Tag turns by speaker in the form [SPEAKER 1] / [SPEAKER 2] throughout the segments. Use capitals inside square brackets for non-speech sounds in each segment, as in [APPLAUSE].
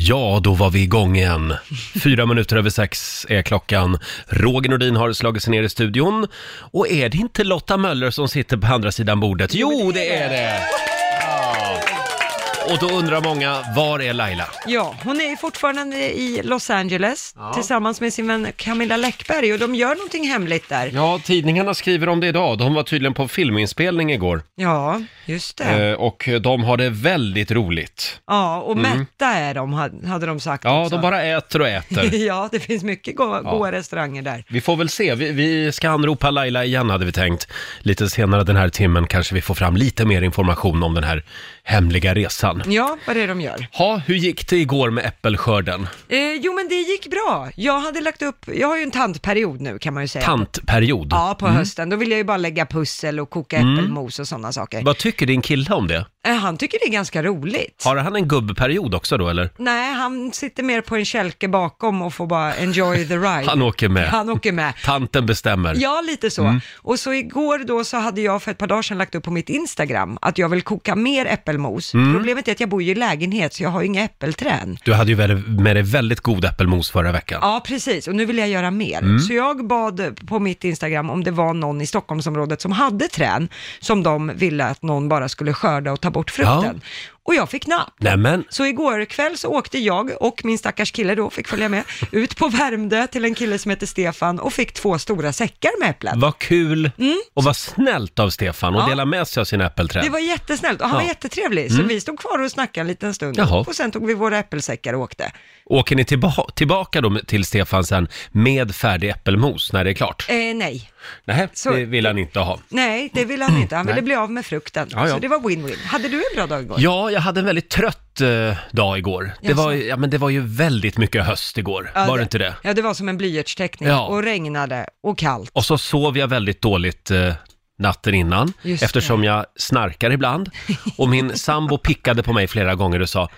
[SPEAKER 1] Ja, då var vi igång igen. Fyra minuter över sex är klockan. Roger Nordin har slagit sig ner i studion. Och är det inte Lotta Möller som sitter på andra sidan bordet? Jo, det är det! Ja. Och då undrar många, var är Laila?
[SPEAKER 2] Ja, hon är ju fortfarande i Los Angeles tillsammans med sin vän Camilla Läckberg och de gör någonting hemligt där.
[SPEAKER 1] Ja, tidningarna skriver om det idag. De var tydligen på filminspelning igår.
[SPEAKER 2] Ja, just det.
[SPEAKER 1] Eh, Och de har det väldigt roligt.
[SPEAKER 2] Ja, och mätta är de, ha- hade de sagt
[SPEAKER 1] mm. Ja,
[SPEAKER 2] också.
[SPEAKER 1] de bara äter och
[SPEAKER 2] [LAUGHS]
[SPEAKER 1] äter.
[SPEAKER 2] ja, det finns mycket go- goda restauranger där.
[SPEAKER 1] Vi får väl se. Vi, vi ska anropa Laila igen hade vi tänkt. Lite senare den här timmen kanske vi får fram lite mer information om den här hemliga resan.
[SPEAKER 2] Ja, vad det är de gör.
[SPEAKER 1] Ha, hur gick det igår med äppelskörden?
[SPEAKER 2] Eh, jo, men det gick bra. Jag hade lagt upp, jag har ju en tantperiod nu kan man ju säga.
[SPEAKER 1] Tantperiod.
[SPEAKER 2] Ja, på hösten. Då vill jag ju bara lägga pussel och koka
[SPEAKER 1] Mm.
[SPEAKER 2] äppelmos och sådana saker.
[SPEAKER 1] Vad tycker din kille om det?
[SPEAKER 2] Eh, han tycker det är ganska roligt.
[SPEAKER 1] Har han en gubbperiod också då eller?
[SPEAKER 2] Nej, han sitter mer på en kälke bakom och får bara enjoy the ride.
[SPEAKER 1] Han åker med.
[SPEAKER 2] Han åker med.
[SPEAKER 1] Tanten bestämmer.
[SPEAKER 2] Ja, lite så. Och så igår då så hade jag för ett par dagar sedan lagt upp på mitt Instagram att jag vill koka mer äppelmos. Problemet är att jag bor ju i lägenhet så jag har ju inga äppelträn.
[SPEAKER 1] Du hade ju väl- med dig väldigt god äppelmos förra veckan.
[SPEAKER 2] Ja, precis. Och nu vill jag göra mer. Så jag bad på mitt Instagram om det var någon i Stockholmsområdet som hade trän som de ville att någon bara skulle skörda och ta bort frukten. Och jag fick napp.
[SPEAKER 1] Nämen,
[SPEAKER 2] Så igår kväll så åkte jag och min stackars kille då, fick följa med, ut på Värmdö till en kille som heter Stefan och fick två stora säckar med äpplen.
[SPEAKER 1] vad kul och vad snällt av Stefan att
[SPEAKER 2] Mm. Ja.
[SPEAKER 1] dela med sig av sina äppelträd.
[SPEAKER 2] Det var jättesnällt och han
[SPEAKER 1] Ja. Mm.
[SPEAKER 2] var jättetrevlig, så vi stod kvar och snackade en liten stund
[SPEAKER 1] Jaha.
[SPEAKER 2] och sen tog vi våra äppelsäckar och åkte.
[SPEAKER 1] Åker ni tillba- tillbaka då till Stefan sen med färdig äppelmos när det är klart?
[SPEAKER 2] Eh, nej,
[SPEAKER 1] Nej,
[SPEAKER 2] Så-
[SPEAKER 1] det vill han inte ha.
[SPEAKER 2] nej, det ville han inte. Han ville
[SPEAKER 1] Mm. Nej.
[SPEAKER 2] bli av med frukten.
[SPEAKER 1] Ja, ja.
[SPEAKER 2] Så det var win-win. Hade du en bra dag igår?
[SPEAKER 1] Ja, jag hade en väldigt trött eh, dag igår. Det
[SPEAKER 2] Jaså?
[SPEAKER 1] var, ju- ja, men det var ju väldigt mycket höst igår,
[SPEAKER 2] Ja,
[SPEAKER 1] var det inte det?
[SPEAKER 2] Ja, det var som en blyertsteckning
[SPEAKER 1] Ja.
[SPEAKER 2] och regnade och kallt.
[SPEAKER 1] Och så sov jag väldigt dåligt eh, natten innan,
[SPEAKER 2] Just
[SPEAKER 1] eftersom jag snarkar ibland. Och
[SPEAKER 2] [LAUGHS]
[SPEAKER 1] min sambo pickade på mig flera gånger och sa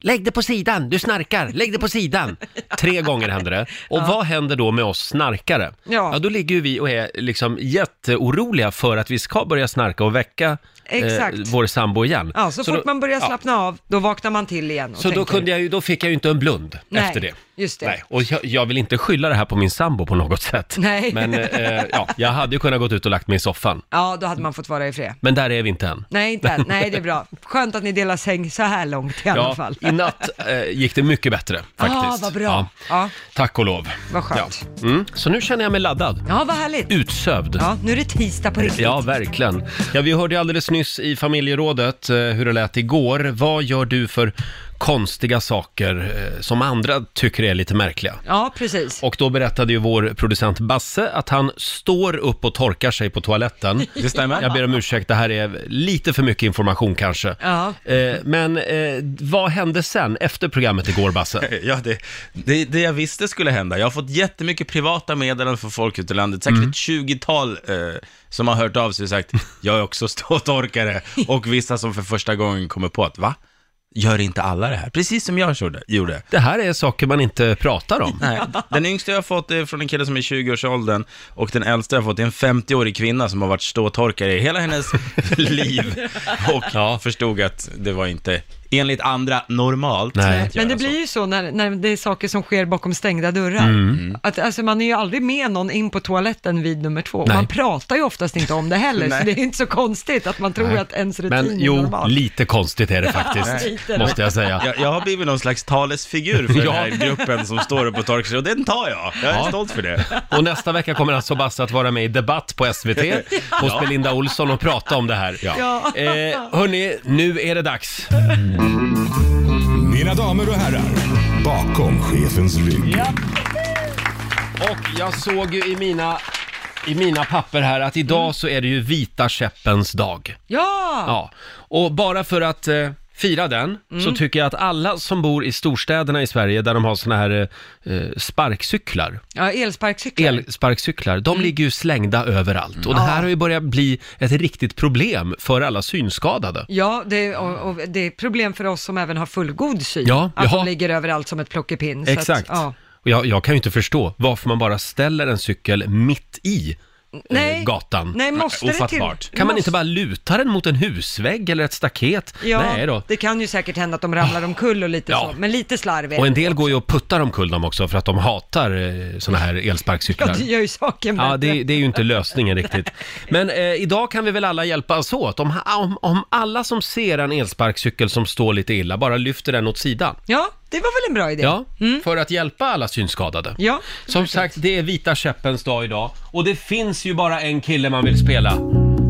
[SPEAKER 1] Lägg det på sidan, du snarkar, lägg det på sidan. Tre gånger hände det. Och vad händer då med oss snarkare?
[SPEAKER 2] Ja.
[SPEAKER 1] då ligger ju vi och är liksom jätteoroliga för att vi ska börja snarka och väcka eh,
[SPEAKER 2] Exakt.
[SPEAKER 1] vår sambo igen.
[SPEAKER 2] Ja, så, fort
[SPEAKER 1] då-
[SPEAKER 2] man börjar
[SPEAKER 1] ja.
[SPEAKER 2] slappna av, då vaknar man till igen och
[SPEAKER 1] Så då,
[SPEAKER 2] tänker,
[SPEAKER 1] kunde jag ju, då fick jag ju inte en blund
[SPEAKER 2] Nej,
[SPEAKER 1] efter det.
[SPEAKER 2] just det.
[SPEAKER 1] Nej, och jag, jag vill inte skylla det här på min sambo på något sätt.
[SPEAKER 2] [LAUGHS] Nej.
[SPEAKER 1] Men eh, ja, jag hade ju kunnat gått ut och lagt mig i soffan.
[SPEAKER 2] [LAUGHS] Ja, då hade man fått vara i fred.
[SPEAKER 1] Men där är vi inte än.
[SPEAKER 2] Nej, inte än. Nej, det är bra. Skönt att ni delar säng så här långt i alla
[SPEAKER 1] Ja,
[SPEAKER 2] fall.
[SPEAKER 1] I natt eh, gick det mycket bättre faktiskt.
[SPEAKER 2] Ah, vad bra.
[SPEAKER 1] Ja,
[SPEAKER 2] Ja. Ja,
[SPEAKER 1] tack och lov.
[SPEAKER 2] Vad skönt.
[SPEAKER 1] Ja. Mm, så nu känner jag mig laddad.
[SPEAKER 2] vad härligt.
[SPEAKER 1] Utsövd.
[SPEAKER 2] Ja, nu är det tisdag på riktigt.
[SPEAKER 1] Ja, verkligen. Ja, vi hörde ju alldeles nyss i familjerådet eh, hur det lät igår. Vad gör du för konstiga saker eh, som andra tycker är lite märkliga?
[SPEAKER 2] Ja, precis.
[SPEAKER 1] Och då berättade ju vår producent Basse att han står upp och torkar sig på
[SPEAKER 2] [LAUGHS]
[SPEAKER 1] toaletten.
[SPEAKER 3] Det stämmer.
[SPEAKER 1] Jag ber om ursäkt, det här är lite för mycket information kanske.
[SPEAKER 2] Ja.
[SPEAKER 1] Eh, Men eh, vad hände sen efter programmet igår, Basse?
[SPEAKER 3] Eh, Ja, det, det, det jag visste skulle hända. Jag har fått jättemycket privata meddelanden från folk ute i landet, säkert ett 20-tal eh, som har hört av sig och sagt jag är också ståtorkare. Och vissa som för första gången kommer på att va? Gör inte alla det här? Precis som jag gjorde. gjorde.
[SPEAKER 1] Det här är saker man inte pratar
[SPEAKER 2] [LAUGHS]
[SPEAKER 1] om.
[SPEAKER 3] Nej. Den yngsta jag har fått är från en kille som är i 20-årsåldern och den äldsta jag har fått är en 50-årig kvinna som har varit ståtorkare i hela hennes liv och förstod att det var inte enligt andra normalt.
[SPEAKER 1] Nej.
[SPEAKER 3] att
[SPEAKER 2] Men det
[SPEAKER 3] göra så.
[SPEAKER 2] blir ju så när, när det är saker som sker bakom stängda dörrar.
[SPEAKER 3] Mm.
[SPEAKER 1] Mm.
[SPEAKER 2] Att, alltså, man är ju aldrig med någon in på toaletten vid nummer två. Och
[SPEAKER 1] Nej.
[SPEAKER 2] Man pratar ju oftast inte om det heller, så
[SPEAKER 3] Nej.
[SPEAKER 2] det är inte så konstigt att man tror att ens rutin
[SPEAKER 1] Men
[SPEAKER 2] är
[SPEAKER 1] jo,
[SPEAKER 2] normal.
[SPEAKER 1] lite konstigt är det
[SPEAKER 2] [LAUGHS] Ja,
[SPEAKER 1] faktiskt,
[SPEAKER 2] lite.
[SPEAKER 1] måste jag säga.
[SPEAKER 3] Jag, jag har blivit någon slags talesfigur [LAUGHS] för
[SPEAKER 1] Ja.
[SPEAKER 3] den här gruppen som står upp och torkar sig och den tar jag. Jag är
[SPEAKER 1] Ja.
[SPEAKER 3] stolt för det.
[SPEAKER 1] Och nästa vecka kommer alltså Basse att vara med i Debatt på SVT
[SPEAKER 2] [LAUGHS]
[SPEAKER 1] hos Belinda Olsson och prata om det här.
[SPEAKER 2] Ja.
[SPEAKER 1] Eh, hörni, nu är det dags.
[SPEAKER 4] Mina damer och herrar, bakom chefens rygg.
[SPEAKER 1] Och jag såg ju i mina, i mina papper här att
[SPEAKER 2] Mm.
[SPEAKER 1] idag så är det ju vita käppens dag.
[SPEAKER 2] Ja!
[SPEAKER 1] Ja, och bara för att eh, fira den så
[SPEAKER 2] Mm.
[SPEAKER 1] tycker jag att alla som bor i storstäderna i Sverige där de har såna här eh, eh, sparkcyklar,
[SPEAKER 2] ja, Mm. elsparkcyklar.
[SPEAKER 1] elsparkcyklar, de ligger ju slängda överallt. Och det här har ju börjat bli ett riktigt problem för alla synskadade.
[SPEAKER 2] Ja, det är, och, och det är problem för oss som även har fullgod syn.
[SPEAKER 1] Ja,
[SPEAKER 2] att
[SPEAKER 1] jaha.
[SPEAKER 2] de ligger överallt som ett plockepinn. så
[SPEAKER 1] Exakt. Eh,
[SPEAKER 2] Att, ja.
[SPEAKER 1] Och jag, jag kan ju inte förstå varför man bara ställer en cykel mitt i
[SPEAKER 2] Mm.
[SPEAKER 1] eh, gatan.
[SPEAKER 2] Nej, måste det till...
[SPEAKER 3] ofattbart.
[SPEAKER 1] Kan man
[SPEAKER 2] måste-
[SPEAKER 1] inte bara luta den mot en husvägg eller ett staket?
[SPEAKER 2] Ja,
[SPEAKER 1] Nej då. Ah.
[SPEAKER 2] det kan ju säkert hända att de ramlar omkull och lite
[SPEAKER 1] Ja.
[SPEAKER 2] så, men lite slarv är
[SPEAKER 1] Och en
[SPEAKER 2] det.
[SPEAKER 1] del går ju och puttar omkull dem också för att de hatar eh, såna här
[SPEAKER 2] Ja,
[SPEAKER 1] elsparkcyklar.
[SPEAKER 2] det gör ju saken
[SPEAKER 1] Ja,
[SPEAKER 2] bättre.
[SPEAKER 1] det, det är ju inte lösningen riktigt. Men eh, idag kan vi väl alla hjälpas åt. Om, om, om alla som ser en elsparkcykel som står lite illa bara lyfter den åt sidan.
[SPEAKER 2] Ja, det var väl en bra idé.
[SPEAKER 1] Ja, för att hjälpa alla synskadade.
[SPEAKER 2] Mm. Ja.
[SPEAKER 1] Som sagt, det är vita käppens dag idag. Och det finns ju bara en kille man vill spela.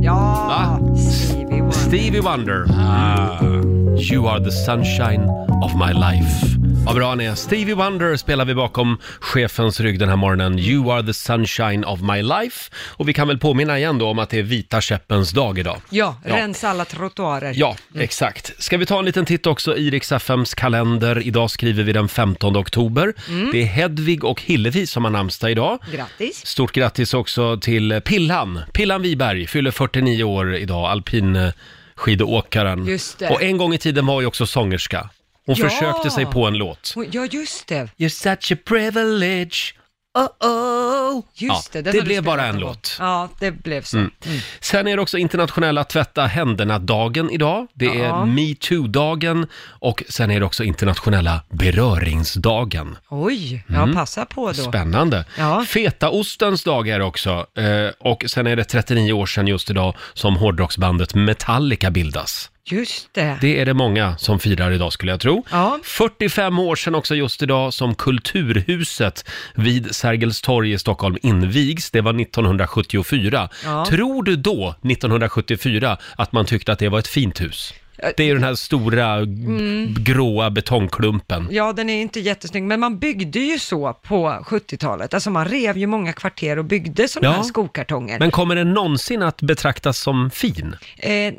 [SPEAKER 2] Ja,
[SPEAKER 1] Va?
[SPEAKER 2] Stevie Wonder.
[SPEAKER 1] Stevie Wonder. You are the sunshine of my life. Vad bra han är. Stevie Wonder spelar vi bakom chefens rygg den här morgonen. You are the sunshine of my life. Och vi kan väl påminna igen då om att det är vita käppens dag idag.
[SPEAKER 2] Ja,
[SPEAKER 1] Ja.
[SPEAKER 2] rensa alla trottoarer.
[SPEAKER 1] Ja,
[SPEAKER 2] Mm.
[SPEAKER 1] exakt. Ska vi ta en liten titt också i Rix FMs kalender. Idag skriver vi den 15 oktober. Det är Hedvig och Hillevi som har namnsdag idag.
[SPEAKER 2] Mm. Grattis.
[SPEAKER 1] Stort grattis också till Pillan. Pillan Wiberg fyller 49 år idag, alpin skidåkaren.
[SPEAKER 2] Just det.
[SPEAKER 1] Och en gång i tiden var ju också sångerska. Hon
[SPEAKER 2] Ja.
[SPEAKER 1] försökte sig på en låt.
[SPEAKER 2] Hon- Ja, just det.
[SPEAKER 1] You're such a privilege. Oh, oh.
[SPEAKER 2] Just
[SPEAKER 1] ja,
[SPEAKER 2] det, den
[SPEAKER 1] det
[SPEAKER 2] har du
[SPEAKER 1] blev bara
[SPEAKER 2] spelat
[SPEAKER 1] en
[SPEAKER 2] någon gång.
[SPEAKER 1] låt. Mm.
[SPEAKER 2] Ja, det blev så.
[SPEAKER 1] Sen är det också internationella tvätta händerna-dagen idag. Det är
[SPEAKER 2] Ja.
[SPEAKER 1] metoo-dagen och sen är det också internationella beröringsdagen.
[SPEAKER 2] Oj, ja
[SPEAKER 1] Mm.
[SPEAKER 2] passa på då.
[SPEAKER 1] Spännande.
[SPEAKER 2] Ja.
[SPEAKER 1] Fetaostens dag är det också. Eh, och sen är det 39 år sedan just idag som hårdrocksbandet Metallica bildas.
[SPEAKER 2] Just det.
[SPEAKER 1] Det är det många som firar idag skulle jag tro.
[SPEAKER 2] Ja.
[SPEAKER 1] 45 år sedan också just idag som Kulturhuset vid Sergels torg i Stockholm invigs. Det var 1974.
[SPEAKER 2] Ja.
[SPEAKER 1] Tror du då, 1974, att man tyckte att det var ett fint hus? Det är ju den här stora
[SPEAKER 2] Mm.
[SPEAKER 1] g- gråa betongklumpen.
[SPEAKER 2] Ja, den är inte jättesnygg, men man byggde ju så på 70-talet. Alltså man rev ju många kvarter och byggde sådana
[SPEAKER 1] Ja.
[SPEAKER 2] här skokartonger.
[SPEAKER 1] Men kommer den någonsin att betraktas som fin?
[SPEAKER 2] Eh, eh,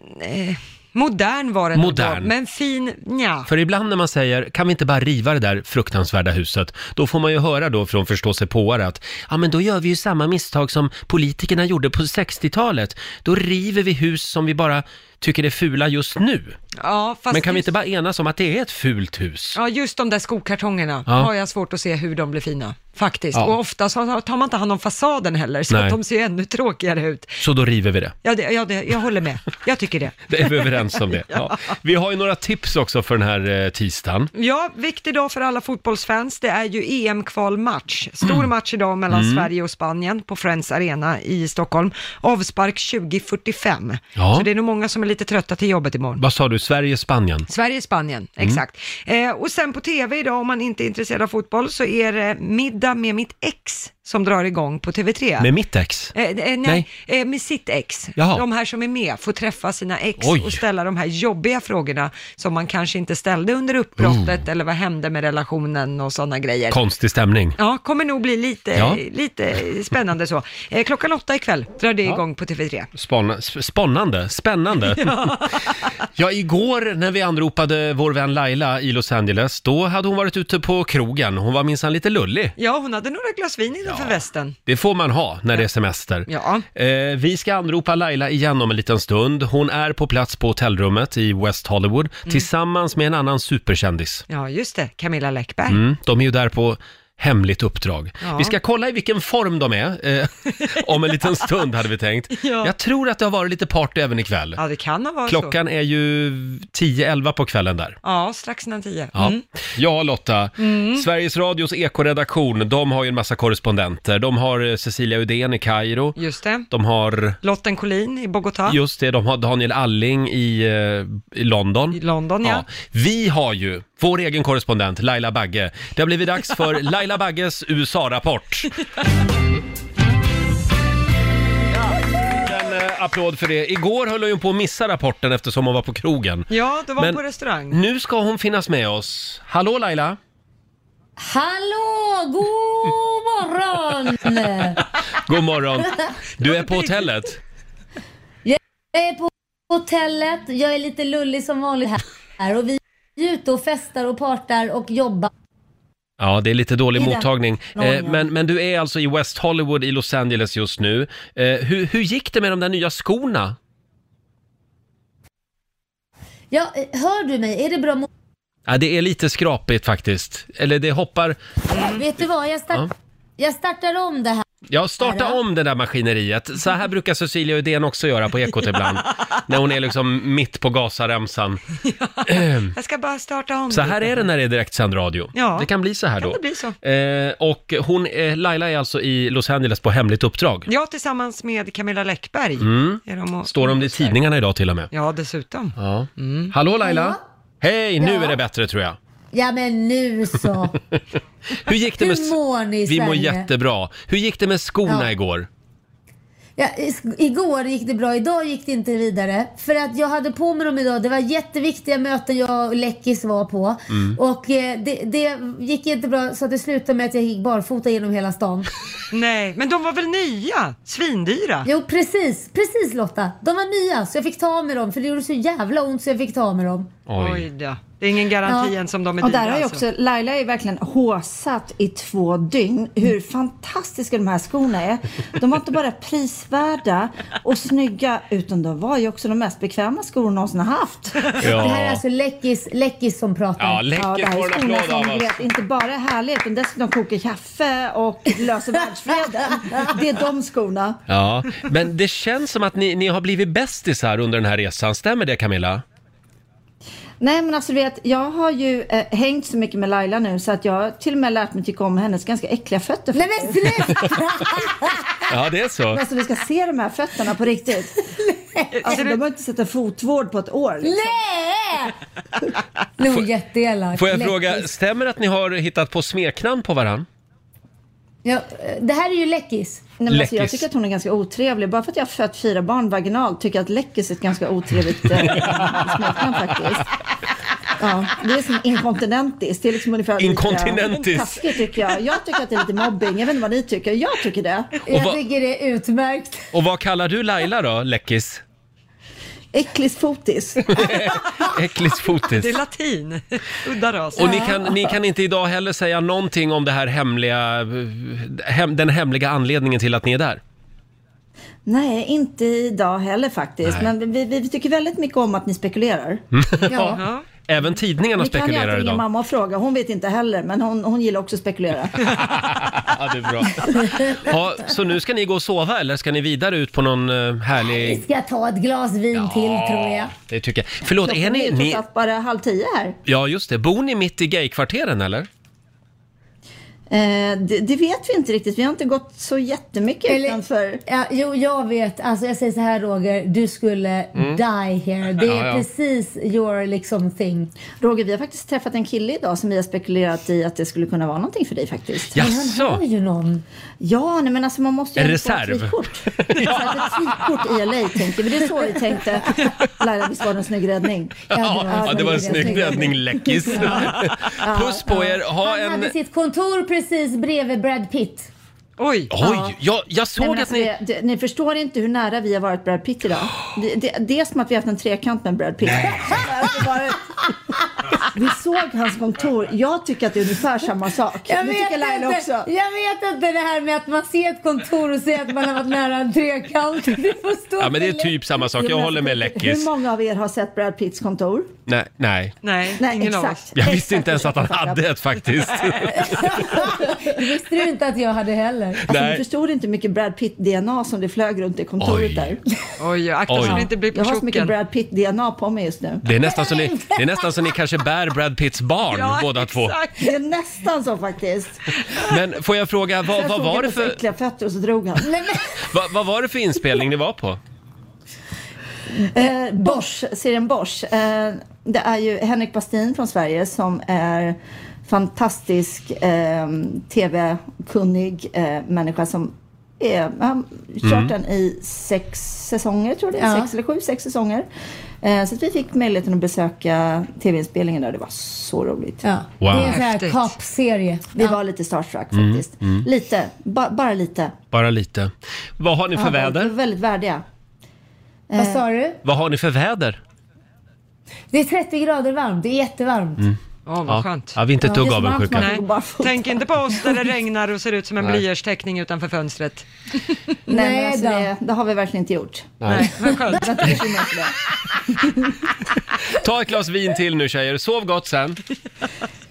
[SPEAKER 2] modern var den
[SPEAKER 1] Modern.
[SPEAKER 2] Då, men fin, nja.
[SPEAKER 1] För ibland när man säger, kan vi inte bara riva det där fruktansvärda huset? Då får man ju höra då från förståsigpåare att, ja men då gör vi ju samma misstag som politikerna gjorde på 60-talet. Då river vi hus som vi bara tycker är fula just nu.
[SPEAKER 2] Ja, fast
[SPEAKER 1] Men kan vi
[SPEAKER 2] just,
[SPEAKER 1] inte bara enas om att det är ett fult hus?
[SPEAKER 2] ja, just de där skokartongerna
[SPEAKER 1] Ja.
[SPEAKER 2] har jag svårt att se hur de blir fina, faktiskt.
[SPEAKER 1] Ja.
[SPEAKER 2] Och ofta så tar man inte hand om fasaden heller, så
[SPEAKER 1] Nej.
[SPEAKER 2] att de ser ju ännu tråkigare ut.
[SPEAKER 1] Så då river vi det.
[SPEAKER 2] Ja, det, ja det, jag håller med. Jag tycker det.
[SPEAKER 1] Det är vi överens om det. Ja. Vi har ju några tips också för den här eh, tisdagen.
[SPEAKER 2] Ja, viktig dag för alla fotbollsfans. Det är ju EM-kvalmatch. Stor
[SPEAKER 1] Mm.
[SPEAKER 2] match idag mellan Sverige och Spanien på Friends Arena i Stockholm. Avspark 2045.
[SPEAKER 1] Ja.
[SPEAKER 2] Så det är nog många som är lite trötta till jobbet imorgon.
[SPEAKER 1] Vad sa du, Sverige, Spanien?
[SPEAKER 2] Sverige-Spanien,
[SPEAKER 1] Mm.
[SPEAKER 2] exakt. Eh, och sen på tv idag, om man inte är intresserad av fotboll, så är det Middag med mitt ex som drar igång på TV3.
[SPEAKER 1] Med mitt ex?
[SPEAKER 2] Eh, eh, nej,
[SPEAKER 1] Nej.
[SPEAKER 2] Eh, med sitt ex.
[SPEAKER 1] Jaha.
[SPEAKER 2] De här som är med får träffa sina ex
[SPEAKER 1] Oj.
[SPEAKER 2] och ställa de här jobbiga frågorna som man kanske inte ställde under uppbrottet
[SPEAKER 1] Oh.
[SPEAKER 2] eller vad hände med relationen och sådana grejer.
[SPEAKER 1] Konstig stämning.
[SPEAKER 2] Ja, kommer nog bli lite,
[SPEAKER 1] Ja.
[SPEAKER 2] lite spännande så. Eh, klockan åtta ikväll drar det igång på TV3.
[SPEAKER 1] Spanna, sp- spannande,
[SPEAKER 2] [LAUGHS]
[SPEAKER 1] spännande. Ja. igår när vi anropade vår vän Laila i Los Angeles, då hade hon varit ute på krogen. Hon var minsann lite lullig.
[SPEAKER 2] Ja, hon hade några glas vin innanför västen.
[SPEAKER 1] Det får man ha när det är semester.
[SPEAKER 2] Ja.
[SPEAKER 1] Eh, vi ska anropa Laila igen om en liten stund. Hon är på plats på hotellrummet i West Hollywood
[SPEAKER 2] Mm.
[SPEAKER 1] tillsammans med en annan superkändis.
[SPEAKER 2] Ja, just det. Camilla Läckberg.
[SPEAKER 1] Mm, de är ju där på hemligt uppdrag.
[SPEAKER 2] Ja.
[SPEAKER 1] Vi ska kolla i vilken form de är eh, [LAUGHS] om en liten stund hade vi tänkt.
[SPEAKER 2] [LAUGHS] Ja.
[SPEAKER 1] Jag tror att det har varit lite party även ikväll.
[SPEAKER 2] Ja, det kan ha varit så.
[SPEAKER 1] Klockan är ju 10-11 på kvällen där.
[SPEAKER 2] Ja, strax innan tio.
[SPEAKER 1] Ja,
[SPEAKER 2] Mm.
[SPEAKER 1] ja Lotta. Sveriges Radios ekoredaktion, de har ju en massa korrespondenter. De har eh, Cecilia Uddén i Kairo.
[SPEAKER 2] Just det.
[SPEAKER 1] De har,
[SPEAKER 2] Lotten Collin i Bogotá.
[SPEAKER 1] just det, de har Daniel Alling i, eh, i London.
[SPEAKER 2] I London, ja.
[SPEAKER 1] Vi har ju vår egen korrespondent Laila Bagge. Det har blivit dags
[SPEAKER 2] [LAUGHS]
[SPEAKER 1] för Laila Bagges USA-rapport. En eh, applåd för det. Igår höll hon ju på att missa rapporten eftersom hon var på krogen.
[SPEAKER 2] Ja, då var hon
[SPEAKER 1] Men- Mm.
[SPEAKER 2] på restaurang.
[SPEAKER 1] Nu ska hon finnas med oss. Hallå Laila!
[SPEAKER 5] Hallå, god morgon!
[SPEAKER 1] God morgon! Du är på hotellet.
[SPEAKER 5] Jag är på hotellet, jag är lite lullig som vanligt här och vi är ute och festar och partar och jobbar.
[SPEAKER 1] Ja, det är lite dålig
[SPEAKER 5] I den-
[SPEAKER 1] mottagning. Eh, men, men du är alltså i West Hollywood i Los Angeles just nu. Eh, hur, hur gick det med de där nya skorna?
[SPEAKER 5] Ja, eh, hör du mig? Är det bra? mo-
[SPEAKER 1] Ja, det är lite skrapigt faktiskt. Eller det hoppar...
[SPEAKER 5] Vet du vad, jag, start... jag startar om det här.
[SPEAKER 1] Ja, starta om det där maskineriet. Så här brukar Cecilia Uddén också göra på Ekot ibland. När hon är liksom mitt på gasaremsan.
[SPEAKER 2] Jag ska bara starta om
[SPEAKER 1] Så här
[SPEAKER 2] lite.
[SPEAKER 1] är det när det är direktsänd radio.
[SPEAKER 2] Ja.
[SPEAKER 1] Det kan bli så här
[SPEAKER 2] Kan
[SPEAKER 1] då.
[SPEAKER 2] det bli så?
[SPEAKER 1] Eh, och hon, eh, Laila är alltså i Los Angeles på hemligt uppdrag.
[SPEAKER 2] Ja, tillsammans med Camilla Läckberg. Är de och...
[SPEAKER 1] Står om det i tidningarna idag till och med.
[SPEAKER 2] Ja, dessutom.
[SPEAKER 1] Mm. Ja.
[SPEAKER 2] Mm.
[SPEAKER 1] Hallå Laila!
[SPEAKER 5] Ja.
[SPEAKER 1] Hej, nu
[SPEAKER 5] Ja.
[SPEAKER 1] är det bättre tror jag.
[SPEAKER 5] Ja men
[SPEAKER 1] [LAUGHS]
[SPEAKER 5] nu så.
[SPEAKER 1] Hur gick det med...
[SPEAKER 5] Hur mår ni i
[SPEAKER 1] Vi mår
[SPEAKER 5] Sverige?
[SPEAKER 1] jättebra. Hur gick det med skorna
[SPEAKER 5] Ja.
[SPEAKER 1] igår?
[SPEAKER 5] Ja, i- igår gick det bra, idag gick det inte vidare. För att jag hade på mig dem idag, det var jätteviktiga möten jag och Läckis var på.
[SPEAKER 1] Mm.
[SPEAKER 5] Och eh, det, det gick inte bra så att det slutade med att jag gick barfota genom hela stan.
[SPEAKER 2] Nej, men de var väl nya? Svindyra.
[SPEAKER 5] Jo precis, precis Lotta. De var nya så jag fick ta med dem för det gjorde så jävla ont så jag fick ta med dem.
[SPEAKER 1] Oj.
[SPEAKER 2] Oj då. Det är ingen garanti
[SPEAKER 5] Ja.
[SPEAKER 2] ens om de är
[SPEAKER 6] Och
[SPEAKER 2] dyra.
[SPEAKER 6] där har jag
[SPEAKER 2] alltså.
[SPEAKER 6] också, Laila är ju verkligen håsat i två dygn hur fantastiska de här skorna är. De var inte bara prisvärda och snygga utan de var ju också de mest bekväma skor hon någonsin har haft.
[SPEAKER 5] Det här är
[SPEAKER 1] Ja,
[SPEAKER 5] alltså Läckis, Läckis som pratar.
[SPEAKER 1] ja
[SPEAKER 6] Ja, det
[SPEAKER 1] läcker
[SPEAKER 6] här
[SPEAKER 1] får en
[SPEAKER 6] är skorna
[SPEAKER 1] applåd
[SPEAKER 6] som
[SPEAKER 1] av
[SPEAKER 6] du
[SPEAKER 1] oss.
[SPEAKER 6] vet, inte bara är härliga utan dessutom kokar kaffe och löser världsfreden. Det är de skorna.
[SPEAKER 1] Ja, men det känns som att ni, ni har blivit bästisar under den här resan. Stämmer det Camilla?
[SPEAKER 6] Nej men alltså du vet, jag har ju eh, hängt så mycket med Laila nu så att jag har till och med lärt mig tycka om hennes ganska äckliga fötter.
[SPEAKER 5] Nej men sluta!
[SPEAKER 1] [LAUGHS] Ja, det är så.
[SPEAKER 6] Alltså vi ska se de här fötterna på riktigt. Alltså de har inte sett en fotvård på ett år. Liksom.
[SPEAKER 5] Nej! Nu är hon jätteelak.
[SPEAKER 1] Får jag
[SPEAKER 5] Läckis.
[SPEAKER 1] fråga, stämmer det att ni har hittat på smeknamn på varann?
[SPEAKER 5] Ja, eh, det här är ju Läckis.
[SPEAKER 6] Nej, men alltså, jag
[SPEAKER 1] Läckis.
[SPEAKER 6] tycker att hon är ganska otrevlig. Bara för att jag har fött fyra barn vaginalt tycker jag att läckis är ett ganska otrevligt eh, smeknamn faktiskt. Ja, det är som inkontinentis. Det är liksom ungefär lika
[SPEAKER 1] Inkontinentis.
[SPEAKER 6] taskigt tycker jag. Jag tycker att det är lite mobbing. Jag vet inte vad ni tycker. Jag tycker det.
[SPEAKER 5] Jag
[SPEAKER 1] vad-
[SPEAKER 5] tycker det
[SPEAKER 1] [LAUGHS]
[SPEAKER 5] är utmärkt.
[SPEAKER 1] Och vad kallar du Laila då, läckis?
[SPEAKER 6] Äcklisfotis.
[SPEAKER 1] Äcklisfotis.
[SPEAKER 2] Det är latin. [LAUGHS] Udda ras.
[SPEAKER 1] Och ni kan, ni kan inte idag heller säga någonting om det här hemliga, eh, hem, den hemliga anledningen till att ni är där?
[SPEAKER 6] Nej, inte idag heller faktiskt. Men vi, vi, vi tycker väldigt mycket om att ni spekulerar.
[SPEAKER 5] Ja.
[SPEAKER 2] Ja.
[SPEAKER 1] Även tidningarna
[SPEAKER 6] Ni kan ju
[SPEAKER 1] spekulerar
[SPEAKER 6] alltid ringa
[SPEAKER 1] idag.
[SPEAKER 6] mamma och fråga. Hon vet inte heller, men hon, hon gillar också att
[SPEAKER 1] [LAUGHS]
[SPEAKER 6] spekulera.
[SPEAKER 1] Ja, det är bra. [LAUGHS] Ja, så nu ska ni gå och sova eller ska ni vidare ut på någon eh,
[SPEAKER 5] Vi
[SPEAKER 1] härlig...
[SPEAKER 5] ska ta ett glas vin till tror jag.
[SPEAKER 1] Det tycker jag. Förlåt, är
[SPEAKER 6] Klockan är
[SPEAKER 1] ni...
[SPEAKER 6] ju trots
[SPEAKER 1] ni
[SPEAKER 6] allt bara halv tio här.
[SPEAKER 1] ja, just det. Bor ni mitt i gaykvarteren eller?
[SPEAKER 6] Eh, det, det vet vi inte riktigt. Vi har inte gått så jättemycket
[SPEAKER 5] Eller-
[SPEAKER 6] utanför.
[SPEAKER 5] Ja, jo, jag vet. Alltså, jag säger så här Roger, du skulle die here. Det är
[SPEAKER 1] Mm. Ja, ja.
[SPEAKER 5] precis your liksom thing.
[SPEAKER 6] Roger, vi har faktiskt träffat en kille idag som vi har spekulerat i att det skulle kunna vara någonting för dig faktiskt. Mm.
[SPEAKER 5] Han har
[SPEAKER 1] Jaså?
[SPEAKER 5] ju någon.
[SPEAKER 6] Ja, nej, men alltså man måste
[SPEAKER 1] En
[SPEAKER 6] ju få ett
[SPEAKER 1] reserv. [LAUGHS]
[SPEAKER 6] frikort. ja. Ett frikort i LA tänker vi. Det är så
[SPEAKER 1] [LAUGHS]
[SPEAKER 6] vi tänkte. Laila, visst var det en snygg räddning?
[SPEAKER 1] Ja, det var en
[SPEAKER 5] jag
[SPEAKER 1] snygg
[SPEAKER 5] tycker det.
[SPEAKER 1] räddning läckis. [LAUGHS] Puss på er. Ha
[SPEAKER 5] Han hade
[SPEAKER 1] en...
[SPEAKER 5] sitt kontor precis bredvid Brad Pitt.
[SPEAKER 2] Oj.
[SPEAKER 1] Oj, jag, jag
[SPEAKER 6] Nej,
[SPEAKER 1] såg
[SPEAKER 6] men
[SPEAKER 1] att
[SPEAKER 6] alltså,
[SPEAKER 1] ni...
[SPEAKER 6] det, det, ni förstår inte hur nära vi har varit Brad Pitt idag.
[SPEAKER 1] [GASPS]
[SPEAKER 6] Det, det, det är som att vi har haft en trekant med Brad [LAUGHS] Pitt. Så nära vi har varit. Vi såg hans kontor. Jag tycker att det är ungefär samma sak. det tycker Laila
[SPEAKER 5] inte,
[SPEAKER 6] också.
[SPEAKER 5] jag vet inte det här med att man ser ett kontor och ser att man har varit nära en trekant. [LAUGHS] Det får stå
[SPEAKER 1] Ja, men det är
[SPEAKER 5] för
[SPEAKER 1] typ samma sak. Jag
[SPEAKER 6] men
[SPEAKER 1] håller med
[SPEAKER 6] alltså,
[SPEAKER 1] läckis.
[SPEAKER 6] Hur många av er har sett Brad Pitts kontor?
[SPEAKER 1] Nej, nej.
[SPEAKER 2] Nej,
[SPEAKER 6] Nej,
[SPEAKER 2] ingen av oss.
[SPEAKER 6] exakt.
[SPEAKER 1] Jag
[SPEAKER 6] Exakt. Alltså,
[SPEAKER 1] visste inte ens att han hade ett faktiskt.
[SPEAKER 5] lätt. Det visste du inte att jag hade heller.
[SPEAKER 6] Alltså,
[SPEAKER 1] Nej.
[SPEAKER 6] ni förstod inte hur mycket Brad Pitt-DNA som det flög runt i kontoret
[SPEAKER 1] Oj.
[SPEAKER 6] där.
[SPEAKER 2] Oj, akta så
[SPEAKER 1] Oj.
[SPEAKER 2] det inte blir på
[SPEAKER 6] Jag har så mycket
[SPEAKER 2] chocken.
[SPEAKER 6] Brad Pitt-DNA på mig just nu.
[SPEAKER 1] Det är nästan så ni, det är nästan så ni kanske bär Brad Pitts barn
[SPEAKER 2] Ja,
[SPEAKER 1] båda två.
[SPEAKER 2] exakt.
[SPEAKER 6] Det är nästan så faktiskt.
[SPEAKER 1] Men får jag fråga, vad,
[SPEAKER 6] Jag
[SPEAKER 1] vad,
[SPEAKER 6] såg
[SPEAKER 1] var, det
[SPEAKER 6] hennes
[SPEAKER 1] för,
[SPEAKER 6] äckliga fötter och så drog han.
[SPEAKER 5] Nej, men,
[SPEAKER 1] vad, vad var det för inspelning ni var på?
[SPEAKER 6] Eh, Bosch, serien Bosch. Eh, det är ju Henrik Bastin från Sverige som är fantastisk eh, tv-kunnig eh, människa som är, han kört den i sex säsonger tror jag det är.
[SPEAKER 5] Ja.
[SPEAKER 6] Sex eller sju, sex säsonger. Eh, så att vi fick möjligheten att besöka tv-inspelningen där. Det var så roligt.
[SPEAKER 5] ja.
[SPEAKER 1] Wow.
[SPEAKER 5] Det är en sån här
[SPEAKER 2] Häftigt.
[SPEAKER 5] cop-serie.
[SPEAKER 6] Vi var lite starstruck faktiskt. Lite, ba- bara lite.
[SPEAKER 1] Bara lite. Vad har ni för
[SPEAKER 6] Vi
[SPEAKER 1] väder?
[SPEAKER 6] var väldigt värdiga.
[SPEAKER 5] Eh, Vad sa du?
[SPEAKER 1] Vad har ni för väder?
[SPEAKER 5] Det är 30 grader varmt, det är jättevarmt.
[SPEAKER 2] Ja, vad skönt.
[SPEAKER 1] Ja, vi är inte ett dugg
[SPEAKER 6] det är som
[SPEAKER 1] avundsjuka.
[SPEAKER 6] Hans
[SPEAKER 2] Nej,
[SPEAKER 6] man går barfota.
[SPEAKER 2] tänk inte på oss där det regnar och ser ut som en blyertsteckning utanför fönstret.
[SPEAKER 6] Nej,
[SPEAKER 5] Nej
[SPEAKER 6] men alltså
[SPEAKER 5] då.
[SPEAKER 6] det, det har vi verkligen inte gjort.
[SPEAKER 2] Nej, vad skönt.
[SPEAKER 6] Så att det bekymrar inte det.
[SPEAKER 1] Ta ett glas vin till nu tjejer, sov gott sen.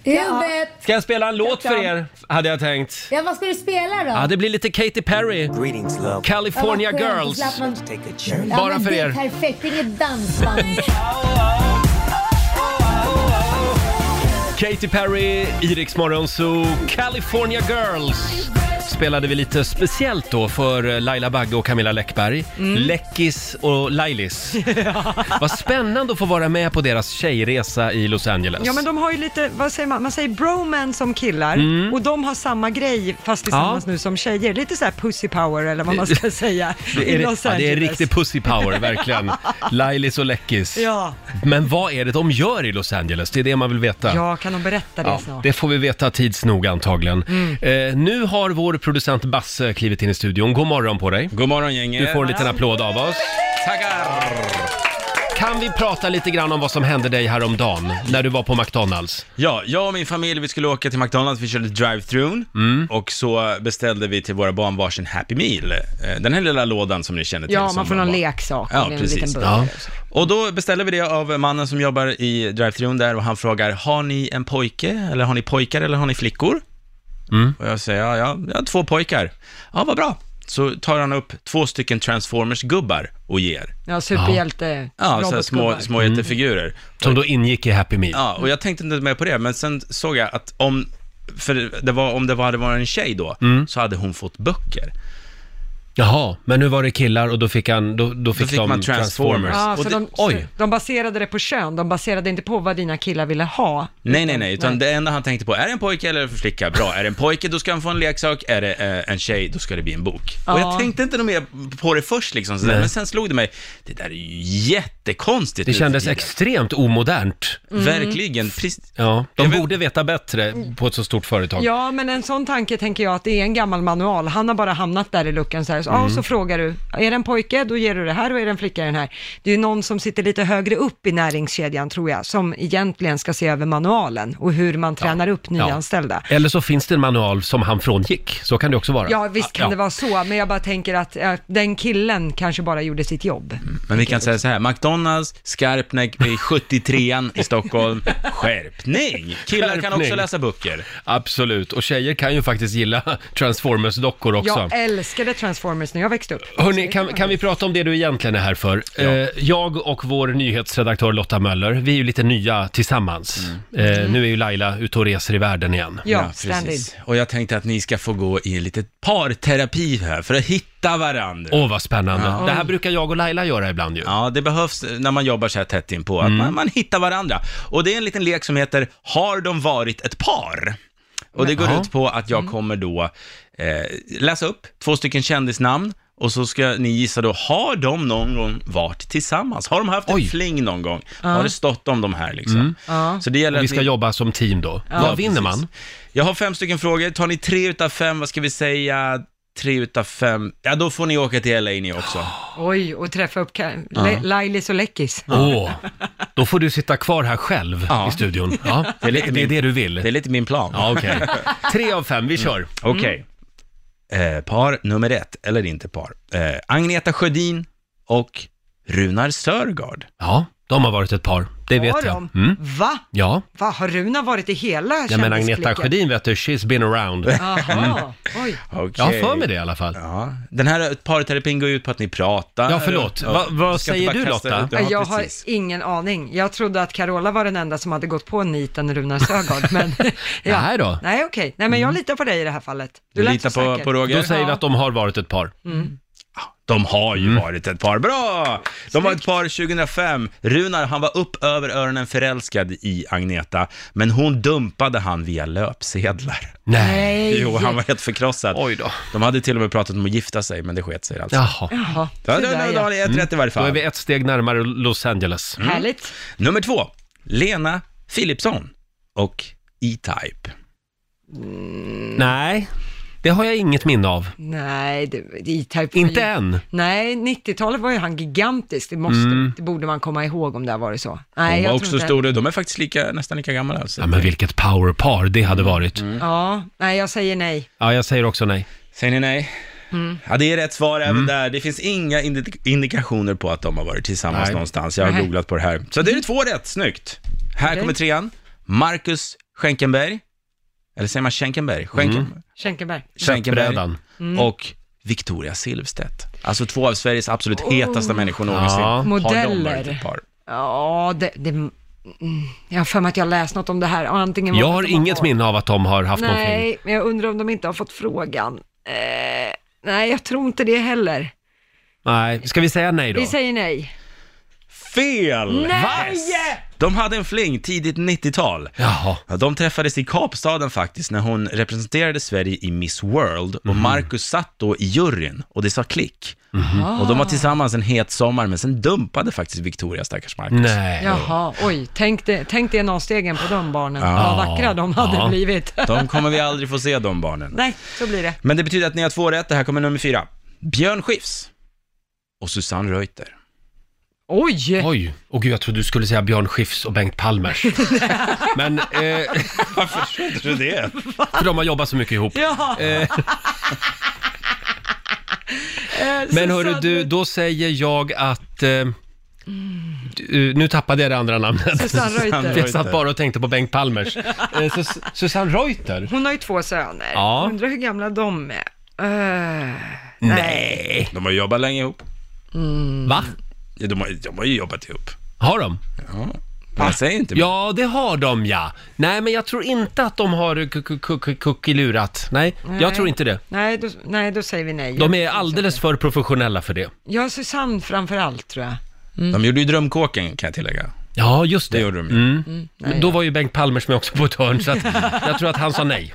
[SPEAKER 5] Hubert!
[SPEAKER 1] Ska jag spela en låt för er, hade jag tänkt.
[SPEAKER 5] Ja, vad ska du spela då?
[SPEAKER 1] Ja, det blir lite Katy Perry,
[SPEAKER 7] Greetings, love.
[SPEAKER 1] California
[SPEAKER 5] Ja, vad skönt,
[SPEAKER 1] Girls.
[SPEAKER 5] slappna-
[SPEAKER 7] Take a journey.
[SPEAKER 5] Ja,
[SPEAKER 1] Bara
[SPEAKER 5] men
[SPEAKER 1] för
[SPEAKER 5] det
[SPEAKER 1] er.
[SPEAKER 5] är Perfekt, inget dansband.
[SPEAKER 1] Katy Perry, Iriks morgonzoo, California Girls. Spelade vi lite speciellt då för eh, Laila Bagge och Camilla Läckberg.
[SPEAKER 2] Mm.
[SPEAKER 1] Läckis och
[SPEAKER 2] [LAUGHS]
[SPEAKER 1] Lailis. Vad spännande att få vara med på deras tjejresa i Los Angeles.
[SPEAKER 2] Ja men de har ju lite, vad säger man, man säger bromance som killar och de har samma grej fast tillsammans
[SPEAKER 1] Ja.
[SPEAKER 2] nu som tjejer. Lite så här pussy power eller vad man ska säga
[SPEAKER 1] Det är,
[SPEAKER 2] i
[SPEAKER 1] ja,
[SPEAKER 2] [LAUGHS] Los
[SPEAKER 1] det är
[SPEAKER 2] Angeles.
[SPEAKER 1] riktig pussy
[SPEAKER 2] [LAUGHS]
[SPEAKER 1] power, verkligen. Lailis och Läckis.
[SPEAKER 2] Ja.
[SPEAKER 1] Men vad är det de gör i Los Angeles? Det är det man vill veta.
[SPEAKER 2] Ja, kan de berätta det Mm.
[SPEAKER 1] Ja,
[SPEAKER 2] snart?
[SPEAKER 1] det får vi veta tids nog antagligen. Eh, nu har vår producent Basse klivit in i studion. God morgon på dig.
[SPEAKER 3] God morgon gänget.
[SPEAKER 1] Du får en liten applåd av oss.
[SPEAKER 3] Tackar!
[SPEAKER 1] Kan vi prata lite grann om vad som hände dig häromdagen när du var på McDonalds?
[SPEAKER 3] Ja, jag och min familj, vi skulle åka till McDonalds, vi körde drive-thrun och så beställde vi till våra barn varsin Happy Meal. Eh, Den här lilla lådan som ni känner till.
[SPEAKER 2] Ja,
[SPEAKER 3] som
[SPEAKER 2] man får någon
[SPEAKER 3] barn-
[SPEAKER 2] leksak
[SPEAKER 3] Ja,
[SPEAKER 2] eller en
[SPEAKER 3] precis.
[SPEAKER 2] liten
[SPEAKER 1] Ja.
[SPEAKER 2] burgare.
[SPEAKER 3] Och då beställde vi det av mannen som jobbar i drive där och han frågar, har ni en pojke, eller har ni pojkar, eller har ni flickor? Och jag säger, ja, ja, jag har två pojkar. Ja, vad bra. Så tar han upp två stycken Transformers-gubbar och ger.
[SPEAKER 2] Ja, superhjälte,
[SPEAKER 3] Ja, så här små,
[SPEAKER 2] robotgubbar.
[SPEAKER 3] små jättefigurer.
[SPEAKER 1] Som då ingick i Happy Meal.
[SPEAKER 3] Ja, och jag tänkte inte mer på det, men sen såg jag att om, för det var, om det var, hade varit en tjej då, så hade hon fått böcker.
[SPEAKER 1] Jaha, men nu var det killar och då fick, han, då, då fick,
[SPEAKER 3] fick
[SPEAKER 1] de
[SPEAKER 3] man Transformers.
[SPEAKER 2] Ja,
[SPEAKER 3] Och
[SPEAKER 2] så
[SPEAKER 3] det-
[SPEAKER 2] de,
[SPEAKER 1] oj.
[SPEAKER 2] de baserade det på kön, de baserade inte på vad dina killar ville ha.
[SPEAKER 3] Nej, nej, nej, utan det enda han tänkte på, är det en pojke eller en flicka? Bra, är det en pojke då ska han få en leksak, är det eh, en tjej då ska det bli en bok. Och
[SPEAKER 2] Ja.
[SPEAKER 3] jag tänkte inte nog mer på det först liksom, sådär, men sen slog det mig, det där är ju jättekonstigt.
[SPEAKER 1] Det
[SPEAKER 3] nu för
[SPEAKER 1] kändes
[SPEAKER 3] tiden.
[SPEAKER 1] extremt omodernt.
[SPEAKER 3] Verkligen, precis.
[SPEAKER 1] Ja,
[SPEAKER 3] Jag
[SPEAKER 1] de
[SPEAKER 3] vet-
[SPEAKER 1] borde veta bättre på ett så stort företag.
[SPEAKER 2] Ja, men en sån tanke tänker jag att det är en gammal manual. Han har bara hamnat där i luckan så här. Så,
[SPEAKER 1] Mm.
[SPEAKER 2] ja, så frågar du, är det en pojke, då ger du det här och är det en flicka, den här. Det är ju någon som sitter lite högre upp i näringskedjan, tror jag, som egentligen ska se över manualen och hur man tränar upp nyanställda. Ja.
[SPEAKER 1] Eller så finns det en manual som han frångick. Så kan det också vara.
[SPEAKER 2] visst kan det vara så, men jag bara tänker att eh, den killen kanske bara gjorde sitt jobb.
[SPEAKER 1] Mm,
[SPEAKER 3] Men vi kan säga så här, McDonalds, Skarpnäck, vi är 73an i Stockholm. Skärpning! Killar kan också
[SPEAKER 1] Skärpning.
[SPEAKER 3] läsa böcker.
[SPEAKER 1] Absolut, och tjejer kan ju faktiskt gilla [LAUGHS] Transformers-dockor också.
[SPEAKER 2] Jag älskade Transformers när jag växte upp.
[SPEAKER 1] Hörni, kan, kan vi prata om det du egentligen är här för? Eh, jag och vår nyhetsredaktör Lotta Möller, vi är ju lite nya tillsammans.
[SPEAKER 3] Mm.
[SPEAKER 1] Eh, nu är ju Laila ute och reser i världen igen.
[SPEAKER 2] Ja, stand-in.
[SPEAKER 3] Och jag tänkte att ni ska få gå i lite parterapi här, för att hitta varandra.
[SPEAKER 1] Åh, vad spännande. Det här brukar jag och Laila göra ibland ju.
[SPEAKER 3] Ja, det behövs när man jobbar så här tätt inpå,
[SPEAKER 1] Mm.
[SPEAKER 3] att man, man hittar varandra. Och det är en liten lek som heter Har de varit ett par? Och det går
[SPEAKER 1] Ja.
[SPEAKER 3] ut på att
[SPEAKER 1] Mm.
[SPEAKER 3] jag kommer då eh, läsa upp två stycken kändisnamn och så ska ni gissa då, har de någon gång varit tillsammans? Har de haft en fling någon gång? Har det stått om de här liksom? Så det gäller
[SPEAKER 1] Mm. Och vi
[SPEAKER 3] att
[SPEAKER 1] ska jobba som team då. Vad vinner
[SPEAKER 3] precis.
[SPEAKER 1] man?
[SPEAKER 3] Jag har fem stycken frågor. Tar ni tre utav fem, vad ska vi säga? Tre utav fem. Ja, då får ni åka till LA ni också.
[SPEAKER 2] Oj, och träffa upp Ka- Le- Lailis och Läckis.
[SPEAKER 1] Åh, då får du sitta kvar här själv
[SPEAKER 3] Ja.
[SPEAKER 1] i studion. Ja, det,
[SPEAKER 3] är
[SPEAKER 1] är
[SPEAKER 3] lite
[SPEAKER 1] det, är
[SPEAKER 3] min-
[SPEAKER 1] det du vill.
[SPEAKER 3] Det är lite Mm. min plan.
[SPEAKER 1] Ja, okej. Tre av fem, vi kör.
[SPEAKER 3] Okej. Eh, par nummer ett, eller inte par. Eh, Agneta Sjödin och Runar Sörgard.
[SPEAKER 1] Ja, de har varit ett par. Det vet
[SPEAKER 2] Har
[SPEAKER 1] jag.
[SPEAKER 2] de?
[SPEAKER 1] Mm.
[SPEAKER 2] Va?
[SPEAKER 1] Ja,
[SPEAKER 2] Va, har Runa varit i hela
[SPEAKER 1] ja men Agneta Mm.
[SPEAKER 2] kändisblicken?
[SPEAKER 1] Sjödin vet du, she's been around.
[SPEAKER 2] Jaha, oj.
[SPEAKER 3] Okay.
[SPEAKER 1] Jag har för mig det i alla fall.
[SPEAKER 3] Ja. Den här parterapetin går ut på att ni pratar.
[SPEAKER 1] Ja, förlåt. Va- vad
[SPEAKER 3] Jag ska
[SPEAKER 1] säger
[SPEAKER 3] inte bara
[SPEAKER 1] du,
[SPEAKER 3] kasta
[SPEAKER 1] Lotta?
[SPEAKER 3] ut- Ja,
[SPEAKER 2] jag har
[SPEAKER 3] precis.
[SPEAKER 2] ingen aning. Jag trodde att Carola var den enda som hade gått på niten
[SPEAKER 1] [LAUGHS]
[SPEAKER 2] Runar Sögaard, men... ja.
[SPEAKER 1] Nej då.
[SPEAKER 2] Nej, okej. Nej, men jag
[SPEAKER 1] Mm.
[SPEAKER 2] litar på dig i det här fallet. Du
[SPEAKER 3] Du
[SPEAKER 2] lät
[SPEAKER 3] litar
[SPEAKER 2] så
[SPEAKER 3] på,
[SPEAKER 2] säker.
[SPEAKER 3] på Roger?
[SPEAKER 1] Då säger vi att Mm. de har varit ett par.
[SPEAKER 3] De har ju varit ett par. Bra! De var ett par 2005. Runar, han var upp över öronen förälskad i Agneta, men hon dumpade han via löpsedlar.
[SPEAKER 1] Nej.
[SPEAKER 3] Jo, han var helt förkrossad.
[SPEAKER 1] Oj då.
[SPEAKER 3] De hade till och med pratat om att gifta sig, men det sket sig alltså.
[SPEAKER 1] Jaha.
[SPEAKER 2] Jaha,
[SPEAKER 3] Ja,
[SPEAKER 2] så
[SPEAKER 3] då, då,
[SPEAKER 2] där,
[SPEAKER 3] då har
[SPEAKER 2] ja.
[SPEAKER 3] ni ett rätt i
[SPEAKER 1] Mm.
[SPEAKER 3] varje
[SPEAKER 1] Då är
[SPEAKER 3] fall.
[SPEAKER 1] vi ett steg närmare Los Angeles.
[SPEAKER 3] Mm.
[SPEAKER 2] Härligt.
[SPEAKER 3] Nummer två, Lena Philipsson och E-Type.
[SPEAKER 1] Nej, Det har jag inget minne av.
[SPEAKER 2] Nej, det, E-Type var
[SPEAKER 1] Inte
[SPEAKER 2] ju-
[SPEAKER 1] än.
[SPEAKER 2] Nej, 90-talet var ju han gigantisk, det, måste,
[SPEAKER 1] Mm.
[SPEAKER 2] det borde man komma ihåg om det har varit så. Nej, jag
[SPEAKER 3] Hon var
[SPEAKER 2] tror
[SPEAKER 3] också
[SPEAKER 2] inte-
[SPEAKER 3] stor, de är faktiskt lika, nästan lika gamla. Alltså.
[SPEAKER 1] Ja, men vilket powerpar det
[SPEAKER 2] Mm.
[SPEAKER 1] hade varit.
[SPEAKER 2] Ja, nej jag säger nej.
[SPEAKER 1] Ja, jag säger också nej.
[SPEAKER 3] Säger ni nej?
[SPEAKER 2] Mm.
[SPEAKER 3] Ja, det är rätt svar även
[SPEAKER 1] Mm.
[SPEAKER 3] där. Det finns inga indi- indikationer på att de har varit tillsammans
[SPEAKER 1] Nej.
[SPEAKER 3] någonstans. Jag har
[SPEAKER 2] Nej. Mm.
[SPEAKER 3] googlat på det här. Så det är två rätt, snyggt. Här
[SPEAKER 2] Okej.
[SPEAKER 3] kommer trean. Marcus Schenkenberg, eller säger man Schenkenberg? Schenken...
[SPEAKER 2] Schenkenberg.
[SPEAKER 3] Schenkenberg.
[SPEAKER 1] Mm. Köttbrädan.
[SPEAKER 2] Mm.
[SPEAKER 3] Och Victoria Silvstedt. Alltså två av Sveriges absolut hetaste människor någonsin.
[SPEAKER 1] Ja.
[SPEAKER 3] Har de varit
[SPEAKER 2] Oh. Modeller.
[SPEAKER 3] ett par?
[SPEAKER 2] Ja, det, det, mm, jag har för mig att jag läst något om det här. Antingen var
[SPEAKER 1] Jag
[SPEAKER 2] det
[SPEAKER 1] har
[SPEAKER 2] att de
[SPEAKER 1] inget
[SPEAKER 2] varit-
[SPEAKER 1] minne av att de har haft någonting.
[SPEAKER 2] Nej, men jag undrar om de inte har fått frågan. Eh, nej, jag tror inte det heller.
[SPEAKER 1] Nej, ska vi säga nej då?
[SPEAKER 2] Vi säger nej.
[SPEAKER 3] Fel!
[SPEAKER 2] Nej!
[SPEAKER 3] De hade en fling tidigt 90-tal.
[SPEAKER 1] Jaha.
[SPEAKER 3] Ja, de träffades i Kapstaden faktiskt när hon representerade Sverige i Miss World och Marcus satt då i juryn och det sa klick. Och de var tillsammans en het sommar men sen dumpade faktiskt Victoria stackars Marcus.
[SPEAKER 1] Nej.
[SPEAKER 2] Jaha, oj, tänk det, tänk det avstegen på de barnen.
[SPEAKER 1] Ja.
[SPEAKER 2] Vad vackra de hade
[SPEAKER 1] Ja.
[SPEAKER 2] blivit. [LAUGHS]
[SPEAKER 3] De kommer vi aldrig få se de barnen.
[SPEAKER 2] nej, så blir det.
[SPEAKER 3] Men det betyder att ni har två rätt, det här kommer nummer fyra. Björn Skifs och Susanne Reuter.
[SPEAKER 2] Oj!
[SPEAKER 1] Oj, och gud jag trodde du skulle säga Björn Skifs och Bengt
[SPEAKER 2] [LAUGHS]
[SPEAKER 1] Palmers. Men, eh, [LAUGHS]
[SPEAKER 3] Tror du det?
[SPEAKER 1] för de har jobbat så mycket ihop.
[SPEAKER 2] Ja. [LAUGHS] Eh,
[SPEAKER 1] Men hörru
[SPEAKER 2] Susanne-
[SPEAKER 1] du, då säger jag att... Eh, du, nu tappade jag det andra namnet.
[SPEAKER 2] Susanne
[SPEAKER 1] [LAUGHS]
[SPEAKER 2] Reuter.
[SPEAKER 1] Jag satt bara och tänkte på Bengt Palmers. Eh, Sus Susanne Reuter?
[SPEAKER 2] Hon har ju två söner.
[SPEAKER 1] Ja.
[SPEAKER 2] Undrar hur gamla de är. Eh,
[SPEAKER 1] Nej.
[SPEAKER 3] De har jobbat länge ihop.
[SPEAKER 2] Mm.
[SPEAKER 1] Va?
[SPEAKER 3] Ja, de, har, de har ju jobbat ihop.
[SPEAKER 1] Har de?
[SPEAKER 3] Men jag säger inte mer.
[SPEAKER 1] Ja, det har de ja. Nej, men jag tror inte att de har ku- ku- ku- ku- kuckelurat. Nej, jag
[SPEAKER 2] Nej.
[SPEAKER 1] tror inte det.
[SPEAKER 2] nej, då, nej, då säger vi nej.
[SPEAKER 1] De är alldeles för professionella för det.
[SPEAKER 2] Ja, Susanne framför allt tror jag.
[SPEAKER 3] De gjorde ju Drömkåken kan jag tillägga.
[SPEAKER 1] Ja, just det.
[SPEAKER 3] Det gjorde de ju.
[SPEAKER 1] Mm. Men då var ju Bengt Palmers med också på ett hörn, så att
[SPEAKER 2] [LAUGHS]
[SPEAKER 1] jag tror att han sa nej.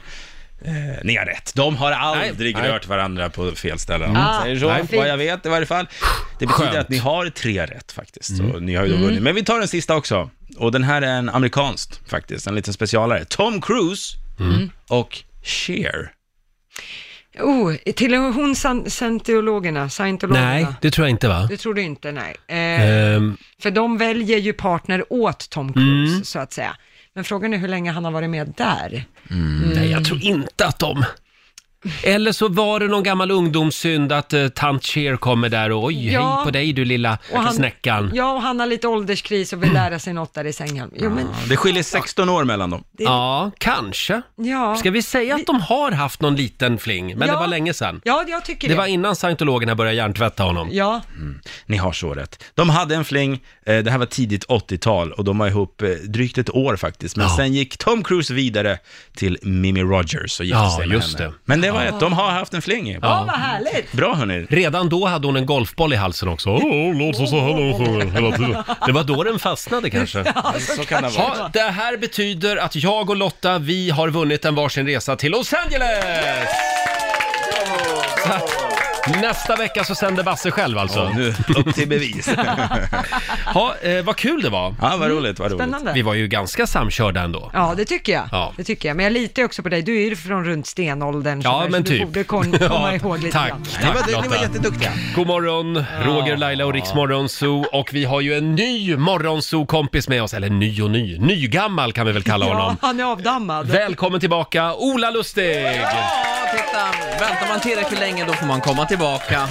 [SPEAKER 3] Eh, Ni har rätt. De har aldrig
[SPEAKER 1] Nej. Mm.
[SPEAKER 3] rört varandra på fel ställen.
[SPEAKER 2] Ah,
[SPEAKER 3] Säger så,
[SPEAKER 2] nej.
[SPEAKER 3] vad jag vet i varje fall. Det betyder
[SPEAKER 1] Skönt. Mm.
[SPEAKER 3] att ni har tre rätt faktiskt. Så ni har ju då vunnit. Men vi tar den sista också. Och den här är en amerikansk faktiskt, en liten specialare. Tom Cruise
[SPEAKER 1] Mm.
[SPEAKER 3] och Cher.
[SPEAKER 2] Oh, till hon san- scientologerna, scientologerna.
[SPEAKER 1] Nej, det tror jag inte va?
[SPEAKER 2] Du tror du inte, nej. Eh,
[SPEAKER 1] Ehm,
[SPEAKER 2] För de väljer ju partner åt Tom Cruise,
[SPEAKER 1] Mm.
[SPEAKER 2] så att säga. Men frågan är hur länge han har varit med där.
[SPEAKER 1] Nej,
[SPEAKER 2] Mm.
[SPEAKER 1] jag tror inte att de... Eller så var det någon gammal ungdomssynd att eh, tant Cher kommer där och oj,
[SPEAKER 2] Ja.
[SPEAKER 1] hej på dig du lilla snäckan.
[SPEAKER 2] Ja, och han har lite ålderskris och vill lära sig något där i sängen. Jo, men,
[SPEAKER 1] Ah.
[SPEAKER 3] Det skiljer 16 år mellan dem.
[SPEAKER 1] Ja, kanske.
[SPEAKER 2] ja.
[SPEAKER 1] Ska vi säga att de har haft någon liten fling, men det
[SPEAKER 2] Ja.
[SPEAKER 1] var länge sedan.
[SPEAKER 2] ja, jag tycker det.
[SPEAKER 1] Det var innan scientologerna började hjärntvätta honom.
[SPEAKER 2] Ja,
[SPEAKER 3] Ni har så rätt. De hade en fling, eh, det här var tidigt 80-tal och de var ihop eh, drygt ett år faktiskt. Men
[SPEAKER 1] Ja.
[SPEAKER 3] sen gick Tom Cruise vidare till Mimi Rogers och gifte
[SPEAKER 1] Ja,
[SPEAKER 3] sig med
[SPEAKER 1] just
[SPEAKER 3] henne.
[SPEAKER 1] det.
[SPEAKER 3] Men det var rätt, de har haft en fling.
[SPEAKER 2] ja vad härligt.
[SPEAKER 3] Bra hörni.
[SPEAKER 1] Redan då hade hon en golfboll i halsen också. Åh, låt oss så här när hon sjunger hela tiden. Det var då den fastnade kanske.
[SPEAKER 3] Så kan det vara.
[SPEAKER 1] Ja, det här betyder att jag och Lotta, vi har vunnit en varsin resa till Los Angeles! Så att Nästa vecka så sänder Basse själv alltså.
[SPEAKER 3] Ja, nu upp till [LAUGHS] bevis.
[SPEAKER 1] Ja, eh, vad kul det var.
[SPEAKER 3] Ja, vad roligt, vad roligt.
[SPEAKER 1] Vi
[SPEAKER 2] Spännande.
[SPEAKER 1] var ju ganska samkörda ändå.
[SPEAKER 2] Ja, det tycker jag.
[SPEAKER 1] Ja.
[SPEAKER 2] Det tycker jag. Men jag litar ju också på dig. Du är ju från runt stenåldern. så
[SPEAKER 1] Ja,
[SPEAKER 2] där, så
[SPEAKER 1] men
[SPEAKER 2] Du
[SPEAKER 1] typ.
[SPEAKER 2] borde
[SPEAKER 7] [LAUGHS]
[SPEAKER 2] kon- [LAUGHS] komma ihåg lite
[SPEAKER 1] Tack,
[SPEAKER 2] grann.
[SPEAKER 3] Ni
[SPEAKER 1] tack
[SPEAKER 3] var, ni var
[SPEAKER 1] Lotta.
[SPEAKER 3] jätteduktiga.
[SPEAKER 1] God morgon, Roger, Laila och Riksmorgon Zoo. Och vi har ju en ny morgonzoo-kompis med oss. Eller ny och ny, nygammal kan vi väl kalla
[SPEAKER 2] Ja,
[SPEAKER 1] honom.
[SPEAKER 2] han är avdammad.
[SPEAKER 1] Välkommen tillbaka, Ola Lustig!
[SPEAKER 7] Ja, titta. Väntar man tillräckligt länge då får man komma tillbaka.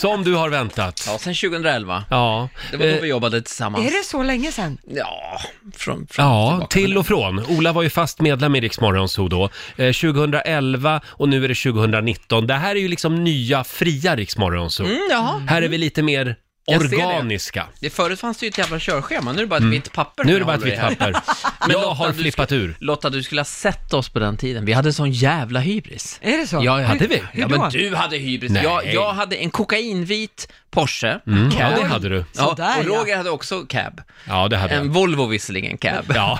[SPEAKER 1] Som du har väntat.
[SPEAKER 7] Ja, sen 2011.
[SPEAKER 1] Ja,
[SPEAKER 7] Det var då
[SPEAKER 1] Eh,
[SPEAKER 7] vi jobbade tillsammans.
[SPEAKER 2] Är det så länge sedan?
[SPEAKER 7] Ja, från, från
[SPEAKER 1] Ja,
[SPEAKER 7] tillbaka.
[SPEAKER 1] till och från. Ola var ju fast medlem i Rix Morgonzoo då, eh, 2011 och nu är det 2019. Det här är ju liksom nya, fria Rix Morgonzoo.
[SPEAKER 7] Mm, jaha.
[SPEAKER 1] Här är vi lite mer
[SPEAKER 7] Jag ser det.
[SPEAKER 1] organiska.
[SPEAKER 7] Det, förut fanns det ju ett jävla körschema, nu är det bara ett vitt papper.
[SPEAKER 1] Mm. Nu är det
[SPEAKER 7] jag
[SPEAKER 1] bara ett
[SPEAKER 7] håller
[SPEAKER 1] vitt
[SPEAKER 7] i här.
[SPEAKER 1] papper.
[SPEAKER 7] Men
[SPEAKER 1] Jag
[SPEAKER 7] Lotta,
[SPEAKER 1] har
[SPEAKER 7] du
[SPEAKER 1] flippat
[SPEAKER 7] ska-
[SPEAKER 1] ur.
[SPEAKER 7] Lotta, du skulle ha sett oss på den tiden. Vi hade sån jävla hybris.
[SPEAKER 2] Är det så?
[SPEAKER 7] Ja, ja.
[SPEAKER 1] Hade vi?
[SPEAKER 7] Ja,
[SPEAKER 2] Hur då?
[SPEAKER 7] men du hade hybris.
[SPEAKER 1] Nej. Mm.
[SPEAKER 7] Jag, jag hade en kokainvit Porsche, cab.
[SPEAKER 1] Ja, det hade du.
[SPEAKER 7] Ja,
[SPEAKER 2] Sådär,
[SPEAKER 7] och
[SPEAKER 2] ja.
[SPEAKER 7] Roger hade också cab.
[SPEAKER 1] Ja, det hade
[SPEAKER 7] En
[SPEAKER 1] jag.
[SPEAKER 7] Volvo visserligen, cab.
[SPEAKER 1] Ja,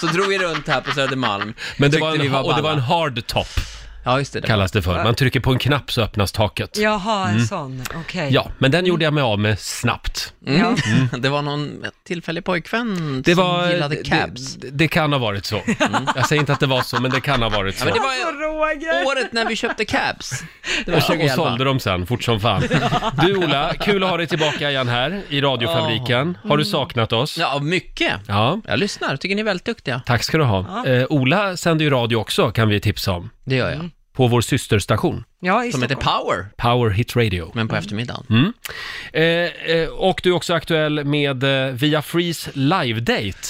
[SPEAKER 7] Så drog vi runt här på Södermalm.
[SPEAKER 1] men det
[SPEAKER 7] Tyckte
[SPEAKER 1] var
[SPEAKER 7] vi
[SPEAKER 1] en, och det var
[SPEAKER 7] balla.
[SPEAKER 1] en hard top.
[SPEAKER 7] Ja, just det. det.
[SPEAKER 1] kallas det för. Man trycker på en knapp så öppnas taket.
[SPEAKER 2] Jaha,
[SPEAKER 7] Mm.
[SPEAKER 2] en sån. Okej.
[SPEAKER 1] Ja, men den gjorde jag mig av med snabbt.
[SPEAKER 2] Ja.
[SPEAKER 7] Mm. [LAUGHS] Det var någon tillfällig pojkvän
[SPEAKER 1] Det
[SPEAKER 7] som
[SPEAKER 1] var...
[SPEAKER 7] gillade
[SPEAKER 1] det-
[SPEAKER 7] cabs. Mm.
[SPEAKER 1] Det, det kan ha varit så. Jag säger inte att det var så, men det kan ha varit så.
[SPEAKER 7] men det var
[SPEAKER 2] Alltså Roger!
[SPEAKER 7] året när vi köpte cabs. Det var
[SPEAKER 1] Och, så, och
[SPEAKER 7] 2011.
[SPEAKER 1] sålde de sen, fort som fan. Du Ola, kul att ha dig tillbaka igen här i radiofabriken. Har du saknat oss?
[SPEAKER 7] Ja, mycket.
[SPEAKER 1] Ja.
[SPEAKER 7] Jag lyssnar, tycker ni är väldigt duktiga.
[SPEAKER 1] Tack ska du ha. Eh, Ola sänder ju radio också, kan vi tipsa om.
[SPEAKER 7] Det gör jag.
[SPEAKER 1] På vår systerstation,
[SPEAKER 2] Ja, Mm. i
[SPEAKER 7] Som heter
[SPEAKER 2] Stockholm. Mm.
[SPEAKER 7] Power,
[SPEAKER 1] Power Hit Radio.
[SPEAKER 7] men på eftermiddagen.
[SPEAKER 1] Eh, eh, och du är också aktuell med eh, Via Freeze live-date.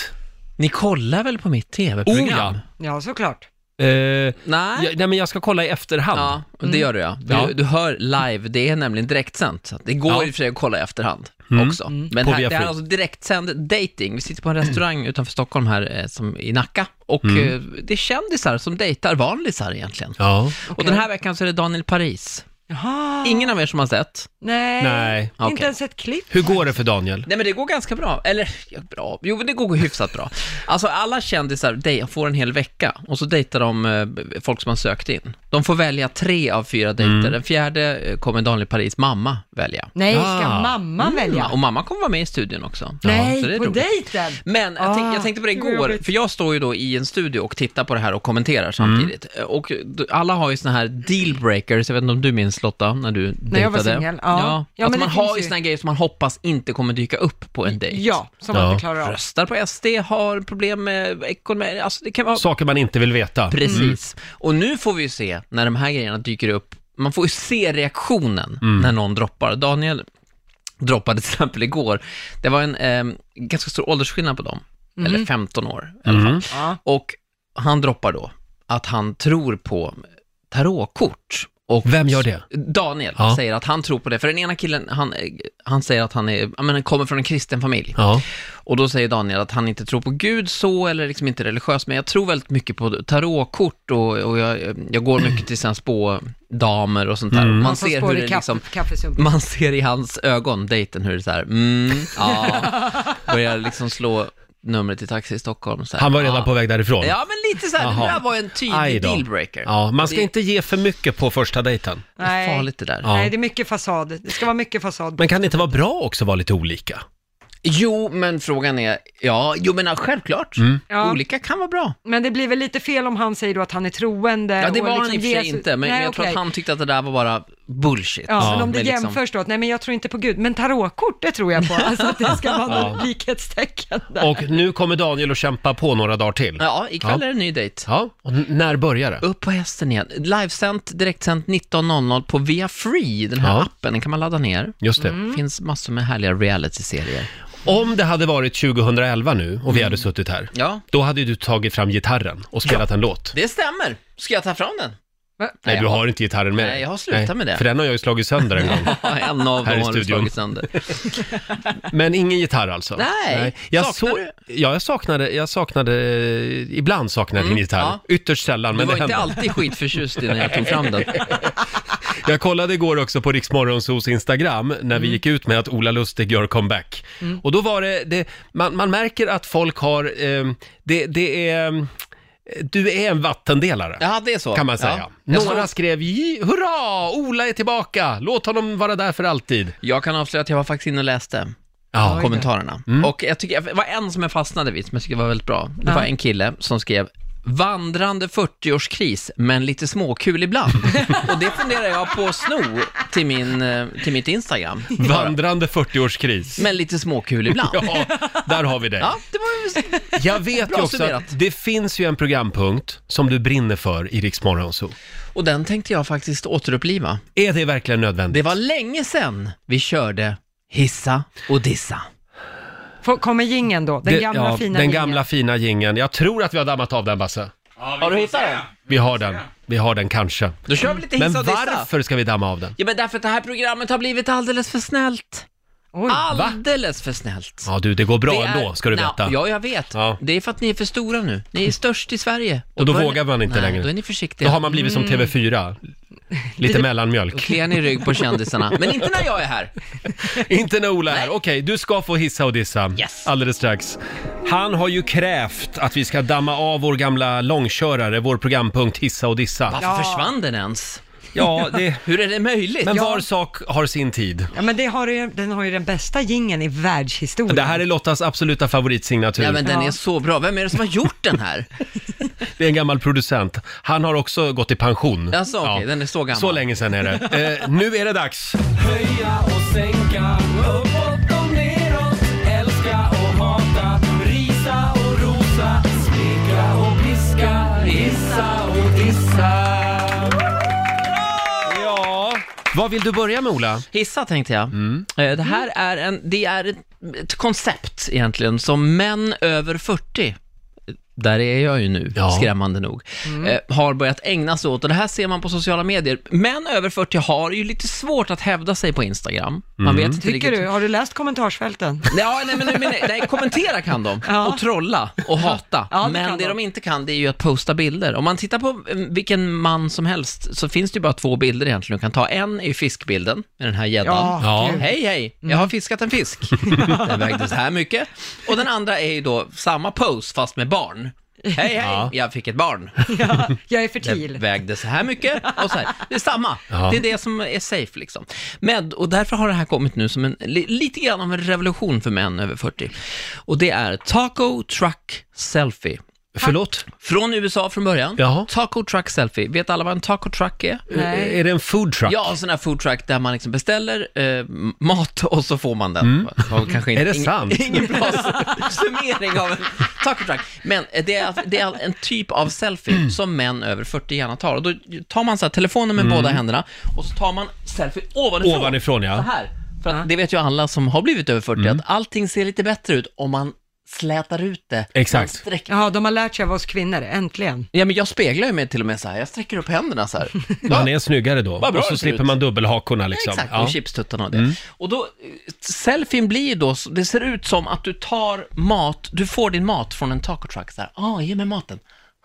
[SPEAKER 7] Ni kollar väl på mitt tv-program?
[SPEAKER 2] Ja, såklart.
[SPEAKER 1] Eh,
[SPEAKER 7] Nej.
[SPEAKER 1] Ja, nej men jag ska kolla i efterhand.
[SPEAKER 7] Ah. Ja, och det gör du ja. Du,
[SPEAKER 1] Ja.
[SPEAKER 7] du hör live, det är nämligen direktsänt. Så att Det går
[SPEAKER 1] Ja. Mm.
[SPEAKER 7] i och för sig att kolla i efterhand också. Men
[SPEAKER 1] På Mm.
[SPEAKER 7] här, det
[SPEAKER 1] Viafree.
[SPEAKER 7] här är alltså direktsänd dating. Vi sitter på en restaurang utanför Stockholm här eh, som, i Nacka och eh, det är kändisar som dejtar vanlisar egentligen.
[SPEAKER 1] Mm. Ja.
[SPEAKER 7] Och den här veckan så är det Daniel Paris.
[SPEAKER 2] Jaha.
[SPEAKER 7] Ingen av er som har sett?
[SPEAKER 2] Nej.
[SPEAKER 1] Nej,
[SPEAKER 2] Inte
[SPEAKER 7] okej.
[SPEAKER 2] ens ett klipp.
[SPEAKER 1] Hur går det för Daniel?
[SPEAKER 7] Nej men det går ganska bra, eller ja, bra, jo men det går hyfsat bra. Alltså alla kändisar de får en hel vecka och så dejtar de eh, folk som har sökt in. De får välja tre av fyra dejter, den fjärde eh, kommer Daniel Paris mamma välja.
[SPEAKER 2] Nej, ska
[SPEAKER 1] Ah.
[SPEAKER 2] mamman välja?
[SPEAKER 7] Mm. Ja, och mamma kommer vara med i studion också.
[SPEAKER 2] Nej,
[SPEAKER 7] så det är
[SPEAKER 2] på
[SPEAKER 7] roligt.
[SPEAKER 2] dejten!
[SPEAKER 7] Men jag, tänk,
[SPEAKER 2] Ah,
[SPEAKER 7] jag tänkte på det
[SPEAKER 2] gud, vad
[SPEAKER 7] igår,
[SPEAKER 2] jobbigt.
[SPEAKER 7] för jag står ju då i en studio och tittar på det här och kommenterar samtidigt.
[SPEAKER 2] Mm.
[SPEAKER 7] Och d- alla har ju såna här dealbreakers, jag vet inte om du minns Lotta, när du dejtade?
[SPEAKER 2] jag var singel, ja.
[SPEAKER 7] ja.
[SPEAKER 2] Ja, men
[SPEAKER 7] alltså man
[SPEAKER 2] det finns
[SPEAKER 7] har
[SPEAKER 2] ju.
[SPEAKER 7] ju såna här grejer som man hoppas inte kommer dyka upp på en dejt.
[SPEAKER 2] Ja, som
[SPEAKER 1] Ja.
[SPEAKER 2] man inte klarar av.
[SPEAKER 7] Röstar på SD, har problem med ekonomi, alltså det kan vara...
[SPEAKER 1] Saker man inte vill veta.
[SPEAKER 7] Precis.
[SPEAKER 1] Mm.
[SPEAKER 7] Och nu får vi ju se när de här grejerna dyker upp, man får ju se reaktionen
[SPEAKER 1] Mm.
[SPEAKER 7] när någon droppar. Daniel droppade till exempel igår, det var en eh, ganska stor åldersskillnad på dem,
[SPEAKER 1] Mm.
[SPEAKER 7] eller 15 år i alla fall.
[SPEAKER 2] Ja.
[SPEAKER 7] Och han droppar då att han tror på tarotkort. Och
[SPEAKER 1] Vem gör det?
[SPEAKER 7] Daniel
[SPEAKER 1] Ja.
[SPEAKER 7] säger att han tror på det, för den ena killen, han, eh, han säger att han är, ja, men han kommer från en kristen familj.
[SPEAKER 1] Ja.
[SPEAKER 7] Och då säger Daniel att han inte tror på Gud så, eller liksom inte religiös, men jag tror väldigt mycket på tarotkort och, och jag, jag går mycket till sina spådamer och sånt där.
[SPEAKER 1] Mm.
[SPEAKER 7] Man
[SPEAKER 2] Man får
[SPEAKER 7] ser
[SPEAKER 2] spår
[SPEAKER 7] hur
[SPEAKER 2] i
[SPEAKER 7] det
[SPEAKER 2] kaff-
[SPEAKER 7] liksom,
[SPEAKER 2] kaffesumpen.
[SPEAKER 7] man ser i hans ögon, dejten, hur det så här, mm,
[SPEAKER 2] [LAUGHS]
[SPEAKER 7] ja, börjar liksom slå numret till Taxi i Stockholm. Så här,
[SPEAKER 1] Han var redan
[SPEAKER 7] ja.
[SPEAKER 1] på väg därifrån.
[SPEAKER 7] Ja, men lite så här,
[SPEAKER 1] Jaha.
[SPEAKER 7] det där var en
[SPEAKER 1] Aj
[SPEAKER 7] tydlig
[SPEAKER 1] då.
[SPEAKER 7] dealbreaker.
[SPEAKER 1] Ja, man ska
[SPEAKER 7] Det-
[SPEAKER 1] inte ge för mycket på första dejten.
[SPEAKER 7] Det är farligt det där.
[SPEAKER 2] Nej, det är mycket fasad. Det ska vara mycket fasad.
[SPEAKER 1] Men kan det inte vara bra också att vara lite olika?
[SPEAKER 7] Jo, men frågan är, ja, jo men självklart.
[SPEAKER 1] Mm.
[SPEAKER 2] Ja.
[SPEAKER 7] Olika kan vara bra.
[SPEAKER 2] Men det blir väl lite fel om han säger då att han är troende.
[SPEAKER 7] Ja, det
[SPEAKER 2] och
[SPEAKER 7] var han
[SPEAKER 2] liksom
[SPEAKER 7] i och för sig
[SPEAKER 2] Jesus-
[SPEAKER 7] inte, men
[SPEAKER 2] Nej,
[SPEAKER 7] jag tror att
[SPEAKER 2] okej.
[SPEAKER 7] han tyckte att det där var bara bullshit.
[SPEAKER 2] Ja, men om det
[SPEAKER 7] Men liksom-
[SPEAKER 2] jämförs då, att nej men jag tror inte på Gud, men tarotkort det tror
[SPEAKER 7] [LAUGHS]
[SPEAKER 2] jag på. Alltså att det ska vara något likhetstecken där.
[SPEAKER 1] Och nu kommer Daniel att kämpa på några dagar till.
[SPEAKER 7] Ja, ikväll
[SPEAKER 1] Ja.
[SPEAKER 7] är det en ny dejt.
[SPEAKER 1] Ja, och n- när börjar det?
[SPEAKER 7] Upp på hästen igen. Livesänt, direktsänt 19.00 på Via Free, den här
[SPEAKER 1] Ja.
[SPEAKER 7] appen, den kan man ladda ner.
[SPEAKER 1] Just det.
[SPEAKER 2] Mm.
[SPEAKER 7] finns massor med härliga reality-serier.
[SPEAKER 1] Om det hade varit 2011 nu och vi hade suttit här,
[SPEAKER 7] Mm. Ja.
[SPEAKER 1] då hade ju du tagit fram gitarren och spelat en låt.
[SPEAKER 7] Det stämmer. Ska jag ta fram den?
[SPEAKER 2] Va?
[SPEAKER 1] Nej, du har inte gitarren med
[SPEAKER 7] Nej,
[SPEAKER 1] dig.
[SPEAKER 7] jag har slutat med det.
[SPEAKER 1] För den har jag ju slagit sönder en
[SPEAKER 7] [LAUGHS]
[SPEAKER 1] gång.
[SPEAKER 7] Ja, en av
[SPEAKER 1] Här i
[SPEAKER 7] dem har du
[SPEAKER 1] studion.
[SPEAKER 7] slagit sönder.
[SPEAKER 1] Men ingen gitarr alltså?
[SPEAKER 7] Nej.
[SPEAKER 1] Jag
[SPEAKER 7] Saknar
[SPEAKER 1] så...
[SPEAKER 7] du?
[SPEAKER 1] Ja, jag saknade, jag saknade, ibland saknade jag en gitarr.
[SPEAKER 7] Mm, ja.
[SPEAKER 1] Ytterst sällan,
[SPEAKER 7] Du
[SPEAKER 1] men
[SPEAKER 7] var
[SPEAKER 1] det
[SPEAKER 7] inte
[SPEAKER 1] hände.
[SPEAKER 7] alltid skitförtjust i när jag tog
[SPEAKER 1] [LAUGHS]
[SPEAKER 7] fram den.
[SPEAKER 1] Jag kollade igår också på Riksmorgonsos Instagram när
[SPEAKER 7] Mm.
[SPEAKER 1] vi gick ut med att Ola Lustig gör comeback. Och då var det, det man, man märker att folk har, eh, det, det är, eh, du är en vattendelare.
[SPEAKER 7] Ja, det är så.
[SPEAKER 1] Kan man säga.
[SPEAKER 7] Ja. Jag,
[SPEAKER 1] Några
[SPEAKER 7] såg,
[SPEAKER 1] skrev "Ji- “Hurra! Ola är tillbaka! Låt honom vara där för alltid!”
[SPEAKER 7] jag kan avslöja att jag var faktiskt inne och läste
[SPEAKER 1] Ja,
[SPEAKER 7] kommentarerna. Och jag tycker, det var en som jag fastnade vid, som jag tycker var väldigt bra. Det var en kille som skrev Vandrande 40-årskris, men lite småkul [LAUGHS] ibland. och det funderar jag på att sno till, min, eh, till mitt Instagram.
[SPEAKER 1] vandrande 40-årskris.
[SPEAKER 7] Men lite småkul ibland. ja.
[SPEAKER 1] Ja, där har vi dig.
[SPEAKER 7] det var ju...
[SPEAKER 1] Jag vet
[SPEAKER 7] Bra
[SPEAKER 1] ju också
[SPEAKER 7] summerat.
[SPEAKER 1] att det finns ju en programpunkt som du brinner för i Riksmorgonso.
[SPEAKER 7] Och den tänkte jag faktiskt återuppliva.
[SPEAKER 1] Är det verkligen nödvändigt?
[SPEAKER 7] Det var länge sedan vi körde hissa och dissa.
[SPEAKER 2] Får- Kommer jingeln då? Den
[SPEAKER 1] Det-
[SPEAKER 2] gamla
[SPEAKER 1] ja,
[SPEAKER 2] fina
[SPEAKER 1] Den
[SPEAKER 2] jingeln.
[SPEAKER 1] gamla fina gingen. Jag tror att vi har dammat av den Basse.
[SPEAKER 3] Har du hittat den?
[SPEAKER 1] Vi har den. Vi har den kanske.
[SPEAKER 7] Då kör vi lite hissa
[SPEAKER 1] Men
[SPEAKER 7] och dissa.
[SPEAKER 1] varför ska vi damma av den?
[SPEAKER 7] Ja, men därför att det här programmet har blivit alldeles för snällt.
[SPEAKER 2] Oj.
[SPEAKER 7] Ah! Alldeles för snällt.
[SPEAKER 1] Ja du, det går bra
[SPEAKER 7] Det är-
[SPEAKER 1] ändå ska du
[SPEAKER 7] Nå,
[SPEAKER 1] veta.
[SPEAKER 7] Ja, jag vet.
[SPEAKER 1] Ja.
[SPEAKER 7] Det är för att ni är för stora nu. Ni är störst i Sverige.
[SPEAKER 1] Och då
[SPEAKER 7] är-
[SPEAKER 1] vågar man inte
[SPEAKER 7] Nej,
[SPEAKER 1] längre.
[SPEAKER 2] Mm.
[SPEAKER 7] då är ni
[SPEAKER 2] [LAUGHS]
[SPEAKER 7] försiktiga.
[SPEAKER 1] Då har man blivit som TV4. Lite
[SPEAKER 7] [LAUGHS]
[SPEAKER 1] mellanmjölk.
[SPEAKER 7] Kliar ni i rygg på kändisarna, men inte när jag är här.
[SPEAKER 1] Inte när Ola är här. Okej, du ska få hissa och dissa
[SPEAKER 7] Yes.
[SPEAKER 1] alldeles strax. Han har ju krävt att vi ska damma av vår gamla långkörare, vår programpunkt hissa och dissa.
[SPEAKER 7] Varför försvann den ens?
[SPEAKER 1] Ja,
[SPEAKER 7] [LAUGHS]
[SPEAKER 1] det...
[SPEAKER 7] Hur är det möjligt?
[SPEAKER 1] Men var sak har sin tid.
[SPEAKER 2] Ja, men det har ju, den har ju den bästa gingen i världshistorien.
[SPEAKER 1] Det här är Lottas absoluta favoritsignatur.
[SPEAKER 7] Ja, men den är så bra. Vem är det som har gjort den här?
[SPEAKER 1] Det är en gammal producent. Han har också gått i pension.
[SPEAKER 7] Jaså, okej, den är så gammal.
[SPEAKER 1] Så länge sedan är det.
[SPEAKER 7] [LAUGHS]
[SPEAKER 1] Eh, nu är det dags.
[SPEAKER 8] Höja och sänka, uppåt och neråt, älska och hata, risa och rosa, slicka och piska, hissa och dissa.
[SPEAKER 1] Ja. Vad vill du börja med Ola?
[SPEAKER 7] Hissa tänkte jag. Eh, Det
[SPEAKER 2] Mm.
[SPEAKER 7] här är, en, det är ett, ett koncept egentligen som män över 40 där är jag ju nu,
[SPEAKER 1] Ja.
[SPEAKER 7] skrämmande nog,
[SPEAKER 2] Mm.
[SPEAKER 7] eh, har börjat ägna sig åt, och det här ser man på sociala medier, män över 40 har ju lite svårt att hävda sig på Instagram. Man vet inte
[SPEAKER 2] Tycker
[SPEAKER 7] riktigt
[SPEAKER 2] du? Har du läst
[SPEAKER 7] [LAUGHS]
[SPEAKER 2] kommentarsfälten?
[SPEAKER 7] Ja, nej, men, nej, men, nej, kommentera kan de
[SPEAKER 2] Ja.
[SPEAKER 7] och trolla och hata.
[SPEAKER 2] Ja, det
[SPEAKER 7] men
[SPEAKER 2] kan
[SPEAKER 7] det
[SPEAKER 2] de.
[SPEAKER 7] de inte kan det är ju att posta bilder. Om man tittar på eh, vilken man som helst så finns det ju bara två bilder egentligen du kan ta. En är ju fiskbilden med den här gäddan.
[SPEAKER 2] Ja, Mm.
[SPEAKER 1] Ja.
[SPEAKER 2] gud.
[SPEAKER 7] Hej, hej, jag har fiskat en fisk. [LAUGHS] Den vägde så här mycket. Och den andra är ju då samma pose fast med barn. Hej, hej,
[SPEAKER 1] Ja.
[SPEAKER 7] jag fick ett barn.
[SPEAKER 2] Jag är
[SPEAKER 7] Den
[SPEAKER 2] fertil.
[SPEAKER 7] vägde så här mycket och så här. Det är samma.
[SPEAKER 1] Ja.
[SPEAKER 7] Det är det som är safe liksom. Men, och därför har det här kommit nu som en, li- lite grann av en revolution för män över 40. Och det är Taco Truck Selfie.
[SPEAKER 1] Förlåt?
[SPEAKER 7] Från USA från början.
[SPEAKER 1] Jaha.
[SPEAKER 7] Taco Truck Selfie. Vet alla vad en taco truck är?
[SPEAKER 2] Nej.
[SPEAKER 1] Är det en food truck?
[SPEAKER 7] Ja, en sån här food truck där man liksom beställer eh, mat och så får man den. Var Kanske inte,
[SPEAKER 1] Mm. Är det
[SPEAKER 7] ing-
[SPEAKER 1] sant?
[SPEAKER 7] Ingen bra summering av en taco truck. Men eh, det är, det är en typ av selfie
[SPEAKER 1] Mm.
[SPEAKER 7] som män över 40 gärna tar. Och då tar man så här telefonen med båda händerna och så tar man selfie ovanifrån.
[SPEAKER 1] Mm. Ovanifrån
[SPEAKER 7] Så
[SPEAKER 1] ja. Mm.
[SPEAKER 7] här. För att det vet ju alla som har blivit över 40, att allting ser lite bättre ut om man slätar ut det. Man
[SPEAKER 1] Exakt.
[SPEAKER 7] sträcker
[SPEAKER 2] Jaha, de har lärt sig av oss kvinnor, äntligen.
[SPEAKER 7] Ja, men jag speglar ju mig till och med så här. Jag sträcker upp händerna så här.
[SPEAKER 1] Man är snyggare då.
[SPEAKER 7] Vad bra
[SPEAKER 1] Och så
[SPEAKER 7] det ser
[SPEAKER 1] slipper
[SPEAKER 7] ut.
[SPEAKER 1] man dubbelhakorna liksom.
[SPEAKER 7] Exakt,
[SPEAKER 1] Ja. Mm.
[SPEAKER 7] och chipstuttarna och det. Och då, eh, selfien blir då, så- det ser ut som att du tar mat, du får din mat från en taco truck så här. ah, ge mig maten.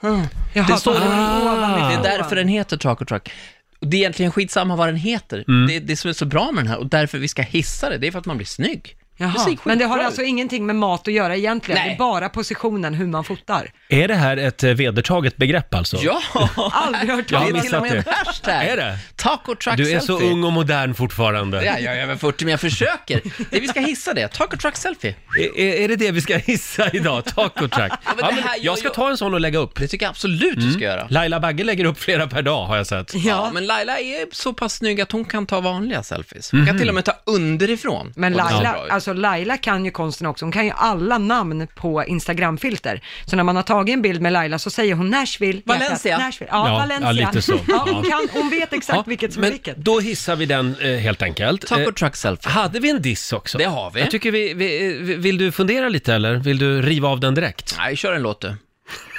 [SPEAKER 7] Mm.
[SPEAKER 2] Jaha,
[SPEAKER 7] det, är så,
[SPEAKER 2] ah.
[SPEAKER 7] det är därför den heter taco truck. Och Det är egentligen skitsamma vad den heter.
[SPEAKER 1] Mm.
[SPEAKER 7] Det är det som är så bra med den här och därför vi ska hissa det, det är för att man blir snygg. Det ser
[SPEAKER 2] Jaha.
[SPEAKER 7] skitbra
[SPEAKER 2] Men det har
[SPEAKER 7] ut.
[SPEAKER 2] alltså ingenting med mat att göra egentligen,
[SPEAKER 7] Nej.
[SPEAKER 2] det är bara positionen hur man fotar.
[SPEAKER 1] Är det här ett eh, vedertaget begrepp alltså?
[SPEAKER 7] Ja!
[SPEAKER 2] [LAUGHS] Aldrig hört
[SPEAKER 7] Det
[SPEAKER 1] Jag har
[SPEAKER 7] är
[SPEAKER 2] talas
[SPEAKER 7] till och
[SPEAKER 1] missat
[SPEAKER 7] med en
[SPEAKER 1] det.
[SPEAKER 7] hashtag.
[SPEAKER 1] Är det?
[SPEAKER 7] Taco truck
[SPEAKER 1] Du är så
[SPEAKER 7] selfie.
[SPEAKER 1] ung och modern fortfarande.
[SPEAKER 7] Ja, jag är över 40 men jag försöker. Det vi ska hissa det, taco truck selfie.
[SPEAKER 1] Är, är- är det det vi ska [LAUGHS] hissa idag? Taco track. Ja,
[SPEAKER 7] det
[SPEAKER 1] men
[SPEAKER 7] här gör
[SPEAKER 1] jag ska
[SPEAKER 7] ju-
[SPEAKER 1] ta en sån och lägga upp.
[SPEAKER 7] Det tycker jag absolut du
[SPEAKER 1] Mm.
[SPEAKER 7] ska göra.
[SPEAKER 1] Laila Bagge lägger upp flera per dag har jag
[SPEAKER 2] [LAUGHS]
[SPEAKER 1] sett.
[SPEAKER 7] Ja, men Laila är så pass snygg att hon kan ta vanliga selfies. Hon kan till och med ta underifrån.
[SPEAKER 2] Men
[SPEAKER 7] Och det ser
[SPEAKER 2] Laila,
[SPEAKER 7] bra ut.
[SPEAKER 2] alltså Laila kan ju konsten också, hon kan ju alla namn på Instagramfilter. Så när man har tagit en bild med Laila så säger hon Nashville, hjärtat,
[SPEAKER 7] Valencia.
[SPEAKER 2] Nashville. Ja,
[SPEAKER 1] Ja,
[SPEAKER 2] Valencia.
[SPEAKER 1] ja, lite så.
[SPEAKER 2] [LAUGHS] Ja, hon, kan, hon vet exakt vilket som är
[SPEAKER 1] men
[SPEAKER 2] vilket.
[SPEAKER 1] Då hissar vi den eh, helt enkelt.
[SPEAKER 7] Taco
[SPEAKER 1] Eh,
[SPEAKER 7] truck selfie.
[SPEAKER 1] hade vi en diss också?
[SPEAKER 7] Det har vi.
[SPEAKER 1] Jag tycker vi, vi, vi- vill du fundera lite eller? Vill du riva av den direkt?
[SPEAKER 7] Nej, kör en låt du.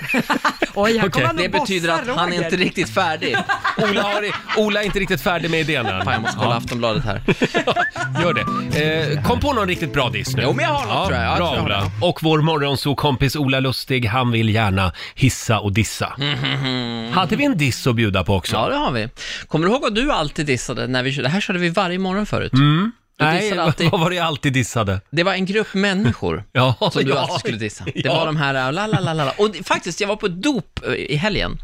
[SPEAKER 2] Oj, här
[SPEAKER 1] [LAUGHS] okej.
[SPEAKER 2] kommer han och
[SPEAKER 7] Det betyder
[SPEAKER 2] bossar
[SPEAKER 7] att han är
[SPEAKER 2] Roger.
[SPEAKER 7] inte riktigt färdig.
[SPEAKER 1] [LAUGHS] Ola, har, Ola är inte riktigt färdig med idén än.
[SPEAKER 7] Fan, jag måste kolla Aftonbladet här.
[SPEAKER 1] Gör det. Eh, kom på någon riktigt bra diss nu.
[SPEAKER 7] Jo, men jag har något,
[SPEAKER 1] ja,
[SPEAKER 7] tror jag. Jag
[SPEAKER 1] Bra
[SPEAKER 7] tror jag har
[SPEAKER 1] Ola. Och vår morgonsokompis Ola Lustig, han vill gärna hissa och dissa. Hade vi en diss att bjuda på också?
[SPEAKER 7] Ja, det har vi. Kommer du ihåg vad du alltid dissade när vi körde? Det här körde vi varje morgon förut. Du
[SPEAKER 1] Nej,
[SPEAKER 7] dissade
[SPEAKER 1] [LAUGHS]
[SPEAKER 7] alltid.
[SPEAKER 1] vad var det jag alltid dissade?
[SPEAKER 7] Det var en grupp människor.
[SPEAKER 1] Ja,
[SPEAKER 7] Som du
[SPEAKER 1] ja,
[SPEAKER 7] alltid skulle dissa. Det
[SPEAKER 1] ja.
[SPEAKER 7] var de här, äh, la, la, la, la, la. Och det- faktiskt, jag var på ett dop äh, i helgen.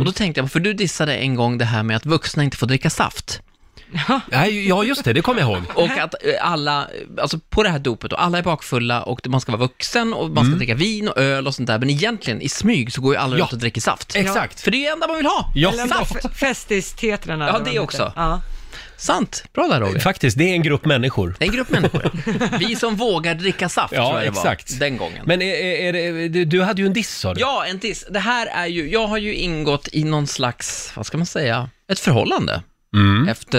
[SPEAKER 7] Och då tänkte jag, för du dissade en gång det här med att vuxna inte får dricka saft.
[SPEAKER 1] Nej, ja, just det, det kommer jag ihåg.
[SPEAKER 7] Och att eh, alla, eh, alltså på det här dopet, och alla är bakfulla och man ska vara vuxen och man ska dricka vin och öl och sånt där, men egentligen i smyg så går ju alla
[SPEAKER 1] Mm. Ja.
[SPEAKER 7] runt och dricker saft.
[SPEAKER 1] Exakt.
[SPEAKER 7] För det är ju det enda man vill ha.
[SPEAKER 1] Ja.
[SPEAKER 7] Eller
[SPEAKER 1] Ja.
[SPEAKER 7] saft.
[SPEAKER 2] Fe- Festis-tetrarna.
[SPEAKER 7] Ja,
[SPEAKER 2] eller vad
[SPEAKER 7] det
[SPEAKER 2] de
[SPEAKER 7] också.
[SPEAKER 2] heter. Ja.
[SPEAKER 7] Sant. Bra där Roger.
[SPEAKER 1] Faktiskt, det är en grupp människor.
[SPEAKER 7] Det är en grupp människor. Vi som vågar dricka saft
[SPEAKER 1] Ja,
[SPEAKER 7] tror jag det
[SPEAKER 1] exakt.
[SPEAKER 7] var. Den gången.
[SPEAKER 1] Men är, är, är det, du hade ju en diss sa du?
[SPEAKER 7] Ja, en diss. Det här är ju, jag har ju ingått i någon slags, vad ska man säga, ett förhållande. Efter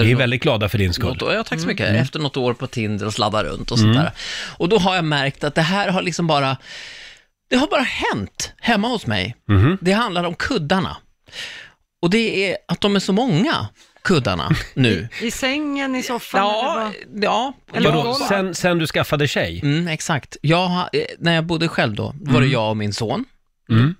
[SPEAKER 1] Vi Mm. är
[SPEAKER 7] något-
[SPEAKER 1] väldigt glada för din skull.
[SPEAKER 7] Något, ja, tack så mycket. Efter något år på Tinder och sladda runt och sånt där. Och då har jag märkt att det här har liksom bara, det har bara hänt hemma hos mig. Det handlar om kuddarna. Och det är att de är så många, kuddarna, nu.
[SPEAKER 2] I sängen, i soffan, eller
[SPEAKER 7] ja,
[SPEAKER 2] vad?
[SPEAKER 7] ja.
[SPEAKER 2] Eller
[SPEAKER 7] jag-
[SPEAKER 1] Vadå, sen, sen du skaffade tjej? Mm.
[SPEAKER 7] Mm, exakt. Jag, har- eh, när jag bodde själv då, var det jag och min son.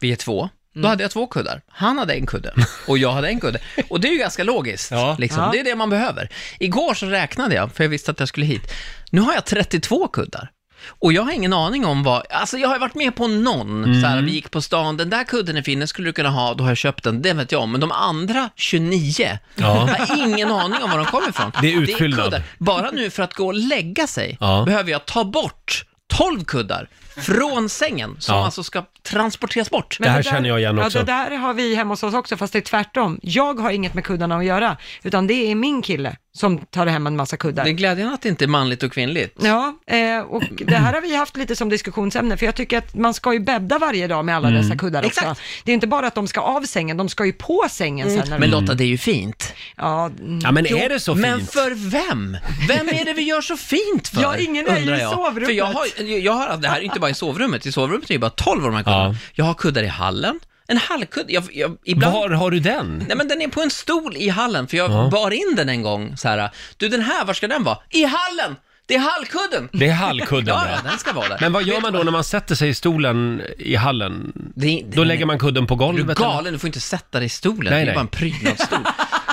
[SPEAKER 7] Vi är två. Då hade jag två kuddar. Han hade
[SPEAKER 1] [LAUGHS]
[SPEAKER 7] en kudde och jag hade en kudde. Och det är ju ganska logiskt.
[SPEAKER 1] Ja.
[SPEAKER 7] Liksom.
[SPEAKER 2] Ja.
[SPEAKER 7] Det är det man behöver. Igår så räknade jag, för jag visste att jag skulle hit. Nu har jag 32 kuddar. Och jag har ingen aning om vad, alltså jag har ju varit med på någon, så
[SPEAKER 1] Mm.
[SPEAKER 7] här, vi gick på stan, den där kudden är fin, den skulle du kunna ha, då har jag köpt den, det vet jag om. Men de andra 29,
[SPEAKER 1] Ja.
[SPEAKER 7] jag har ingen aning om var de kommer ifrån.
[SPEAKER 1] Det är utfyllnad.
[SPEAKER 7] kuddar. Bara nu för att gå och lägga sig
[SPEAKER 1] Ja.
[SPEAKER 7] behöver jag ta bort 12 kuddar från sängen som
[SPEAKER 1] Ja.
[SPEAKER 7] alltså ska transporteras bort.
[SPEAKER 1] Det här känner jag igen också.
[SPEAKER 2] Ja, det där har vi hemma hos oss också, fast det är tvärtom. Jag har inget med kuddarna att göra, utan det är min kille som tar hem en massa kuddar.
[SPEAKER 7] Det är glädjande att det inte är manligt och kvinnligt.
[SPEAKER 2] Ja, eh, och det här har vi haft lite som diskussionsämne, för jag tycker att man ska ju bädda varje dag med alla dessa kuddar också.
[SPEAKER 7] Mm. Exakt. Mm.
[SPEAKER 2] Det är inte bara att de ska av sängen, de ska ju på sängen sen. När
[SPEAKER 7] Men
[SPEAKER 2] de,
[SPEAKER 7] Lotta, det är ju fint.
[SPEAKER 2] ja, mm.
[SPEAKER 1] Ja, men är det så fint?
[SPEAKER 7] Men för vem? Vem är det vi gör så fint för?
[SPEAKER 2] Ja, ingen är ju
[SPEAKER 7] undrar
[SPEAKER 2] i
[SPEAKER 7] jag.
[SPEAKER 2] sovrummet.
[SPEAKER 7] För jag har, jag har, det här är inte bara i sovrummet, i sovrummet är ju bara 12 av de här kuddarna.
[SPEAKER 1] Ja.
[SPEAKER 7] Jag har kuddar i hallen, en hallkudde. Jag, jag, ibland...
[SPEAKER 1] Var har du den?
[SPEAKER 7] Nej men den är på en stol i hallen, för jag bar in den en gång så här. Du den här, var ska den vara? I hallen! Det är hallkudden!
[SPEAKER 1] Det
[SPEAKER 7] [LAUGHS]
[SPEAKER 1] är hallkudden
[SPEAKER 7] Ja,
[SPEAKER 1] ja.
[SPEAKER 7] ja, den ska vara där.
[SPEAKER 1] Men vad gör man då när man sätter sig i stolen i hallen?
[SPEAKER 7] Det- det-
[SPEAKER 1] Då lägger man kudden på
[SPEAKER 7] Mm. Du
[SPEAKER 1] golvet?
[SPEAKER 7] är
[SPEAKER 1] eller?
[SPEAKER 7] galen, du får inte sätta dig i
[SPEAKER 1] Nej,
[SPEAKER 7] stolen. det är
[SPEAKER 1] nej.
[SPEAKER 7] bara en prydnadsstol.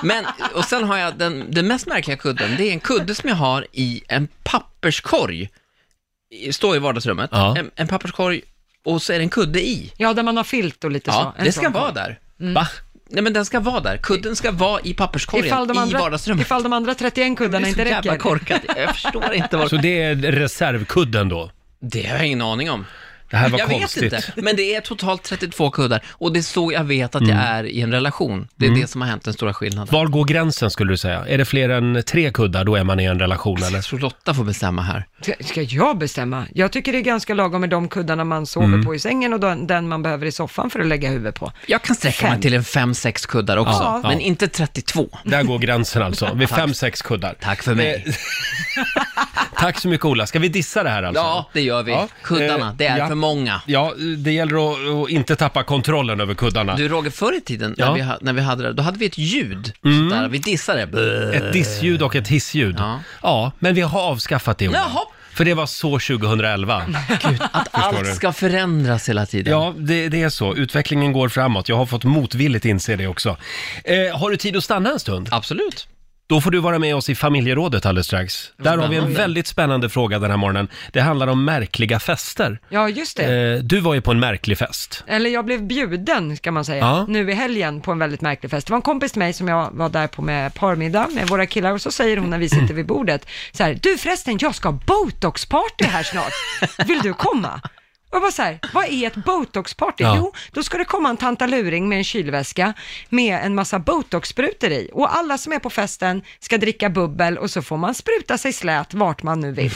[SPEAKER 7] Men, och sen har jag den, den mest märkliga kudden. Det är en kudde som jag har i en papperskorg. I- Står i vardagsrummet.
[SPEAKER 1] Ja.
[SPEAKER 7] En, en papperskorg och så är det en kudde i.
[SPEAKER 2] ja, där man har filt och lite
[SPEAKER 7] Ja,
[SPEAKER 2] så. En
[SPEAKER 7] det
[SPEAKER 2] sån
[SPEAKER 7] ska
[SPEAKER 2] kudd.
[SPEAKER 7] vara där. Va? Nej men den ska vara där. Kudden ska vara i papperskorgen
[SPEAKER 2] Ifall de,
[SPEAKER 7] i
[SPEAKER 2] andra,
[SPEAKER 7] vardagsrummet.
[SPEAKER 2] ifall de andra 31
[SPEAKER 7] det
[SPEAKER 2] kuddarna
[SPEAKER 7] är så
[SPEAKER 2] inte
[SPEAKER 7] jävla
[SPEAKER 2] räcker.
[SPEAKER 7] korkat. Jag förstår inte
[SPEAKER 1] Så
[SPEAKER 7] vad...
[SPEAKER 1] det är reservkudden då?
[SPEAKER 7] Det har jag ingen aning om.
[SPEAKER 1] Det här var
[SPEAKER 7] jag
[SPEAKER 1] konstigt.
[SPEAKER 7] vet inte, men det är totalt 32 kuddar och det är så jag vet att jag är i en relation. Det är det som har hänt, den stora skillnaden.
[SPEAKER 1] Var går gränsen skulle du säga? Är det fler än tre kuddar, då är man i en relation eller?
[SPEAKER 7] Jag tror Lotta får bestämma här.
[SPEAKER 2] Ska- Ska jag bestämma? Jag tycker det är ganska lagom med de kuddarna man sover
[SPEAKER 7] Mm.
[SPEAKER 2] på i sängen och den, den man behöver i soffan för att lägga huvudet på.
[SPEAKER 7] Jag kan sträcka mig
[SPEAKER 2] Fem.
[SPEAKER 7] till en 5-6 kuddar också,
[SPEAKER 1] Ja.
[SPEAKER 7] men
[SPEAKER 1] Ja.
[SPEAKER 7] inte 32.
[SPEAKER 1] Där går gränsen alltså,
[SPEAKER 7] [LAUGHS]
[SPEAKER 1] vid fem, sex kuddar.
[SPEAKER 7] Tack för mig.
[SPEAKER 1] Eh, [LAUGHS] Tack så mycket Ola. Ska vi dissa det här alltså?
[SPEAKER 7] Ja, det gör vi.
[SPEAKER 1] Ja.
[SPEAKER 7] Kuddarna,
[SPEAKER 1] Eh,
[SPEAKER 7] det är
[SPEAKER 1] ja.
[SPEAKER 7] för många.
[SPEAKER 1] Ja, det gäller att, att inte tappa kontrollen över kuddarna.
[SPEAKER 7] Du Roger, förr i tiden när,
[SPEAKER 1] Ja.
[SPEAKER 7] vi, ha- när vi hade det, då hade vi ett ljud. Sådär, vi dissade. Blö.
[SPEAKER 1] Ett dissljud och ett hissljud. Ja.
[SPEAKER 7] Ja.
[SPEAKER 1] men vi har avskaffat det Ola.
[SPEAKER 7] Jaha.
[SPEAKER 1] För det var så 2011.
[SPEAKER 7] Att allt
[SPEAKER 1] du.
[SPEAKER 7] ska förändras hela tiden.
[SPEAKER 1] Ja, det, det är så. Utvecklingen går framåt. Jag har fått motvilligt inse det också. Eh, har du tid att stanna en stund?
[SPEAKER 7] Absolut.
[SPEAKER 1] Då får du vara med oss i familjerådet alldeles strax. Där har vi en väldigt spännande fråga den här morgonen. Det handlar om märkliga fester.
[SPEAKER 2] Ja, just det.
[SPEAKER 1] Eh, du var ju på en märklig fest.
[SPEAKER 2] Eller jag blev bjuden, ska man säga,
[SPEAKER 1] Ja.
[SPEAKER 2] nu i helgen på en väldigt märklig fest. Det var en kompis till mig som jag var där på med parmiddag med våra killar och så säger hon när vi sitter vid bordet så här, du förresten, jag ska ha botoxparty här snart. Vill du komma? Och jag bara så här, vad är ett botoxparty?
[SPEAKER 1] Ja.
[SPEAKER 2] Jo, då ska det komma en tantaluring med en kylväska med en massa botoxsprutor i och alla som är på festen ska dricka bubbel och så får man spruta sig slät vart man
[SPEAKER 1] [LAUGHS]
[SPEAKER 2] nu vill.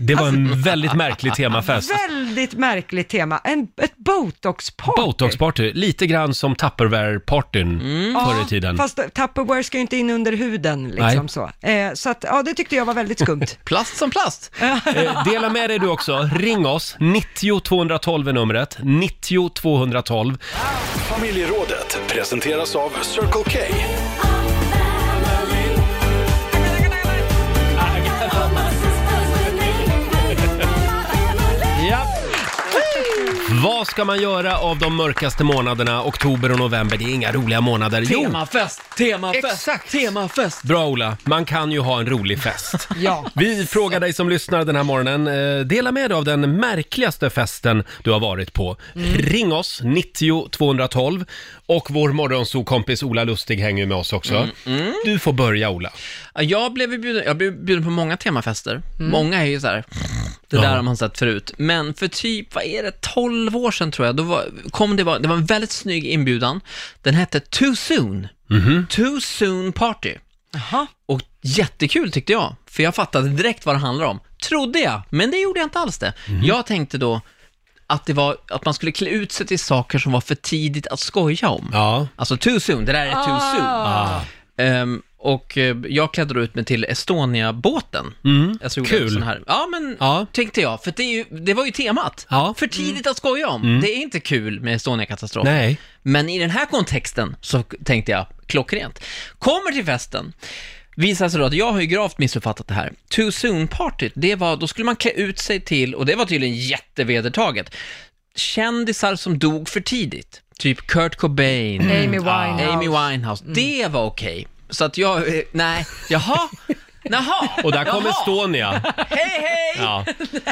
[SPEAKER 1] Det var en väldigt märklig temafest.
[SPEAKER 2] Väldigt märkligt tema, en, ett botoxparty.
[SPEAKER 1] Botoxparty, lite grann som Tupperware-partyn förr i tiden.
[SPEAKER 2] Mm. Fast Tupperware ska ju inte in under huden liksom
[SPEAKER 1] Nej.
[SPEAKER 2] så. Eh, så att, ja, det tyckte jag var väldigt skumt.
[SPEAKER 1] [LAUGHS]
[SPEAKER 7] Plast som plast.
[SPEAKER 1] Eh, dela med dig du också. Ring oss, 90 212 är numret. 90 212.
[SPEAKER 4] Familjerådet presenteras av Circle K.
[SPEAKER 1] Ja. Vad ska man göra av de mörkaste månaderna, oktober och november? Det är inga roliga månader. Jo,
[SPEAKER 7] Temafest, temafest,
[SPEAKER 1] Exakt.
[SPEAKER 7] temafest.
[SPEAKER 1] Bra Ola, man kan ju ha en rolig fest.
[SPEAKER 2] Ja.
[SPEAKER 1] Vi frågar dig som lyssnar den här morgonen, eh, dela med dig av den märkligaste festen du har varit på. Ring oss, 90 212 och vår morgonsokompis Ola Lustig hänger ju med oss också. Du får börja Ola.
[SPEAKER 7] Ja, Jag blev ju bjuden, jag blev bjuden på många temafester. Många är ju så här, det
[SPEAKER 1] Ja.
[SPEAKER 7] där har man sett förut. Men för typ, vad är det, 12 år sedan tror jag, då var, kom det, var, det var en väldigt snygg inbjudan. Den hette Too Soon.
[SPEAKER 1] Mhm.
[SPEAKER 7] Too Soon Party.
[SPEAKER 2] Jaha.
[SPEAKER 7] Och jättekul tyckte jag, för jag fattade direkt vad det handlade om. Trodde jag, men det gjorde jag inte alls det.
[SPEAKER 1] Mhm.
[SPEAKER 7] Jag tänkte då att, det var, att man skulle klä ut sig till saker som var för tidigt att skoja om.
[SPEAKER 1] Ja. Ah.
[SPEAKER 7] Alltså too soon, det där är too soon. Ehm, och eh, jag klädde då ut mig till Estonia-båten. Alltså, gjorde en
[SPEAKER 1] Mm. Kul.
[SPEAKER 7] sån Här. Ja, men
[SPEAKER 1] Ja.
[SPEAKER 7] tänkte jag, för det, är ju, det var ju temat.
[SPEAKER 1] Ja. Mm.
[SPEAKER 7] För tidigt att skoja om. Det är inte kul med Estonia-katastrofen.
[SPEAKER 1] Nej.
[SPEAKER 7] Men i den här kontexten så tänkte jag klockrent. Kommer till festen, visar sig då att jag har ju gravt missuppfattat det här. Too soon-partyt, det var, då skulle man klä ut sig till, och det var tydligen jättevedertaget, kändisar som dog för tidigt. Typ Kurt Cobain,
[SPEAKER 2] Amy Winehouse. Mm.
[SPEAKER 7] Amy Winehouse. Det var okej. Så att jag, eh, nej, jaha, jaha,
[SPEAKER 1] Och där kom
[SPEAKER 7] jaha.
[SPEAKER 1] Estonia.
[SPEAKER 7] Hej, hej!
[SPEAKER 1] Ja.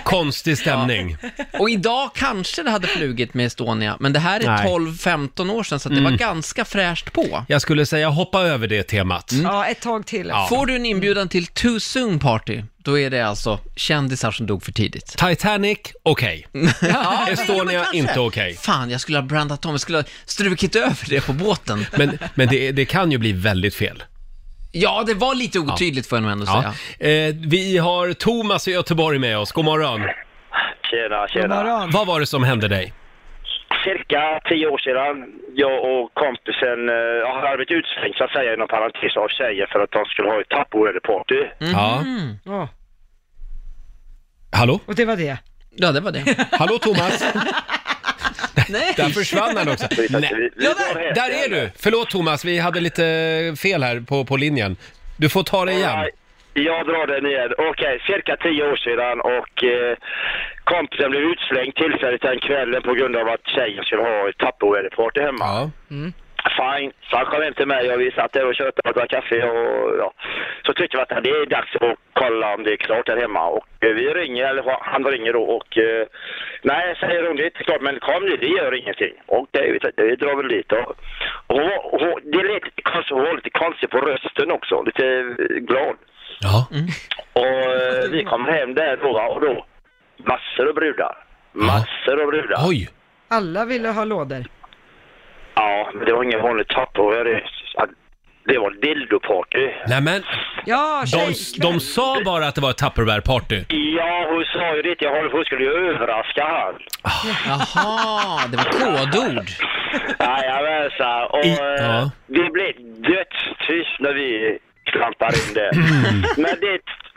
[SPEAKER 1] Konstig stämning.
[SPEAKER 7] Och idag kanske det hade flugit med Estonia, men det här
[SPEAKER 1] Nej. Mm.
[SPEAKER 7] är 12-15 år sedan, så att det var ganska fräscht på.
[SPEAKER 1] Jag skulle säga hoppa över det temat.
[SPEAKER 2] Ja, ett tag till.
[SPEAKER 7] Får du en inbjudan till Too Soon Party, då är det alltså kändisar som dog för tidigt.
[SPEAKER 1] Titanic, okej.
[SPEAKER 7] Ja,
[SPEAKER 1] Estonia,
[SPEAKER 7] men kanske.
[SPEAKER 1] inte okej.
[SPEAKER 7] Fan, jag skulle ha brandat om, jag skulle ha strukit över det på båten.
[SPEAKER 1] Men, men det, det kan ju bli väldigt fel.
[SPEAKER 7] Ja, det var lite otydligt får jag nog ändå säga.
[SPEAKER 1] Eh, vi har Thomas i Göteborg med oss. God morgon.
[SPEAKER 9] Tjena,
[SPEAKER 2] God
[SPEAKER 9] tjena.
[SPEAKER 2] morgon.
[SPEAKER 1] Vad var det som hände dig?
[SPEAKER 9] Cirka tio år sedan, jag och kompisen eh, jag hade blivit utslängd så att säga inom parentes av tjejer för att de skulle ha ett tappåreparty.
[SPEAKER 1] Ja.
[SPEAKER 2] Ja,
[SPEAKER 1] Hallå?
[SPEAKER 2] och det var det.
[SPEAKER 7] Ja, det var det.
[SPEAKER 1] Hallå Thomas?
[SPEAKER 7] [LAUGHS] Nej.
[SPEAKER 1] Där försvann han också. Nej.
[SPEAKER 9] Ja,
[SPEAKER 1] Där är du! Förlåt Thomas, vi hade lite fel här på, på linjen. Du får ta det igen.
[SPEAKER 9] Jag drar den igen. Okej, cirka tio år sedan och eh, kompisen blev utslängd tillfälligt den kvällen på grund av att tjejen skulle ha ett tappåreparty hemma.
[SPEAKER 1] Ja.
[SPEAKER 9] Fine. Så han kom hem till mig och vi satt där och köpte och drack kaffe och ja. Så tyckte vi att det är dags att kolla om det är klart där hemma. Och eh, vi ringer, eller han ringer då och eh, nej, säger hon, det är inte klart men kom nu, det gör ingenting. Och det, vi, tänkte, vi drar väl dit då. Och hon, var- hon, det är lite konstigt, hon var lite konstig på rösten också, lite eh, glad.
[SPEAKER 1] Ja.
[SPEAKER 9] Och eh, vi kommer hem där då och då, massor av brudar. Massor av brudar.
[SPEAKER 1] Oj!
[SPEAKER 2] Alla ville ha lådor.
[SPEAKER 9] Ja, men det var ingen vanlig tupperware. det- Det var dildoparty.
[SPEAKER 1] Nej men,
[SPEAKER 2] Ja,
[SPEAKER 1] de,
[SPEAKER 2] tjej.
[SPEAKER 1] de sa bara att det var ett Tupperware-party.
[SPEAKER 9] Ja, hon sa ju det. Jag håller på att skulle överraska han.
[SPEAKER 7] Jaha, det var kodord.
[SPEAKER 9] Jajamensan. Och
[SPEAKER 1] I-
[SPEAKER 9] eh,
[SPEAKER 1] ja.
[SPEAKER 9] det blev dödstyst när vi klampar in där.
[SPEAKER 1] Mm.
[SPEAKER 9] men, det,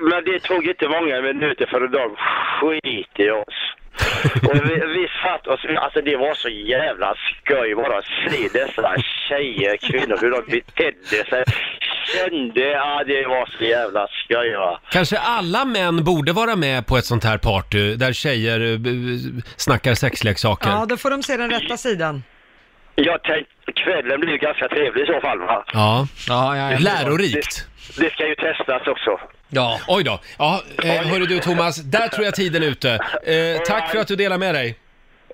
[SPEAKER 9] men det tog inte många minuter för de skit i oss. och vi, vi satt och alltså det var så jävla skoj bara att se dessa tjejer, kvinnor, hur de betedde sig. Kände, ja det var så jävla skoj va.
[SPEAKER 1] Kanske alla män borde vara med på ett sånt här party där tjejer eh, b- snackar sexleksaker.
[SPEAKER 2] Ja, då får de se den rätta sidan.
[SPEAKER 9] Jag tänkte, kvällen blev ganska trevlig i så fall va.
[SPEAKER 1] Ja.
[SPEAKER 7] Ja, ja, ja.
[SPEAKER 1] Lärorikt.
[SPEAKER 9] Det ska ju testas också.
[SPEAKER 7] ja.
[SPEAKER 1] Oj då. Ja, eh, hörru du Thomas, där tror jag tiden är ute. Eh, tack för att du delar med dig.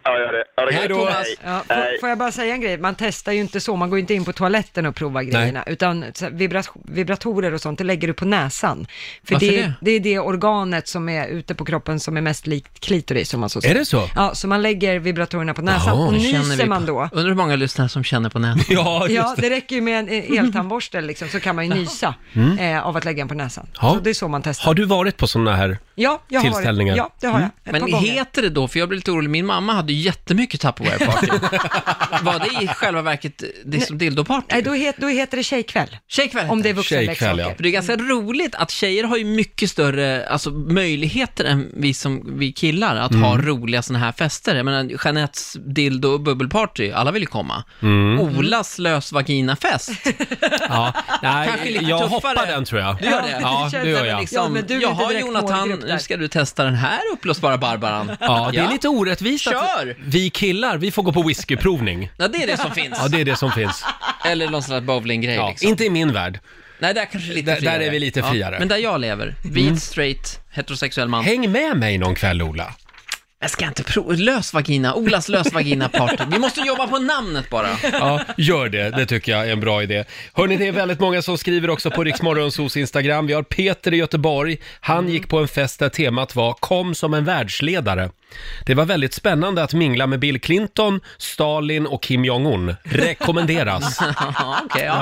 [SPEAKER 9] Ja, gör det. Ja, det
[SPEAKER 1] Hej då.
[SPEAKER 9] Thomas.
[SPEAKER 2] Ja,
[SPEAKER 9] Nej.
[SPEAKER 2] får, får jag bara säga en grej? Man testar ju inte så, man går ju inte in på toaletten och provar grejerna, utan så här, vibras- vibratorer och sånt, det lägger du på näsan. För
[SPEAKER 7] Varför
[SPEAKER 2] det,
[SPEAKER 7] det?
[SPEAKER 2] är- det är det organet som är ute på kroppen som är mest likt klitoris, om man så säger.
[SPEAKER 1] det så?
[SPEAKER 2] Ja, så man lägger vibratorerna på näsan
[SPEAKER 1] Jaha,
[SPEAKER 2] och
[SPEAKER 1] det
[SPEAKER 2] nyser man då.
[SPEAKER 7] Undrar hur många lyssnare som känner på nätet.
[SPEAKER 1] Ja,
[SPEAKER 2] Ja,
[SPEAKER 1] just det.
[SPEAKER 2] det räcker ju med en eh, eltandborste liksom, så kan man ju nysa eh, av att lägga den på näsan.
[SPEAKER 1] Mm. Ja.
[SPEAKER 2] Så det är så man testar.
[SPEAKER 1] Har du varit på såna här?
[SPEAKER 2] Ja, jag har
[SPEAKER 1] Tillställningar. Mm.
[SPEAKER 2] det. Ja, det har jag. Ett
[SPEAKER 7] Men
[SPEAKER 2] par gånger.
[SPEAKER 7] heter det då, för jag blev lite orolig, min mamma hade ju jättemycket
[SPEAKER 1] [LAUGHS]
[SPEAKER 7] Tupperware-party. Var det i själva verket det som
[SPEAKER 2] Nej,
[SPEAKER 7] dildoparty?
[SPEAKER 2] då, het, då heter det tjejkväll.
[SPEAKER 7] Tjejkväll
[SPEAKER 2] Om det är
[SPEAKER 7] heter
[SPEAKER 1] Tjejkväll,
[SPEAKER 2] vuxenleksaker.
[SPEAKER 1] ja.
[SPEAKER 7] För det är ganska
[SPEAKER 1] Mm.
[SPEAKER 7] roligt att tjejer har ju mycket större alltså, möjligheter än vi, som, vi killar att ha
[SPEAKER 1] Mm.
[SPEAKER 7] roliga sådana här fester. Jag menar, Jeanettes dildo och bubbelparty, alla vill ju komma. Olas lös vaginafest.
[SPEAKER 1] Mm. [LAUGHS] Ja. Nej,
[SPEAKER 7] Kanske lite
[SPEAKER 1] jag
[SPEAKER 7] tuffare.
[SPEAKER 1] hoppar den tror jag.
[SPEAKER 7] Du gör det?
[SPEAKER 1] Ja, det gör jag.
[SPEAKER 7] Liksom,
[SPEAKER 2] Ja, men du är inte
[SPEAKER 7] Jaha
[SPEAKER 2] direkt
[SPEAKER 7] Jonathan,
[SPEAKER 2] målgrupp där."
[SPEAKER 7] nu ska du testa den här uppblåsbara Barbaran.
[SPEAKER 1] Ja, det är lite orättvist att
[SPEAKER 7] Kör!
[SPEAKER 1] vi killar, vi får gå på whiskyprovning.
[SPEAKER 7] Ja, det är det som finns.
[SPEAKER 1] Ja, det är det som finns.
[SPEAKER 7] Eller någon sån där bowlinggrej
[SPEAKER 1] Ja,
[SPEAKER 7] liksom.
[SPEAKER 1] inte i min värld.
[SPEAKER 7] Nej, där kanske lite
[SPEAKER 1] Där- där
[SPEAKER 7] friare.
[SPEAKER 1] är vi lite friare. Mm.
[SPEAKER 7] Men där jag lever, vit, straight, heterosexuell man.
[SPEAKER 1] Häng med mig någon kväll, Ola.
[SPEAKER 7] Jag ska inte prova, lös vagina, Olas lös vagina party. Vi måste jobba på namnet bara.
[SPEAKER 1] Ja, gör det. Det tycker jag är en bra idé. Hörni, det är väldigt många som skriver också på Riksmorgonsos Instagram. Vi har Peter i Göteborg. Han
[SPEAKER 2] Mm.
[SPEAKER 1] gick på en fest där temat var “Kom som en världsledare”. Det var väldigt spännande att mingla med Bill Clinton, Stalin och Kim Jong-Un.
[SPEAKER 2] [LAUGHS]
[SPEAKER 1] Rekommenderas.
[SPEAKER 7] Ja, okej, ja.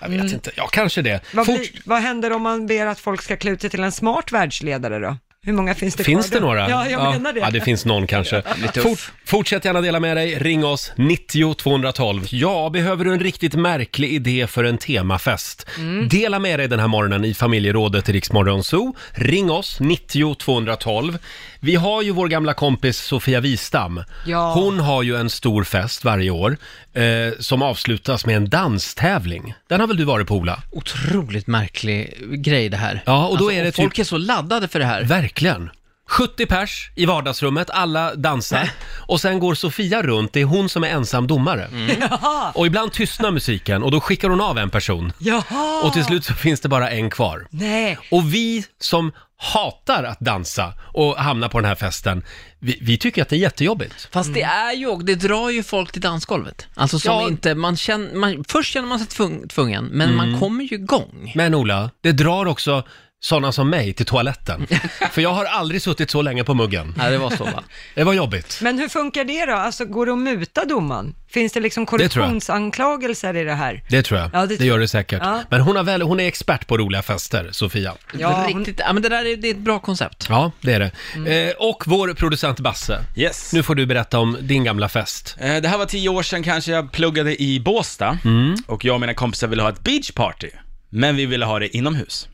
[SPEAKER 1] Ja, jag vet inte. Ja, kanske det.
[SPEAKER 2] Mm. Vad,
[SPEAKER 1] Fort-
[SPEAKER 2] blir, vad händer om man ber att folk ska klä ut sig till en smart världsledare då? Hur många finns det
[SPEAKER 1] Finns
[SPEAKER 2] kvar
[SPEAKER 1] det
[SPEAKER 2] då?
[SPEAKER 1] några?
[SPEAKER 2] Ja, jag menar det.
[SPEAKER 1] Ja, det finns någon
[SPEAKER 2] [LAUGHS]
[SPEAKER 1] kanske. Fort, fortsätt gärna dela med dig. Ring oss, 90 212. Ja, behöver du en riktigt märklig idé för en temafest?
[SPEAKER 2] Mm.
[SPEAKER 1] Dela med dig den här morgonen i familjerådet i Riksmorgon Zoo. Ring oss, 90 212. Vi har ju vår gamla kompis Sofia Wistam.
[SPEAKER 2] Ja.
[SPEAKER 1] Hon har ju en stor fest varje år eh, som avslutas med en danstävling. Den har väl du varit på, Ola?
[SPEAKER 7] Otroligt märklig grej det här. Alltså,
[SPEAKER 1] Ja, och då är det
[SPEAKER 7] folk
[SPEAKER 1] typ-
[SPEAKER 7] är så laddade för det här.
[SPEAKER 1] Verkligen. 70 pers i vardagsrummet, alla dansar. Och sen går Sofia runt, det är hon som är ensam domare.
[SPEAKER 7] Mm.
[SPEAKER 2] Jaha,
[SPEAKER 1] Och ibland tystnar musiken och då skickar hon av en person.
[SPEAKER 2] jaha.
[SPEAKER 1] Och till slut så finns det bara en kvar.
[SPEAKER 2] Nej,
[SPEAKER 1] Och vi som hatar att dansa och hamna på den här festen, vi, vi tycker att det är jättejobbigt.
[SPEAKER 7] Fast det
[SPEAKER 2] Mm.
[SPEAKER 7] är ju och det drar ju folk till dansgolvet. Alltså som
[SPEAKER 1] Ja.
[SPEAKER 7] inte, man känner, man, först känner man sig tvung, tvungen, men
[SPEAKER 1] Mm.
[SPEAKER 7] man kommer ju igång.
[SPEAKER 1] Men Ola, det drar också sådana som mig till
[SPEAKER 7] [LAUGHS]
[SPEAKER 1] toaletten. För jag har aldrig suttit så länge på muggen.
[SPEAKER 7] Ja, det var så va?
[SPEAKER 1] Det var jobbigt.
[SPEAKER 2] men hur funkar det då? Alltså, går det att muta domaren? Finns det liksom
[SPEAKER 1] tror jag.
[SPEAKER 2] korruptionsanklagelser i det här?
[SPEAKER 1] Det tror jag.
[SPEAKER 2] Ja, det
[SPEAKER 1] det,
[SPEAKER 2] tror
[SPEAKER 1] gör det säkert.
[SPEAKER 2] Ja.
[SPEAKER 1] Men hon, har väl, hon är expert på roliga fester, Sofia.
[SPEAKER 2] Ja, hon-
[SPEAKER 7] Riktigt, [LAUGHS] ja men det där är, det är ett bra koncept.
[SPEAKER 1] Ja, det är det.
[SPEAKER 2] Mm.
[SPEAKER 1] Eh, och vår producent Basse.
[SPEAKER 3] Yes.
[SPEAKER 1] Nu får du berätta om din gamla fest.
[SPEAKER 3] Eh, Det här var tio år sedan kanske jag pluggade i Båstad och jag och mina kompisar ville ha ett beachparty, men vi ville ha det inomhus.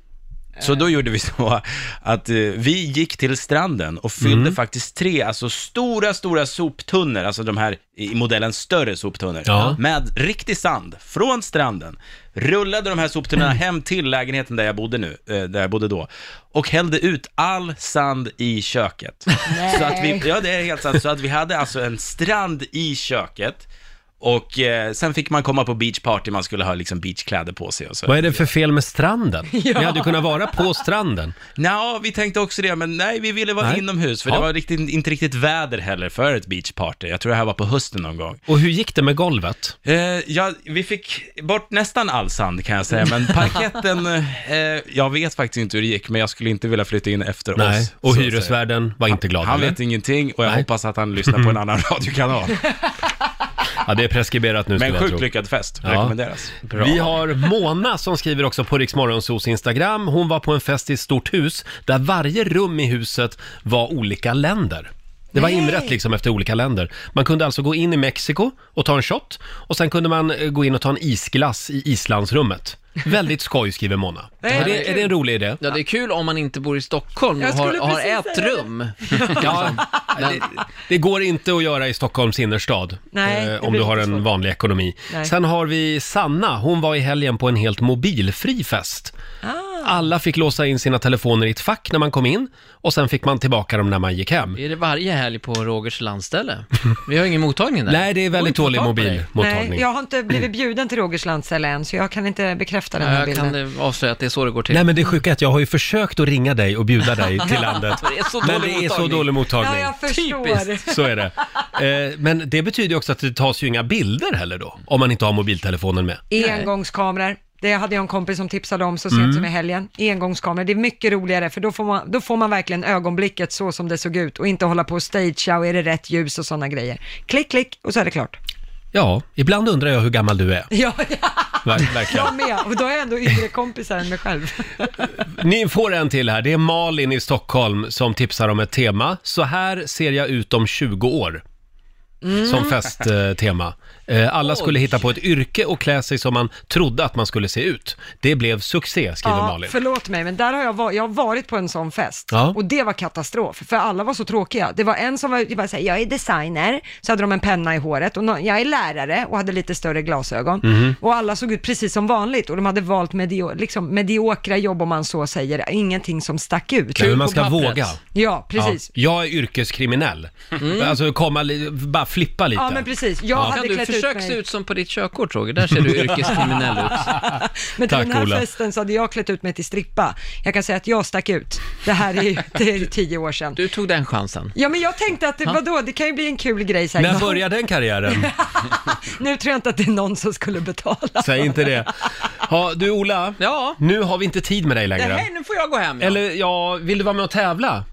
[SPEAKER 3] Så då gjorde vi [LAUGHS] så att eh, vi gick till stranden och fyllde
[SPEAKER 1] Mm.
[SPEAKER 3] faktiskt tre, alltså stora, stora soptunnor, alltså de här i modellen större soptunnor,
[SPEAKER 1] Ja.
[SPEAKER 3] med riktig sand från stranden. Rullade de här soptunnorna hem till lägenheten där jag bodde nu, eh, där jag bodde då, och hällde ut all sand i köket. Så att vi, ja, det är helt sant. Så att vi hade alltså en strand i köket, och eh, sen fick man komma på beachparty, man skulle ha liksom beachkläder på sig och så.
[SPEAKER 1] Vad är det för fel med
[SPEAKER 2] [LAUGHS]
[SPEAKER 1] stranden? Ni hade ju kunnat vara på stranden.
[SPEAKER 3] Nja, vi tänkte också det, men nej, vi ville vara
[SPEAKER 1] Nej.
[SPEAKER 3] inomhus, för
[SPEAKER 1] Ja.
[SPEAKER 3] det var riktigt, inte riktigt väder heller för ett beachparty. Jag tror det här var på hösten någon gång.
[SPEAKER 1] Och hur gick det med golvet?
[SPEAKER 3] Eh, ja, vi fick bort nästan all sand kan jag säga, [LAUGHS] men parketten, eh, jag vet faktiskt inte hur det gick, men jag skulle inte vilja flytta in efter
[SPEAKER 1] Nej,
[SPEAKER 3] oss.
[SPEAKER 1] och
[SPEAKER 3] så att säga.
[SPEAKER 1] hyresvärden var inte glad.
[SPEAKER 3] Han
[SPEAKER 1] eller?
[SPEAKER 3] vet ingenting och jag
[SPEAKER 1] Nej.
[SPEAKER 3] hoppas att han lyssnar [LAUGHS] på en annan radiokanal.
[SPEAKER 1] Ja, det är preskriberat nu
[SPEAKER 3] Men
[SPEAKER 1] skulle jag
[SPEAKER 3] sjukt
[SPEAKER 1] tro.
[SPEAKER 3] lyckad fest,
[SPEAKER 1] Ja.
[SPEAKER 3] rekommenderas.
[SPEAKER 1] Vi har Mona som skriver också på Riksmorgonsos Instagram. Hon var på en fest i ett stort hus där varje rum i huset var olika länder. Det var inrett liksom efter olika länder. Man kunde alltså gå in i Mexiko och ta en shot och sen kunde man eh, gå in och ta en isglass i [LAUGHS] Islandsrummet. Väldigt skoj skriver Mona.
[SPEAKER 2] Nej,
[SPEAKER 1] Är
[SPEAKER 2] men
[SPEAKER 1] det, är det en rolig idé?
[SPEAKER 7] Ja, det är kul om man inte bor i Stockholm och
[SPEAKER 2] Jag
[SPEAKER 7] har,
[SPEAKER 2] skulle
[SPEAKER 7] har
[SPEAKER 2] precis
[SPEAKER 7] ett
[SPEAKER 2] säga det. [LAUGHS]
[SPEAKER 7] rum.
[SPEAKER 1] Ja, det, Liksom. det går inte att göra i Stockholms innerstad
[SPEAKER 2] Nej, det
[SPEAKER 1] eh, om
[SPEAKER 2] blir
[SPEAKER 1] du har
[SPEAKER 2] lite
[SPEAKER 1] en
[SPEAKER 2] svårt.
[SPEAKER 1] vanlig ekonomi.
[SPEAKER 2] Nej.
[SPEAKER 1] Sen har vi Sanna, hon var i helgen på en helt mobilfri fest. Alla fick låsa in sina telefoner i ett fack när man kom in och sen fick man tillbaka dem när man gick hem.
[SPEAKER 7] Är det varje helg på Rogers landställe? Vi har ingen mottagning där.
[SPEAKER 1] Nej, det är väldigt
[SPEAKER 7] Går inte
[SPEAKER 1] dålig
[SPEAKER 7] att få tag på dig.
[SPEAKER 1] mobilmottagning.
[SPEAKER 2] Nej, jag har inte blivit bjuden till Rogers landställe än, så jag kan inte bekräfta den
[SPEAKER 7] Ja,
[SPEAKER 2] här
[SPEAKER 7] Jag kan
[SPEAKER 2] bilden.
[SPEAKER 7] eh, avslöja att det är så det går till.
[SPEAKER 1] Nej men det sjuka är att jag har ju försökt att ringa dig och bjuda dig till landet.
[SPEAKER 7] Det är så
[SPEAKER 1] Men
[SPEAKER 7] dålig
[SPEAKER 1] det är så
[SPEAKER 7] mottagning.
[SPEAKER 1] dålig mottagning.
[SPEAKER 2] Ja, jag förstår.
[SPEAKER 7] Typiskt.
[SPEAKER 1] Så är det. Eh, Men det betyder ju också att det tas ju inga bilder heller då, om man inte har mobiltelefonen med.
[SPEAKER 2] Engångskameror. Det hade jag en kompis som tipsade om så sent
[SPEAKER 7] Mm.
[SPEAKER 2] som i helgen. Engångskameror, det är mycket roligare för då får, man, då får man verkligen ögonblicket så som det såg ut och inte hålla på och stagea och är det rätt ljus och sådana grejer. Klick, klick och så är det klart.
[SPEAKER 1] Ja, ibland undrar jag hur gammal du
[SPEAKER 2] [LAUGHS]
[SPEAKER 1] är.
[SPEAKER 2] Ja, ja
[SPEAKER 1] Ver- Verkligen.
[SPEAKER 2] jag med. Och då har jag ändå yngre kompisar än mig själv.
[SPEAKER 1] Ni får en till här. Det är Malin i Stockholm som tipsar om ett tema. Så här ser jag ut om 20 år.
[SPEAKER 2] Mm.
[SPEAKER 1] Som festtema. Eh, Alla skulle hitta på ett yrke och klä sig som man trodde att man skulle se ut. Det blev succé, skriver
[SPEAKER 2] Ja,
[SPEAKER 1] Malin.
[SPEAKER 2] förlåt mig, men där har jag, va- jag har varit på en sån fest
[SPEAKER 1] Ja.
[SPEAKER 2] och det var katastrof, för alla var så tråkiga. Det var en som var jag bara såhär, jag är designer, så hade de en penna i håret och nå- jag är lärare och hade lite större glasögon.
[SPEAKER 1] Mhm.
[SPEAKER 2] Och alla såg ut precis som vanligt och de hade valt medio, liksom, mediokra jobb om man så säger, ingenting som stack ut.
[SPEAKER 1] Nej, men man ska
[SPEAKER 7] på pappret.
[SPEAKER 1] våga.
[SPEAKER 2] Ja,
[SPEAKER 1] Ja,
[SPEAKER 2] precis. Ja.
[SPEAKER 1] jag är yrkeskriminell. Alltså komma, li- bara flippa lite.
[SPEAKER 2] men precis. Jag
[SPEAKER 7] Kan
[SPEAKER 2] hade
[SPEAKER 7] du
[SPEAKER 2] klätt ut
[SPEAKER 7] försöka se
[SPEAKER 2] mig.
[SPEAKER 7] ut som på ditt körkort, Roger? Där [LAUGHS] ser du yrkeskriminell ut.
[SPEAKER 2] [LAUGHS] Men till
[SPEAKER 1] Tack,
[SPEAKER 2] den här
[SPEAKER 1] Ola.
[SPEAKER 2] festen så hade jag klätt ut mig till strippa. Jag kan säga att jag stack ut. Det här är ju det är ju tio år sedan.
[SPEAKER 7] Du tog den chansen.
[SPEAKER 2] Ja men jag tänkte att, det- vadå, det kan ju bli en kul grej så här.
[SPEAKER 1] När började den karriären?
[SPEAKER 2] [LAUGHS] Nu tror jag inte att det är någon som skulle betala.
[SPEAKER 1] Säg inte det. Ja, du Ola,
[SPEAKER 7] Ja.
[SPEAKER 1] nu har vi inte tid med dig längre.
[SPEAKER 7] Nej, nu får jag gå hem. Ja.
[SPEAKER 1] Eller ja, vill du vara med och tävla?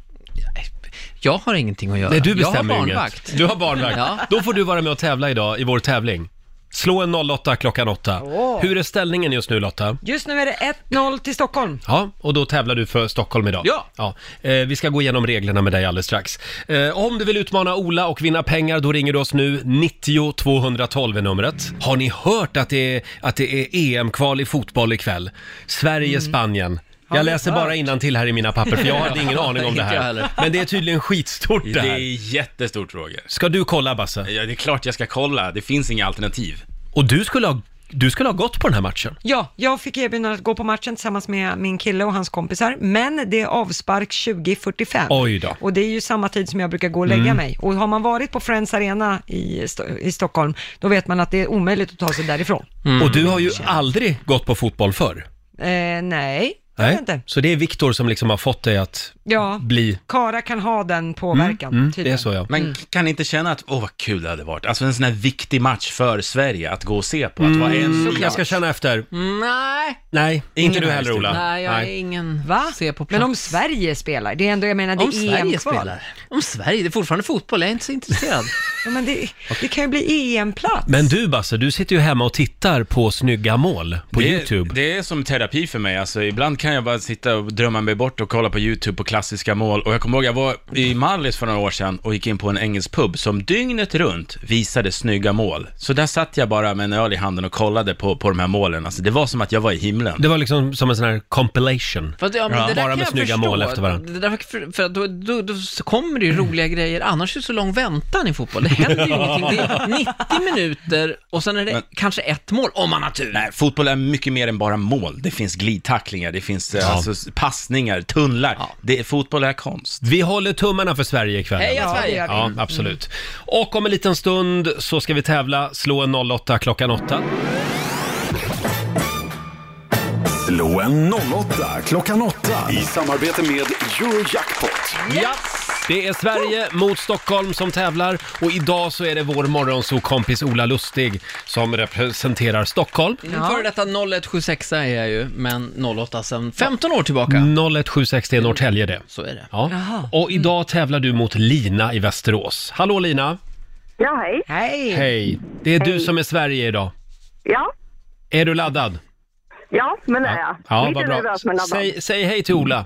[SPEAKER 7] Jag har ingenting att göra.
[SPEAKER 1] Nej, du bestämmer
[SPEAKER 7] jag har
[SPEAKER 1] ju
[SPEAKER 7] barnvakt.
[SPEAKER 1] inget. Du har barnvakt.
[SPEAKER 7] Ja.
[SPEAKER 1] Då får du vara med och tävla idag i vår tävling. Slå en 08 klockan 8. Hur är ställningen just nu Lotta?
[SPEAKER 2] Just nu är det 1-0 till Stockholm.
[SPEAKER 1] Ja, och då tävlar du för Stockholm idag.
[SPEAKER 7] Ja.
[SPEAKER 1] Eh, vi ska gå igenom reglerna med dig alldeles strax. Eh, om du vill utmana Ola och vinna pengar, då ringer du oss nu. 90 212 är numret. Har ni hört att det är, att det är EM-kval i fotboll ikväll? Sverige-Spanien. Jag läser bara innan till här i mina papper, för jag hade ingen aning om det
[SPEAKER 7] Inte jag
[SPEAKER 1] här.
[SPEAKER 7] heller.
[SPEAKER 1] Men det är tydligen skitstort det
[SPEAKER 3] Det
[SPEAKER 1] här.
[SPEAKER 3] är jättestort Roger.
[SPEAKER 1] Ska du kolla Basse?
[SPEAKER 3] Ja, det är klart jag ska kolla, det finns inga alternativ.
[SPEAKER 1] Och du skulle ha du skulle ha gått på den här matchen.
[SPEAKER 2] Ja, jag fick erbjudandet att gå på matchen tillsammans med min kille och hans kompisar, men det är avspark 20.45.
[SPEAKER 1] Oj då.
[SPEAKER 2] Och det är ju samma tid som jag brukar gå och lägga
[SPEAKER 1] Mm.
[SPEAKER 2] mig. Och har man varit på Friends Arena i, Sto- i Stockholm, då vet man att det är omöjligt att ta sig därifrån.
[SPEAKER 1] Och du har ju aldrig gått på fotboll förr.
[SPEAKER 2] Eh, nej, det har jag inte.
[SPEAKER 1] Så det är Viktor som liksom har fått dig att
[SPEAKER 2] Ja,
[SPEAKER 1] bli...
[SPEAKER 2] Kara kan ha den påverkan. tydligen.
[SPEAKER 1] ja.
[SPEAKER 3] Men
[SPEAKER 2] Mm.
[SPEAKER 3] kan ni inte känna att, åh vad kul det hade varit, alltså en sån här viktig match för Sverige att gå och se på, att vara en
[SPEAKER 1] Mm. jag ska känna efter.
[SPEAKER 7] Nej.
[SPEAKER 1] Nej, inte
[SPEAKER 3] Ingen
[SPEAKER 1] du heller
[SPEAKER 3] här
[SPEAKER 1] Ola.
[SPEAKER 7] Nej, jag är ingen
[SPEAKER 2] Va?
[SPEAKER 7] se på plats.
[SPEAKER 2] Men om Sverige spelar, det är ändå, jag menar, det
[SPEAKER 7] Om
[SPEAKER 2] är
[SPEAKER 7] Sverige
[SPEAKER 2] EM-kval.
[SPEAKER 7] spelar. Om Sverige, det är fortfarande fotboll, jag är inte
[SPEAKER 1] [LAUGHS]
[SPEAKER 7] så intresserad.
[SPEAKER 2] Ja, men det, det kan ju bli E EM-plats.
[SPEAKER 1] Men du Basse, du sitter ju hemma och tittar på snygga mål på
[SPEAKER 3] det,
[SPEAKER 1] YouTube.
[SPEAKER 3] Det är som terapi för mig, alltså ibland kan jag bara sitta och drömma mig bort och kolla på YouTube på klassiska mål och jag kommer ihåg, jag var i Mallis för några år sedan och gick in på en engelsk pub som dygnet runt visade snygga mål. Så där satt jag bara med en öl i handen och kollade på, på de här målen, alltså det var som att jag var i himlen.
[SPEAKER 1] Det var liksom som en sån här compilation.
[SPEAKER 7] För att, ja, men
[SPEAKER 1] Ja,
[SPEAKER 7] det där
[SPEAKER 1] bara
[SPEAKER 7] kan
[SPEAKER 1] med
[SPEAKER 7] jag
[SPEAKER 1] snygga
[SPEAKER 7] förstå.
[SPEAKER 1] mål efter varandra.
[SPEAKER 7] Det där, för, för att då, då, då så kommer det ju roliga grejer, annars är det så lång väntan i fotboll. Det händer ju ingenting.
[SPEAKER 1] [LAUGHS]
[SPEAKER 7] Det är 90 minuter och sen är det
[SPEAKER 3] Men-
[SPEAKER 7] kanske ett mål, om man har tur.
[SPEAKER 3] Nej, fotboll är mycket mer än bara mål. Det finns glidtacklingar, det finns eh, alltså, passningar, tunnlar. Det, fotboll är konst.
[SPEAKER 1] Vi håller tummarna för Sverige ikväll.
[SPEAKER 7] Heja
[SPEAKER 1] Ja.
[SPEAKER 7] Sverige!
[SPEAKER 2] gör vi.
[SPEAKER 1] Ja, absolut. Och om en liten stund så ska vi tävla Slå en 08 klockan 8.
[SPEAKER 4] Slå en 08 klockan 8 i samarbete med Eurojackpot.
[SPEAKER 1] Ja, det är Sverige mot Stockholm som tävlar och idag så är det vår morgonsokompis Ola Lustig som representerar Stockholm.
[SPEAKER 7] Ja. Före detta 0176 är jag ju, men 08 sedan 15 år tillbaka.
[SPEAKER 1] Mm. 01760 Norrtälje det.
[SPEAKER 7] Så är det.
[SPEAKER 1] Ja. Och
[SPEAKER 10] Mm.
[SPEAKER 1] idag tävlar du mot Lina i Västerås. Hallå Lina!
[SPEAKER 10] Ja, hej.
[SPEAKER 2] Hej!
[SPEAKER 1] Hej! Det är du som är Sverige idag.
[SPEAKER 10] Ja,
[SPEAKER 1] Är du laddad?
[SPEAKER 10] ja men det är jag.
[SPEAKER 1] Ja,
[SPEAKER 10] Lite
[SPEAKER 1] vad bra.
[SPEAKER 10] nervös men laddad.
[SPEAKER 1] Säg, säg hej till Ola.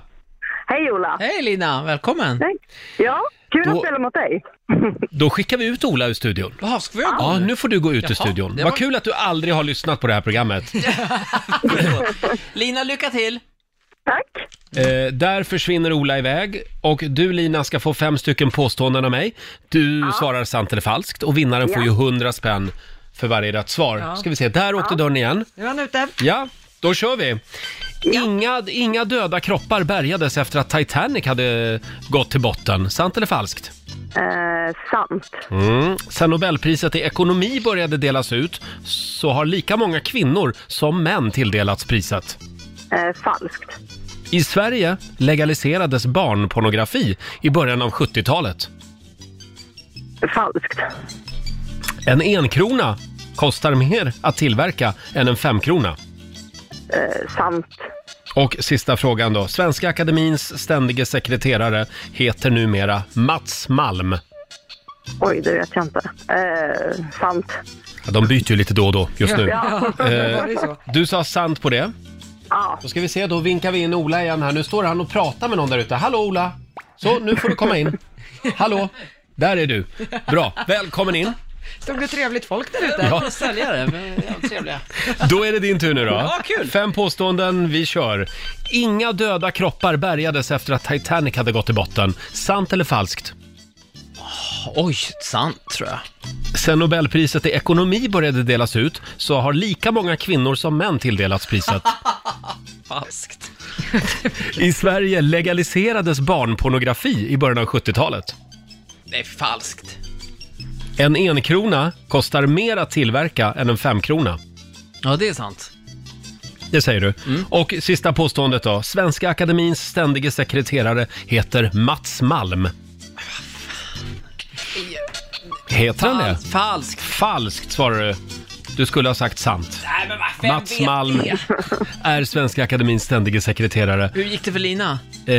[SPEAKER 10] Hej Ola.
[SPEAKER 7] Hej Lina, välkommen!
[SPEAKER 10] Hej. Ja, kul
[SPEAKER 1] Då-
[SPEAKER 10] att spela mot dig.
[SPEAKER 1] Då skickar vi ut Ola ur studion.
[SPEAKER 7] Jaha, ska vi göra
[SPEAKER 1] Ja,
[SPEAKER 7] mål
[SPEAKER 1] nu får du gå ut ur
[SPEAKER 7] Jaha,
[SPEAKER 1] studion.
[SPEAKER 7] det
[SPEAKER 1] Vad
[SPEAKER 7] var-
[SPEAKER 1] kul att du aldrig har lyssnat på det här programmet.
[SPEAKER 7] Lina, lycka till!
[SPEAKER 10] Tack.
[SPEAKER 1] Eh, där försvinner Ola iväg och du Lina ska få fem stycken påståenden av mig. Du svarar sant eller falskt och vinnaren får ju 100 spänn för varje rätt svar. Ska vi se, där åkte dörren igen.
[SPEAKER 2] Nu är han ute.
[SPEAKER 1] Ja, då kör vi. Inga, inga döda kroppar bärgades efter att Titanic hade gått till botten. Sant eller falskt?
[SPEAKER 10] Eh, sant.
[SPEAKER 1] Mm. Sen Nobelpriset i ekonomi började delas ut så har lika många kvinnor som män tilldelats priset.
[SPEAKER 10] Eh, falskt.
[SPEAKER 1] I Sverige legaliserades barnpornografi i början av 70-talet.
[SPEAKER 10] Falskt.
[SPEAKER 1] En enkrona kostar mer att tillverka än en femkrona.
[SPEAKER 10] Eh, sant.
[SPEAKER 1] Och sista frågan då. Svenska Akademins ständige sekreterare heter numera Mats Malm.
[SPEAKER 10] Oj, det vet jag inte. Eh, sant.
[SPEAKER 1] Ja, de byter ju lite då och då just nu.
[SPEAKER 10] Ja.
[SPEAKER 2] Ja, det är så.
[SPEAKER 1] Du sa sant på det.
[SPEAKER 10] Ja.
[SPEAKER 1] Då ska vi se, då vinkar vi in Ola igen här. Nu står han och pratar med någon där ute. Hallå Ola! Så, nu får du komma in. Hallå! Där är du. Bra, välkommen in.
[SPEAKER 2] Stod det trevligt folk där ute?
[SPEAKER 1] Ja.
[SPEAKER 7] Ja. Säljare, men- ja, trevliga.
[SPEAKER 1] Då är det din tur nu då.
[SPEAKER 7] Ja, kul.
[SPEAKER 1] Fem påståenden, vi kör. Inga döda kroppar bärgades efter att Titanic hade gått till botten. Sant eller falskt?
[SPEAKER 7] Oj, sant tror jag.
[SPEAKER 1] Sen Nobelpriset i ekonomi började delas ut så har lika många kvinnor som män tilldelats priset.
[SPEAKER 7] Falskt.
[SPEAKER 1] I Sverige legaliserades barnpornografi i början av 70-talet.
[SPEAKER 7] Det är falskt.
[SPEAKER 1] En enkrona kostar mer att tillverka än en femkrona.
[SPEAKER 7] Ja, det är sant.
[SPEAKER 1] Det säger du. Och sista påståendet då. Svenska Akademins ständige sekreterare heter Mats Malm. Heter han det?
[SPEAKER 7] Fals- falskt.
[SPEAKER 1] Falskt svarar du. Du skulle ha sagt sant.
[SPEAKER 7] Nej, men vad- vem
[SPEAKER 1] Mats
[SPEAKER 7] vet
[SPEAKER 1] Malm
[SPEAKER 7] det?
[SPEAKER 1] [LAUGHS] är Svenska Akademins ständige sekreterare.
[SPEAKER 7] Hur gick det för Lina?
[SPEAKER 1] Eh,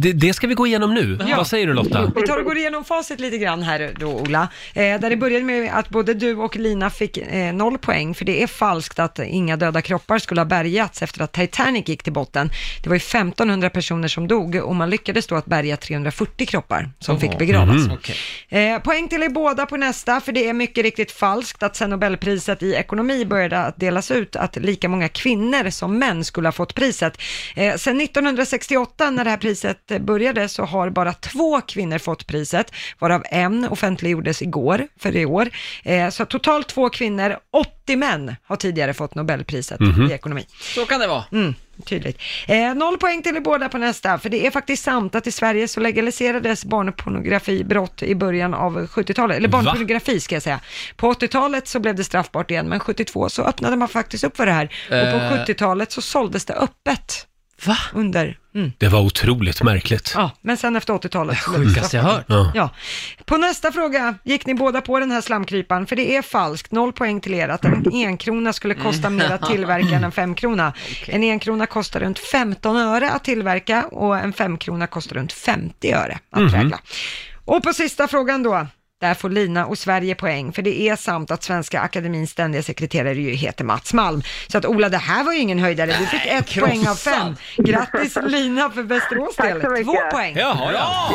[SPEAKER 1] det, det ska vi gå igenom nu. Vad säger du Lotta?
[SPEAKER 2] Vi tar och går igenom facit lite grann här då, Ola. Eh, där det började med att både du och Lina fick eh, noll poäng, för det är falskt att inga döda kroppar skulle ha bärgats efter att Titanic gick till botten. Det var ju 1500 personer som dog och man lyckades då att bärga 340 kroppar som fick begravas.
[SPEAKER 1] Mm.
[SPEAKER 7] Okej.
[SPEAKER 2] Eh, poäng till er båda på nästa, för det är mycket riktigt falskt att sen Nobelpriset i ekonomi började att delas ut, att lika många kvinnor som män skulle ha fått priset. Eh, sen 1968, när det här priset eh, började, så har bara två kvinnor fått priset, varav en offentliggjordes igår, för i år. Eh, så totalt två kvinnor, 80 70 män har tidigare fått Nobelpriset
[SPEAKER 7] Mhm.
[SPEAKER 2] i ekonomi.
[SPEAKER 7] Så kan det vara.
[SPEAKER 2] Mm, tydligt. Eh, noll poäng till er båda på nästa, för det är faktiskt sant att i Sverige så legaliserades barnpornografibrott i början av 70-talet, eller barnpornografi ska jag säga. På 80-talet så blev det straffbart igen, men 72 så öppnade man faktiskt upp för det här. Och
[SPEAKER 1] Eh.
[SPEAKER 2] på 70-talet så såldes det öppet.
[SPEAKER 7] Va?
[SPEAKER 2] Under. Mm.
[SPEAKER 1] Det var otroligt märkligt.
[SPEAKER 2] Ja, men sen efter 80-talet. så
[SPEAKER 1] Det
[SPEAKER 2] blev
[SPEAKER 1] sjukaste jag
[SPEAKER 2] straffbart.
[SPEAKER 1] hört.
[SPEAKER 2] Ja. På nästa fråga gick ni båda på den här slamkryparen, för det är falskt. Noll poäng till er att en enkrona skulle
[SPEAKER 1] [LAUGHS]
[SPEAKER 2] kosta mer att tillverka än en femkrona. En enkrona kostar runt 15 öre att tillverka och en femkrona kostar runt 50 öre att
[SPEAKER 8] Mhm.
[SPEAKER 2] prägla. Och på sista frågan då. Där får Lina och Sverige poäng, för det är sant att Svenska Akademins ständiga sekreterare ju heter Mats Malm. Så att Ola, det här var ju ingen höjdare. Du fick ett
[SPEAKER 8] krossad.
[SPEAKER 2] poäng av fem. Grattis Lina för Västerås del. Två poäng.
[SPEAKER 1] Jaha, ja.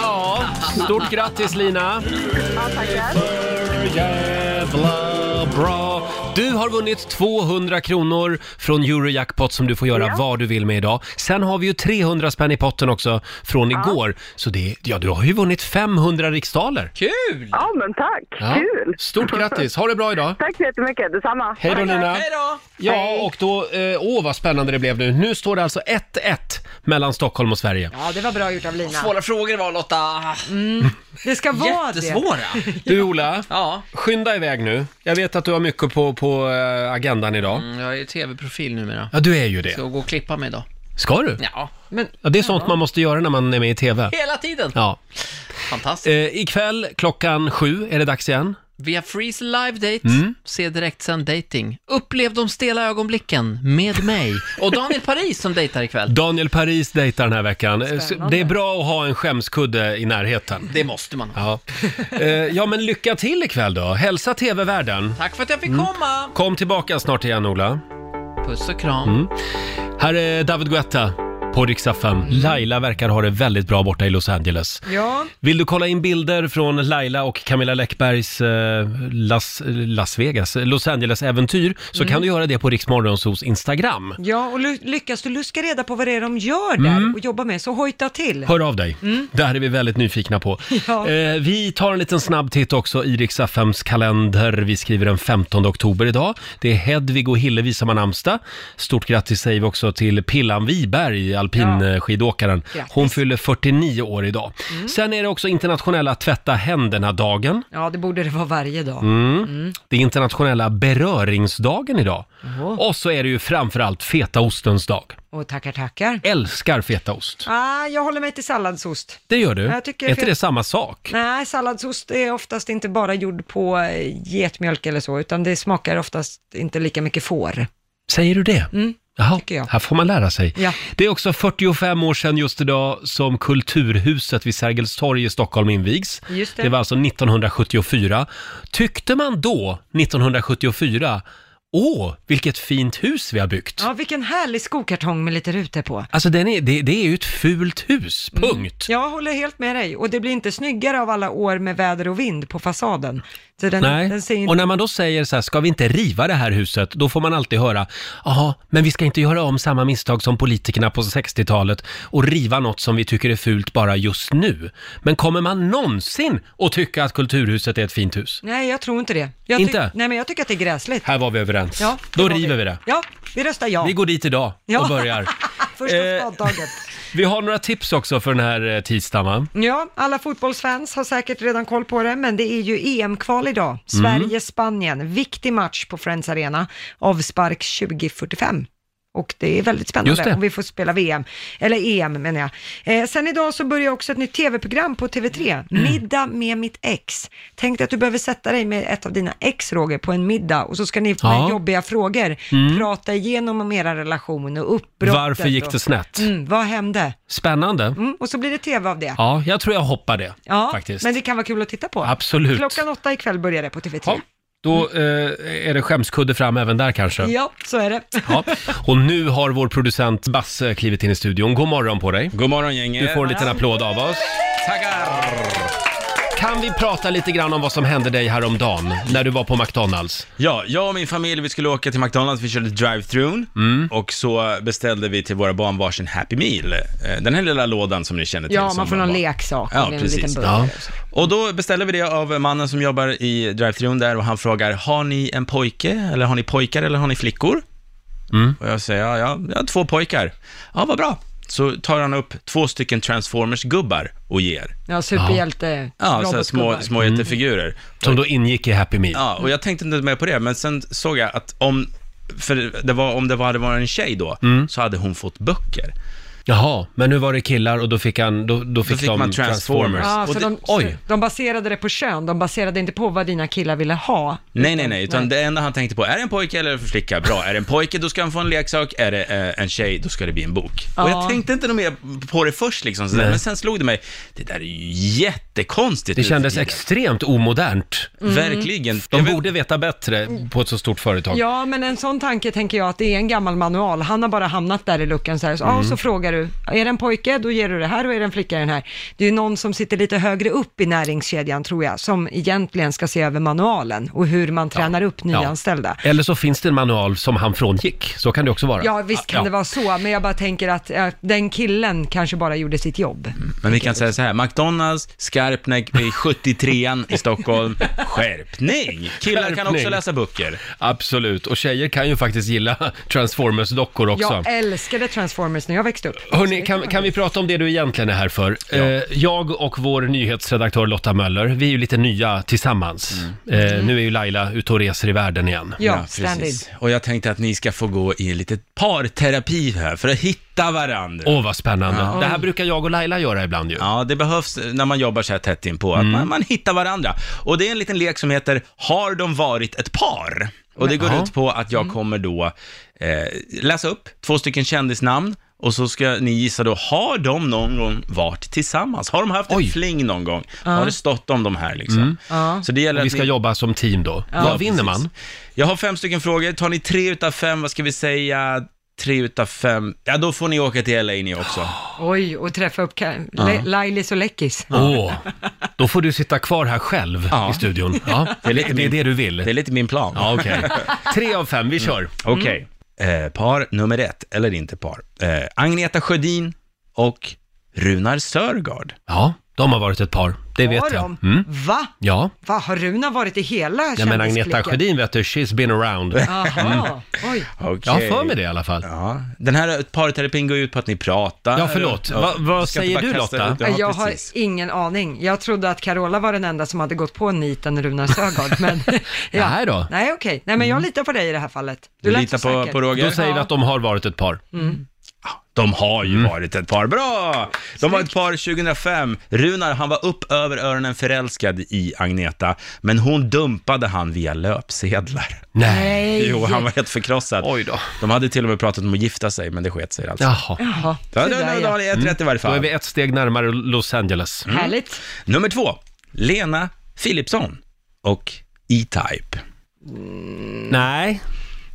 [SPEAKER 1] Ja, stort grattis Lina! Jävla bra! Du har vunnit 200 kronor från Eurojackpot som du får göra
[SPEAKER 8] Ja.
[SPEAKER 1] vad du vill med idag. Sen har vi ju 300 spänn i potten också från igår. Så det, ja, du har ju vunnit 500 riksdaler.
[SPEAKER 7] Kul!
[SPEAKER 10] Ja, men tack.
[SPEAKER 1] Ja.
[SPEAKER 10] Kul.
[SPEAKER 1] Stort grattis! Ha det bra idag!
[SPEAKER 10] Tack så jättemycket. Detsamma.
[SPEAKER 1] Hej då Lina!
[SPEAKER 10] då.
[SPEAKER 1] Ja, och då, eh, åh vad spännande det blev nu. Nu står det alltså 1-1 mellan Stockholm och Sverige.
[SPEAKER 2] Ja, det var bra gjort av Lina.
[SPEAKER 7] Svåra frågor det var Lotta.
[SPEAKER 2] Det ska vara det.
[SPEAKER 7] Jättesvåra.
[SPEAKER 2] [LAUGHS]
[SPEAKER 1] Du Ola,
[SPEAKER 7] Ja.
[SPEAKER 1] skynda iväg nu. Jag vet att du har mycket på, på eh, agendan idag.
[SPEAKER 7] Mm, Jag är ju tv-profil numera.
[SPEAKER 1] Ja, du är ju det.
[SPEAKER 7] Ska gå och klippa mig idag.
[SPEAKER 1] Ska du?
[SPEAKER 7] Ja,
[SPEAKER 2] men
[SPEAKER 1] Ja, det är sånt man måste göra när man är med i TV.
[SPEAKER 7] hela tiden.
[SPEAKER 1] Ja.
[SPEAKER 7] Fantastiskt.
[SPEAKER 1] Eh, ikväll klockan sju är det dags igen.
[SPEAKER 7] Via Freeze Live Date,
[SPEAKER 1] Mm.
[SPEAKER 7] se direktsänd dating. Upplev de stela ögonblicken med mig och Daniel Paris som dejtar ikväll.
[SPEAKER 1] Daniel Paris dejtar den här veckan. Eh, så
[SPEAKER 7] Spännande.
[SPEAKER 1] Det är bra att ha en skämskudde i närheten.
[SPEAKER 7] Det måste man ha.
[SPEAKER 1] Ja, eh, ja men lycka till ikväll då. Hälsa TV-världen.
[SPEAKER 7] Tack för att jag fick
[SPEAKER 1] Mm.
[SPEAKER 7] komma.
[SPEAKER 1] Kom tillbaka snart igen Ola.
[SPEAKER 7] Puss och kram.
[SPEAKER 1] Mm. Här är David Guetta på riksdag 5. Laila verkar ha det väldigt bra borta i Los Angeles.
[SPEAKER 2] Ja,
[SPEAKER 1] Vill du kolla in bilder från Laila och Camilla Läckbergs eh, Las, Las Vegas, eh, Los Angeles-äventyr så
[SPEAKER 2] Mm.
[SPEAKER 1] kan du göra det på Riksmorgonsos Instagram.
[SPEAKER 2] ja och ly- lyckas du luska reda på vad det är de gör där och jobbar med, så hojta till.
[SPEAKER 1] Hör av dig.
[SPEAKER 2] Mm.
[SPEAKER 1] Det här är vi väldigt nyfikna på.
[SPEAKER 2] [LAUGHS] Ja.
[SPEAKER 1] Eh, vi tar en liten snabb titt också i Rix FMs kalender. Vi skriver den 15 oktober idag. Det är Hedvig och Hillevi som har namnsdag. Stort grattis säger vi också till Pillan Wiberg, alpinskidåkaren.
[SPEAKER 2] Grattis. Mm.
[SPEAKER 1] Hon fyller 49 år idag. Sen är det också internationella tvätta händerna-dagen.
[SPEAKER 2] Ja, det borde det vara varje dag.
[SPEAKER 1] Mm.
[SPEAKER 2] Mm.
[SPEAKER 1] Det är internationella beröringsdagen idag. Och så är det ju framförallt fetaostens dag.
[SPEAKER 2] Och tackar, tackar.
[SPEAKER 1] Älskar fetaost.
[SPEAKER 2] Ah, jag håller mig till salladsost.
[SPEAKER 1] Det gör du.
[SPEAKER 2] Jag tycker
[SPEAKER 1] är inte
[SPEAKER 2] fet-
[SPEAKER 1] det samma sak?
[SPEAKER 2] Nej, salladsost är oftast inte bara gjord på eh, getmjölk eller så, utan det smakar oftast inte lika mycket får.
[SPEAKER 1] Säger du det?
[SPEAKER 2] Mm.
[SPEAKER 1] Jaha, här får man lära sig.
[SPEAKER 2] Ja.
[SPEAKER 1] Det är också 45 år sedan just idag som Kulturhuset vid Sergels torg i Stockholm invigs.
[SPEAKER 2] Just det.
[SPEAKER 1] var alltså 1974. Tyckte man då, 1974, åh, vilket fint hus vi har byggt.
[SPEAKER 2] Ja, vilken härlig skokartong med lite rutor på.
[SPEAKER 1] Alltså den är, det, det är ju ett fult hus, punkt.
[SPEAKER 2] Jag håller helt med dig, och det blir inte snyggare av alla år med väder och vind på fasaden. Så den,
[SPEAKER 1] Nej,
[SPEAKER 2] den ser ju
[SPEAKER 1] och
[SPEAKER 2] inte...
[SPEAKER 1] när man då säger så här, ska vi inte riva det här huset? Då får man alltid höra, jaha, men vi ska inte göra om samma misstag som politikerna på 60-talet och riva något som vi tycker är fult bara just nu. Men kommer man någonsin att tycka att Kulturhuset är ett fint hus?
[SPEAKER 2] Nej, jag tror inte det. Jag
[SPEAKER 1] Inte?
[SPEAKER 2] Nej, men jag tycker att det är gräsligt.
[SPEAKER 1] Här var vi överens.
[SPEAKER 2] Ja, det
[SPEAKER 1] då
[SPEAKER 2] var
[SPEAKER 1] river vi det.
[SPEAKER 2] Ja, vi röstar ja.
[SPEAKER 1] Vi går Eh. dit idag
[SPEAKER 2] Ja.
[SPEAKER 1] och börjar.
[SPEAKER 2] Första spadtaget.
[SPEAKER 1] Vi har några tips också för den här eh, tisdagen, va?
[SPEAKER 2] Ja, alla fotbollsfans har säkert redan koll på det, men det är ju EM-kval idag.
[SPEAKER 1] Mm.
[SPEAKER 2] Sverige-Spanien, viktig match på Friends Arena, avspark 2045. Och det är väldigt
[SPEAKER 1] Just det.
[SPEAKER 2] spännande och vi får spela VM, eller EM menar jag. Eh, sen idag så börjar också ett nytt tv-program på TV3,
[SPEAKER 1] Mm.
[SPEAKER 2] Middag med mitt ex. Tänk dig att du behöver sätta dig med ett av dina ex, Roger, på en middag och så ska ni
[SPEAKER 1] Ja.
[SPEAKER 2] med jobbiga frågor
[SPEAKER 1] Mm.
[SPEAKER 2] prata igenom om era relation och uppbrottet.
[SPEAKER 1] Varför gick
[SPEAKER 2] och-
[SPEAKER 1] det snett?
[SPEAKER 2] Mm, vad hände?
[SPEAKER 1] Spännande.
[SPEAKER 2] Mm, och så blir det tv av det.
[SPEAKER 1] Ja, jag tror jag hoppar det
[SPEAKER 2] Ja,
[SPEAKER 1] faktiskt.
[SPEAKER 2] men det kan vara kul att titta på.
[SPEAKER 1] Absolut.
[SPEAKER 2] Klockan åtta ikväll börjar det på TV3.
[SPEAKER 1] Då eh, är det skämskudde fram även där kanske.
[SPEAKER 2] Ja, så är det.
[SPEAKER 1] Ja, och nu har vår producent Basse klivit in i studion. God morgon på dig.
[SPEAKER 3] God morgon gänget.
[SPEAKER 1] Du får en liten applåd av oss.
[SPEAKER 3] Tackar!
[SPEAKER 1] Kan vi prata lite grann om vad som hände dig häromdagen när du var på McDonalds?
[SPEAKER 3] Ja, jag och min familj, vi skulle åka till McDonalds, vi körde drive-thrun
[SPEAKER 1] Mm.
[SPEAKER 3] och så beställde vi till våra barn varsin Happy Meal. Eh, Den här lilla lådan som ni känner till.
[SPEAKER 2] Ja,
[SPEAKER 3] som
[SPEAKER 2] man får någon
[SPEAKER 3] var-
[SPEAKER 2] leksak
[SPEAKER 3] Ja,
[SPEAKER 2] eller en
[SPEAKER 3] precis.
[SPEAKER 2] liten
[SPEAKER 3] Ja.
[SPEAKER 2] burgare. och så.
[SPEAKER 3] Och då beställde vi det av mannen som jobbar i drive-thrun där och han frågar, har ni en pojke, eller har ni pojkar eller har ni flickor?
[SPEAKER 1] Mm.
[SPEAKER 3] Och jag säger, ja, ja, jag har två pojkar. Ja, vad bra. Så tar han upp två stycken Transformers-gubbar och ger.
[SPEAKER 2] Ja, superhjälte,
[SPEAKER 3] Ja, så här små,
[SPEAKER 2] robotgubbar.
[SPEAKER 3] små
[SPEAKER 1] Mm.
[SPEAKER 3] jättefigurer.
[SPEAKER 1] Som då ingick i Happy Meal.
[SPEAKER 3] Ja, och jag tänkte inte mer på det, men sen såg jag att om, för det var, om det var, hade varit en tjej då,
[SPEAKER 1] Mm.
[SPEAKER 3] så hade hon fått böcker.
[SPEAKER 1] Jaha, men nu var det killar och då fick, han, då, då fick,
[SPEAKER 3] fick
[SPEAKER 1] de
[SPEAKER 3] man Transformers.
[SPEAKER 2] Ja,
[SPEAKER 3] Och
[SPEAKER 2] så
[SPEAKER 3] det-
[SPEAKER 2] de,
[SPEAKER 1] oj.
[SPEAKER 2] de baserade det på kön, de baserade inte på vad dina killar ville ha.
[SPEAKER 3] Nej, nej, nej, utan det enda han tänkte på, är det en pojke eller för flicka? Bra, är det en pojke då ska han få en leksak, är det eh, en tjej då ska det bli en bok. Och
[SPEAKER 2] Ja.
[SPEAKER 3] jag tänkte inte nog mer på det först liksom, sådär, men sen slog det mig, det där är ju jättekonstigt.
[SPEAKER 1] Det
[SPEAKER 3] nu för
[SPEAKER 1] kändes
[SPEAKER 3] tiden.
[SPEAKER 1] extremt omodernt.
[SPEAKER 3] Verkligen.
[SPEAKER 1] De
[SPEAKER 3] Jag vet-
[SPEAKER 1] borde veta bättre på ett så stort företag.
[SPEAKER 2] Ja, men en sån tanke tänker jag att det är en gammal manual. Han har bara hamnat där i luckan så här. Så, ja, så frågar du, är det en pojke, då ger du det här och är det en flicka, den här. Det är ju någon som sitter lite högre upp i näringskedjan, tror jag, som egentligen ska se över manualen och hur man tränar upp nyanställda.
[SPEAKER 1] Eller så finns det en manual som han frångick. Så kan det också vara.
[SPEAKER 2] Ja, visst kan
[SPEAKER 1] Ja.
[SPEAKER 2] det vara så, men jag bara tänker att eh, den killen kanske bara gjorde sitt jobb.
[SPEAKER 3] Men vi kan säga så här, McDonalds, Skarpnäck, vid 73an
[SPEAKER 1] [LAUGHS]
[SPEAKER 3] i Stockholm, skärpning! Killar kan också
[SPEAKER 1] Skärpning.
[SPEAKER 3] läsa böcker.
[SPEAKER 1] Absolut, och tjejer kan ju faktiskt gilla [LAUGHS] Transformers-dockor också.
[SPEAKER 2] Jag älskade Transformers när jag växte upp.
[SPEAKER 1] Hörni, kan, kan vi prata om det du egentligen är här för? Eh, jag och vår nyhetsredaktör Lotta Möller, vi är ju lite nya tillsammans.
[SPEAKER 3] Mm.
[SPEAKER 1] Eh, nu är ju Laila ute och reser i världen igen.
[SPEAKER 2] Ja, ständigt.
[SPEAKER 3] precis. Och jag tänkte att ni ska få gå i lite parterapi här för att hitta varandra.
[SPEAKER 1] Åh, vad spännande. Det här brukar jag och Laila göra ibland ju.
[SPEAKER 3] Ja, det behövs när man jobbar så här tätt inpå,
[SPEAKER 1] Mm.
[SPEAKER 3] att man, man hittar varandra. Och det är en liten lek som heter Har de varit ett par? Och det går ut på att
[SPEAKER 1] Mm.
[SPEAKER 3] jag kommer då eh, läsa upp två stycken kändisnamn och så ska ni gissa då, har de någon gång varit tillsammans? Har de haft en fling någon gång? Har det stått om de här liksom? Så det gäller
[SPEAKER 1] Mm. Vi
[SPEAKER 3] att
[SPEAKER 1] ska
[SPEAKER 3] ni-
[SPEAKER 1] jobba som team då. Vad vinner
[SPEAKER 3] precis.
[SPEAKER 1] man?
[SPEAKER 3] Jag har fem stycken frågor. Tar ni tre utav fem, vad ska vi säga? Tre utav fem. Ja, då får ni åka till LA ni också.
[SPEAKER 2] Oj, och träffa upp Ka- Le- Lailis och Läckis.
[SPEAKER 1] Åh, då får du sitta kvar här själv
[SPEAKER 3] Ja.
[SPEAKER 1] i studion. Ja, det, är
[SPEAKER 3] lite
[SPEAKER 1] det,
[SPEAKER 3] min-
[SPEAKER 1] du vill.
[SPEAKER 3] Det är lite min Mm. plan.
[SPEAKER 1] Ja, okej. Tre av fem, vi kör.
[SPEAKER 3] Okej. Eh, par nummer ett, eller inte par. Eh, Agneta Sjödin och Runar Sörgard.
[SPEAKER 1] Ja, de har varit ett par. Det vet
[SPEAKER 2] Har
[SPEAKER 1] jag.
[SPEAKER 2] de?
[SPEAKER 1] Mm.
[SPEAKER 2] Va?
[SPEAKER 1] Ja,
[SPEAKER 2] Va, har Runa varit i hela
[SPEAKER 1] Nej, men
[SPEAKER 2] kändisklicken?
[SPEAKER 1] Agneta Sjödin vet du, she's been around.
[SPEAKER 2] Jaha,
[SPEAKER 3] Mm.
[SPEAKER 2] oj.
[SPEAKER 3] Okay.
[SPEAKER 1] Jag har för mig det i alla fall.
[SPEAKER 3] Ja. Den här parterapin går ut på att ni pratar.
[SPEAKER 1] Ja, förlåt. Va- vad
[SPEAKER 3] ska inte
[SPEAKER 1] säger
[SPEAKER 3] bara
[SPEAKER 1] du,
[SPEAKER 3] kasta
[SPEAKER 1] Lotta?
[SPEAKER 3] ut- Ja,
[SPEAKER 2] jag har
[SPEAKER 3] precis.
[SPEAKER 2] ingen aning. Jag trodde att Carola var den enda som hade gått på niten Runar
[SPEAKER 3] [LAUGHS]
[SPEAKER 2] Sögaard, men... [LAUGHS] ja.
[SPEAKER 1] Nej då.
[SPEAKER 2] Nej, okej. Nej, men jag litar på dig i det här fallet. Du
[SPEAKER 3] Mm. Du
[SPEAKER 2] lät
[SPEAKER 3] litar
[SPEAKER 2] så
[SPEAKER 3] på,
[SPEAKER 2] säker.
[SPEAKER 3] på Roger?
[SPEAKER 1] Då säger vi att de har varit ett par.
[SPEAKER 2] Mm.
[SPEAKER 3] De har ju varit ett par. Bra! De var ett par 2005. Runar, han var upp över öronen förälskad i Agneta, men hon dumpade han via löpsedlar.
[SPEAKER 1] Nej.
[SPEAKER 2] Nej.
[SPEAKER 3] Jo, han var helt förkrossad.
[SPEAKER 1] Oj då.
[SPEAKER 3] De hade till och med pratat om att gifta sig, men det sket sig alltså.
[SPEAKER 1] Jaha.
[SPEAKER 2] Jaha,
[SPEAKER 3] Ja,
[SPEAKER 2] så
[SPEAKER 3] det
[SPEAKER 2] där,
[SPEAKER 3] är Mm.
[SPEAKER 2] ja.
[SPEAKER 3] Daniel, ett rätt i varje
[SPEAKER 1] Då är
[SPEAKER 3] fall.
[SPEAKER 1] vi ett steg närmare Los Angeles.
[SPEAKER 2] Härligt.
[SPEAKER 3] Nummer två, Lena Philipsson och E-Type.
[SPEAKER 1] Nej,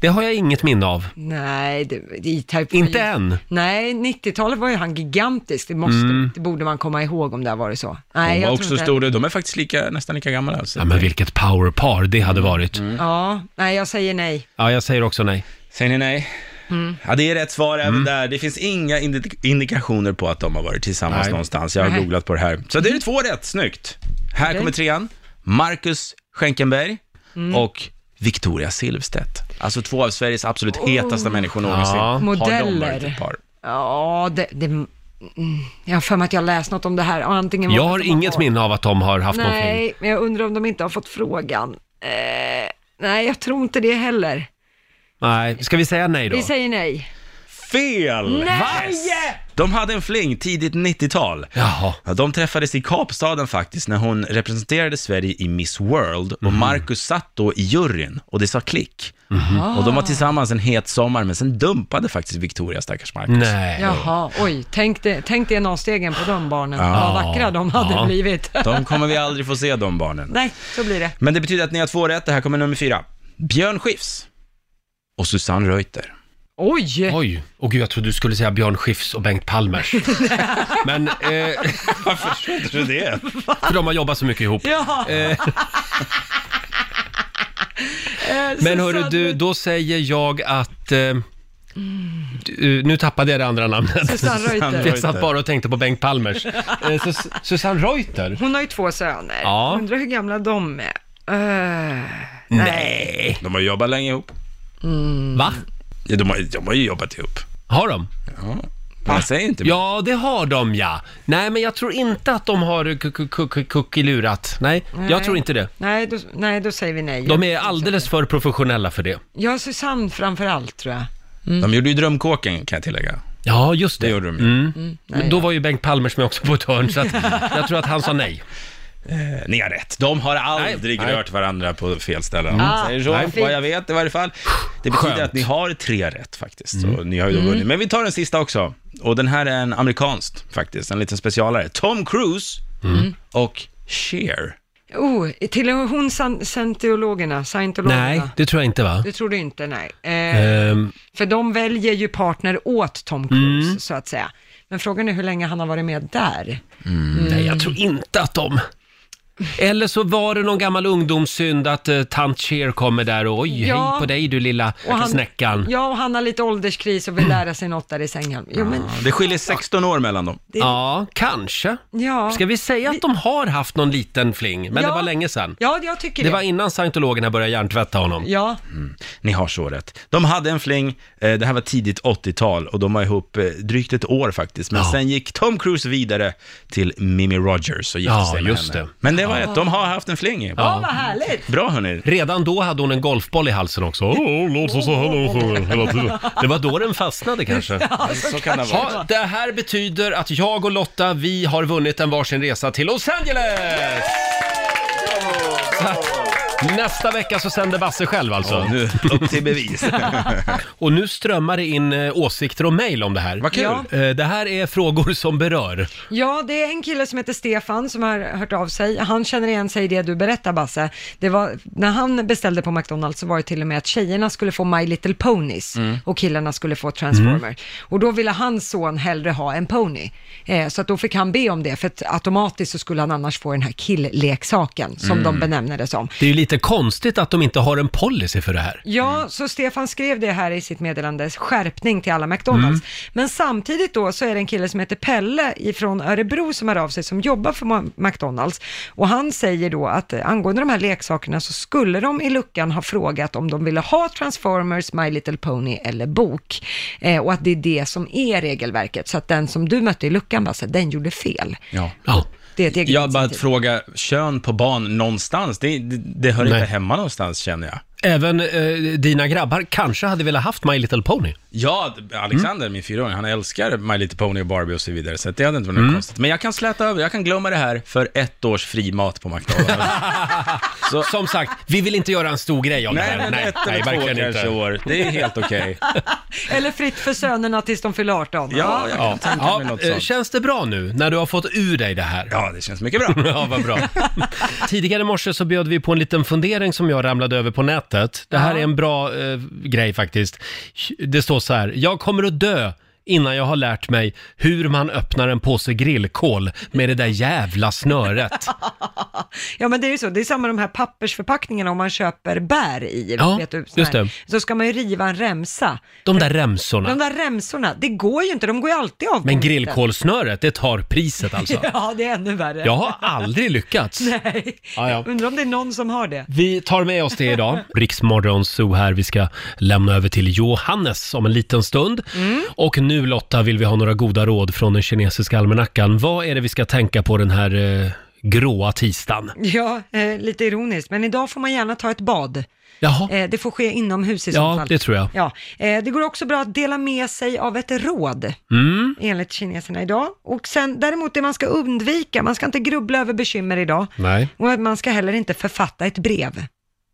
[SPEAKER 1] det har jag inget minne av.
[SPEAKER 2] Mm. Nej, det, det är E-Type.
[SPEAKER 1] Inte än.
[SPEAKER 2] Nej, 90-talet var ju han gigantisk. Det, måste,
[SPEAKER 1] Mm.
[SPEAKER 2] det borde man komma ihåg om det har varit så. Nej, jag
[SPEAKER 3] Hon var
[SPEAKER 2] tror
[SPEAKER 3] också
[SPEAKER 2] inte-
[SPEAKER 3] stor, de är faktiskt lika, nästan lika gamla. Alltså.
[SPEAKER 1] Ja, men vilket powerpar det hade
[SPEAKER 2] Mm.
[SPEAKER 1] varit.
[SPEAKER 2] Ja, nej, jag säger nej.
[SPEAKER 1] Ja, jag säger också nej.
[SPEAKER 3] Säger ni nej?
[SPEAKER 2] Mm.
[SPEAKER 3] Ja, det är rätt svar även
[SPEAKER 1] Mm.
[SPEAKER 3] där. Det finns inga indi- indikationer på att de har varit tillsammans
[SPEAKER 1] Nej.
[SPEAKER 3] någonstans. Jag har
[SPEAKER 2] Nej.
[SPEAKER 3] googlat på det här. Så det är två rätt, snyggt. Här kommer trean. Marcus Schenkenberg
[SPEAKER 2] Mm.
[SPEAKER 3] och Victoria Silvstedt. Alltså två av Sveriges absolut hetaste människor någonsin.
[SPEAKER 1] Ja.
[SPEAKER 3] Har de varit
[SPEAKER 2] Oh. Modeller.
[SPEAKER 3] ett par?
[SPEAKER 2] Ja, det... det mm, jag har för mig att jag läst något om det här. Och Antingen var
[SPEAKER 1] Jag
[SPEAKER 2] det
[SPEAKER 1] har
[SPEAKER 2] att de
[SPEAKER 1] inget
[SPEAKER 2] varit-
[SPEAKER 1] minne av att de har haft någonting.
[SPEAKER 2] Nej, men jag undrar om de inte har fått frågan. Eh, nej, jag tror inte det heller.
[SPEAKER 1] Nej, ska vi säga nej då?
[SPEAKER 2] Vi säger nej.
[SPEAKER 3] Fel!
[SPEAKER 2] Nej!
[SPEAKER 3] De hade en fling tidigt 90-tal.
[SPEAKER 1] Jaha.
[SPEAKER 3] Ja, de träffades i Kapstaden faktiskt när hon representerade Sverige i Miss World och
[SPEAKER 1] Mhm.
[SPEAKER 3] Marcus satt då i juryn och det sa klick.
[SPEAKER 1] Mhm.
[SPEAKER 3] Och de var tillsammans en het sommar men sen dumpade faktiskt Victoria stackars Marcus.
[SPEAKER 1] Nej.
[SPEAKER 2] Jaha, oj, tänk dig, tänk dig avstegen på de barnen.
[SPEAKER 1] Ja.
[SPEAKER 2] Vad vackra de hade
[SPEAKER 1] Ja.
[SPEAKER 2] blivit. [LAUGHS]
[SPEAKER 3] De kommer vi aldrig få se de barnen.
[SPEAKER 2] nej, så blir det.
[SPEAKER 3] Men det betyder att ni har två rätt, det här kommer nummer fyra. Björn Skifs och Susanne Reuter.
[SPEAKER 2] Oj!
[SPEAKER 1] Oj! Och gud, jag trodde du skulle säga Björn Skifs och Bengt
[SPEAKER 2] [LAUGHS]
[SPEAKER 1] Palmers. Men eh, varför trodde du det? För de har jobbat så mycket ihop.
[SPEAKER 2] Ja.
[SPEAKER 1] Eh, Men hörru du, då säger jag att... Eh,
[SPEAKER 2] Mm.
[SPEAKER 1] du, nu tappade jag det andra namnet.
[SPEAKER 2] Susanne Reuter.
[SPEAKER 1] Jag satt bara och tänkte på Bengt Palmers. Eh, Sus Susanne Reuter?
[SPEAKER 2] Hon har ju två söner.
[SPEAKER 1] Ja.
[SPEAKER 2] Undrar hur gamla de är. Eh,
[SPEAKER 1] Nej.
[SPEAKER 3] De har jobbat länge ihop.
[SPEAKER 1] Va?
[SPEAKER 3] Ja, de, har, de har ju jobbat ihop.
[SPEAKER 1] Har de?
[SPEAKER 3] Ja. Men jag säger inte mer.
[SPEAKER 1] Ah. Ja, det har de ja. Nej, men jag tror inte att de har ku- ku- ku- ku- kuckelurat. Nej, jag
[SPEAKER 2] Nej.
[SPEAKER 1] tror inte det.
[SPEAKER 2] nej, då, nej, då säger vi nej.
[SPEAKER 1] De är alldeles för professionella för det.
[SPEAKER 2] Jag har Susanne framför allt tror jag.
[SPEAKER 3] De gjorde ju Drömkåken, kan jag tillägga.
[SPEAKER 1] Ja, just det.
[SPEAKER 3] Det gjorde de ju.
[SPEAKER 1] Mm. Men
[SPEAKER 2] nej,
[SPEAKER 1] då var ju Bengt Palmers med också på ett hörn, så att jag tror att han sa nej.
[SPEAKER 3] Eh, Ni har rätt. De har aldrig
[SPEAKER 1] Nej. Mm.
[SPEAKER 3] rört varandra på fel ställen.
[SPEAKER 2] Ah,
[SPEAKER 3] Säger så,
[SPEAKER 2] nej.
[SPEAKER 3] vad jag vet i varje fall. Det betyder
[SPEAKER 1] Skönt. Mm.
[SPEAKER 3] att ni har tre rätt faktiskt. Så ni har ju då vunnit. Men vi tar den sista också. Och den här är en amerikansk faktiskt, en liten specialare. Tom Cruise
[SPEAKER 1] Mm.
[SPEAKER 3] och Cher.
[SPEAKER 2] Oh, till hon san- scientologerna, scientologerna.
[SPEAKER 1] Nej, det tror jag inte va?
[SPEAKER 2] Det tror du inte, nej. Eh,
[SPEAKER 1] Ehm,
[SPEAKER 2] För de väljer ju partner åt Tom Cruise,
[SPEAKER 1] Mm.
[SPEAKER 2] så att säga. Men frågan är hur länge han har varit med där.
[SPEAKER 1] Nej, jag tror inte att de... Eller så var det någon gammal ungdomssynd att eh, tant Cher kommer där och oj,
[SPEAKER 2] Ja.
[SPEAKER 1] hej på dig du lilla snäckan. Mm.
[SPEAKER 2] Ja, och han har lite ålderskris och vill lära sig något där i sängen. Jo, men,
[SPEAKER 3] Det skiljer 16 år mellan dem.
[SPEAKER 1] Ja, kanske.
[SPEAKER 2] ja.
[SPEAKER 1] Ska vi säga att de har haft någon liten fling, men det
[SPEAKER 2] Ja.
[SPEAKER 1] var länge sedan.
[SPEAKER 2] ja, jag tycker det.
[SPEAKER 1] Det var innan scientologerna började hjärntvätta honom.
[SPEAKER 2] Ja,
[SPEAKER 3] Ni har så rätt. De hade en fling, eh, det här var tidigt 80-tal och de var ihop eh, drygt ett år faktiskt. Men
[SPEAKER 1] Ja.
[SPEAKER 3] sen gick Tom Cruise vidare till Mimi Rogers och gifte
[SPEAKER 1] Ja,
[SPEAKER 3] sig med
[SPEAKER 1] just
[SPEAKER 3] henne.
[SPEAKER 1] det.
[SPEAKER 3] Men det var rätt, de har haft en fling.
[SPEAKER 2] ja. vad härligt.
[SPEAKER 3] Bra hörni.
[SPEAKER 1] Redan då hade hon en golfboll i halsen också. Åh, låt oss ha låt oss ha- hela tiden. Det var då den fastnade kanske.
[SPEAKER 3] Så kan det vara.
[SPEAKER 1] Ja, det här betyder att jag och Lotta, vi har vunnit en varsin resa till Los Angeles! Så att Nästa vecka så sänder Basse själv alltså.
[SPEAKER 3] Ja, nu, upp till bevis.
[SPEAKER 1] Och nu strömmar det in eh, åsikter och mejl om det här.
[SPEAKER 3] Vad kul.
[SPEAKER 2] Ja.
[SPEAKER 1] Eh, Det här är frågor som berör.
[SPEAKER 2] Ja, det är en kille som heter Stefan som har hört av sig. Han känner igen sig i det du berättar, Basse. Det var, när han beställde på McDonalds så var det till och med att tjejerna skulle få My Little Ponies och killarna skulle få Transformers. Och då ville hans son hellre ha en pony. Eh, så att då fick han be om det, för att automatiskt så skulle han annars få den här killleksaken, som de benämner det som.
[SPEAKER 1] Det är ju lite konstigt att de inte har en policy för det här.
[SPEAKER 2] Ja,
[SPEAKER 3] Mm.
[SPEAKER 2] så Stefan skrev det här i sitt meddelande, skärpning till alla McDonalds.
[SPEAKER 3] Mm.
[SPEAKER 2] Men samtidigt då så är det en kille som heter Pelle ifrån Örebro som hör av sig som jobbar för Ma- McDonalds. Och han säger då att eh, angående de här leksakerna så skulle de i luckan ha frågat om de ville ha Transformers, My Little Pony eller bok. Eh, och att det är det som är regelverket. Så att den som du mötte i luckan, Basse, den gjorde fel.
[SPEAKER 3] Ja.
[SPEAKER 1] Ja.
[SPEAKER 2] Det är ett eget
[SPEAKER 3] Jag bara att
[SPEAKER 2] initiativ.
[SPEAKER 3] fråga kön på barn någonstans, det, det, det hör
[SPEAKER 1] Nej.
[SPEAKER 3] inte hemma någonstans känner jag.
[SPEAKER 1] Även eh, dina grabbar kanske hade velat haft My Little Pony.
[SPEAKER 3] Ja, Alexander, min fyraåring, han älskar My Little Pony och Barbie och så vidare, så att det hade inte varit
[SPEAKER 1] Mm.
[SPEAKER 3] något konstigt. Men jag kan släta över, jag kan glömma det här för ett års fri mat på
[SPEAKER 1] [LAUGHS]
[SPEAKER 3] McDonalds.
[SPEAKER 1] Som sagt, vi vill inte göra en stor grej av det
[SPEAKER 3] nej,
[SPEAKER 1] här.
[SPEAKER 3] men ett eller två
[SPEAKER 1] verkligen
[SPEAKER 3] kanske år, det är
[SPEAKER 1] [LAUGHS]
[SPEAKER 3] helt okej.
[SPEAKER 2] Eller fritt för sönerna tills de fyller 18.
[SPEAKER 3] Ja, jag kan
[SPEAKER 1] Ja.
[SPEAKER 3] tänka mig
[SPEAKER 1] Ja,
[SPEAKER 3] något
[SPEAKER 1] eh,
[SPEAKER 3] sånt.
[SPEAKER 1] känns det bra nu när du har fått ur dig det här?
[SPEAKER 3] Ja, det känns mycket
[SPEAKER 1] [LAUGHS]
[SPEAKER 3] bra.
[SPEAKER 1] Ja, vad bra. Tidigare i morse så bjöd vi på en liten fundering som jag ramlade över på nätet. Det här är en bra eh, grej faktiskt. Det står så här, jag kommer att dö innan jag har lärt mig hur man öppnar en påse grillkol med det där jävla snöret.
[SPEAKER 2] Ja men det är ju så, det är samma de här pappersförpackningarna om man köper bär i.
[SPEAKER 1] Ja,
[SPEAKER 2] vet du, sån
[SPEAKER 1] just
[SPEAKER 2] här.
[SPEAKER 1] det.
[SPEAKER 2] Så ska man ju riva en remsa.
[SPEAKER 1] De där remsorna.
[SPEAKER 3] [LAUGHS]
[SPEAKER 2] De där remsorna, det går ju inte, de går ju alltid av. på
[SPEAKER 1] Men
[SPEAKER 2] mitten.
[SPEAKER 1] grillkolsnöret, det tar priset alltså.
[SPEAKER 2] [LAUGHS] Ja, det är ännu värre.
[SPEAKER 1] Jag har aldrig lyckats.
[SPEAKER 2] Nej.
[SPEAKER 1] Ja, ja.
[SPEAKER 2] Undrar om det är någon som har det.
[SPEAKER 1] Vi tar med oss det
[SPEAKER 2] [LAUGHS]
[SPEAKER 1] idag. Riksmorgon Zoo här. Vi ska lämna över till Johannes om en liten stund.
[SPEAKER 2] Mm.
[SPEAKER 1] Och nu Lotta vill vi ha några goda råd från den kinesiska almanackan. Vad är det vi ska tänka på den här eh, gråa tisdagen?
[SPEAKER 2] Ja, eh, lite ironiskt, men idag får man gärna ta ett bad.
[SPEAKER 1] Jaha.
[SPEAKER 2] Eh, det får ske inomhus i så
[SPEAKER 1] Ja,
[SPEAKER 2] fall.
[SPEAKER 1] det tror jag.
[SPEAKER 2] Ja, eh, det går också bra att dela med sig av ett råd,
[SPEAKER 1] Mm.
[SPEAKER 2] enligt kineserna idag. Och sen däremot det man ska undvika, man ska inte grubbla över bekymmer idag.
[SPEAKER 1] Nej.
[SPEAKER 2] Och att man ska heller inte författa ett brev.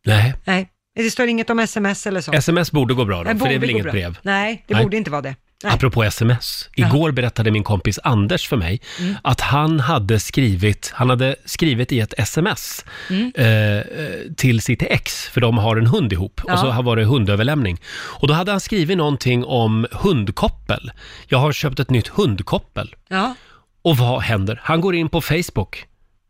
[SPEAKER 1] Nej.
[SPEAKER 2] Nej, det står inget om sms eller så.
[SPEAKER 1] Sms borde gå bra då,
[SPEAKER 2] Nej,
[SPEAKER 1] för det är
[SPEAKER 2] borde
[SPEAKER 1] väl
[SPEAKER 2] gå
[SPEAKER 1] inget
[SPEAKER 2] bra.
[SPEAKER 1] brev?
[SPEAKER 2] Nej, det
[SPEAKER 1] Nej.
[SPEAKER 2] borde inte vara det.
[SPEAKER 1] Apropå sms. Igår berättade min kompis Anders för mig
[SPEAKER 8] Mm.
[SPEAKER 1] att han hade skrivit, han hade skrivit i ett sms
[SPEAKER 8] Mm.
[SPEAKER 1] eh, eh, till sitt ex, för de har en hund ihop.
[SPEAKER 8] Ja.
[SPEAKER 1] Och så var det hundöverlämning. Och då hade han skrivit någonting om hundkoppel. Jag har köpt ett nytt hundkoppel.
[SPEAKER 2] Ja.
[SPEAKER 1] Och vad händer? Han går in på Facebook,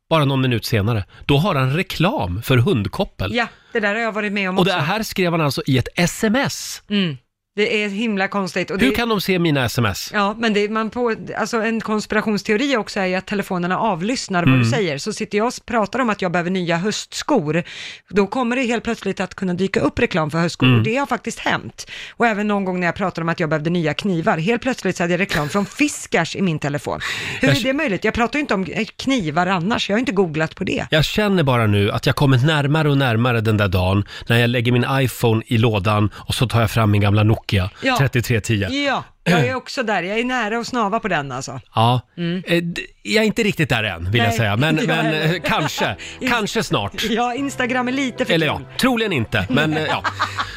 [SPEAKER 1] bara någon minut senare. Då har han reklam för hundkoppel.
[SPEAKER 2] ja, det där har jag varit med om
[SPEAKER 1] Och det
[SPEAKER 2] också.
[SPEAKER 1] här skrev han alltså i ett sms.
[SPEAKER 2] Mm. Det är himla konstigt. Och det...
[SPEAKER 1] Hur kan de se mina sms?
[SPEAKER 2] Ja, men det, man på, alltså en konspirationsteori också är ju att telefonerna avlyssnar vad
[SPEAKER 1] Mm.
[SPEAKER 2] du säger. Så sitter jag och pratar om att jag behöver nya höstskor, då kommer det helt plötsligt att kunna dyka upp reklam för höstskor.
[SPEAKER 1] Mm.
[SPEAKER 2] Och det har faktiskt hänt. Och även någon gång när jag pratade om att jag behövde nya knivar, helt plötsligt så hade jag reklam från Fiskars i min telefon. Hur är det möjligt? Jag pratar ju inte om eh, knivar annars, jag har inte googlat på det.
[SPEAKER 1] Jag känner bara nu att jag kommit närmare och närmare den där dagen när jag lägger min iPhone i lådan och så tar jag fram min gamla Nokia
[SPEAKER 2] Ja.
[SPEAKER 1] 3310.
[SPEAKER 2] Ja, jag är också där. Jag är nära att snava på den alltså.
[SPEAKER 1] Ja, Eh, d- jag är inte riktigt där än vill jag
[SPEAKER 2] Nej,
[SPEAKER 1] säga,
[SPEAKER 2] [LAUGHS]
[SPEAKER 1] men,
[SPEAKER 2] inte jag
[SPEAKER 1] men
[SPEAKER 2] heller.
[SPEAKER 1] eh,
[SPEAKER 2] [LAUGHS]
[SPEAKER 1] kanske, kanske snart.
[SPEAKER 2] Ja, Instagram är lite för
[SPEAKER 1] Eller ja,
[SPEAKER 2] kul.
[SPEAKER 1] troligen inte, men eh, ja.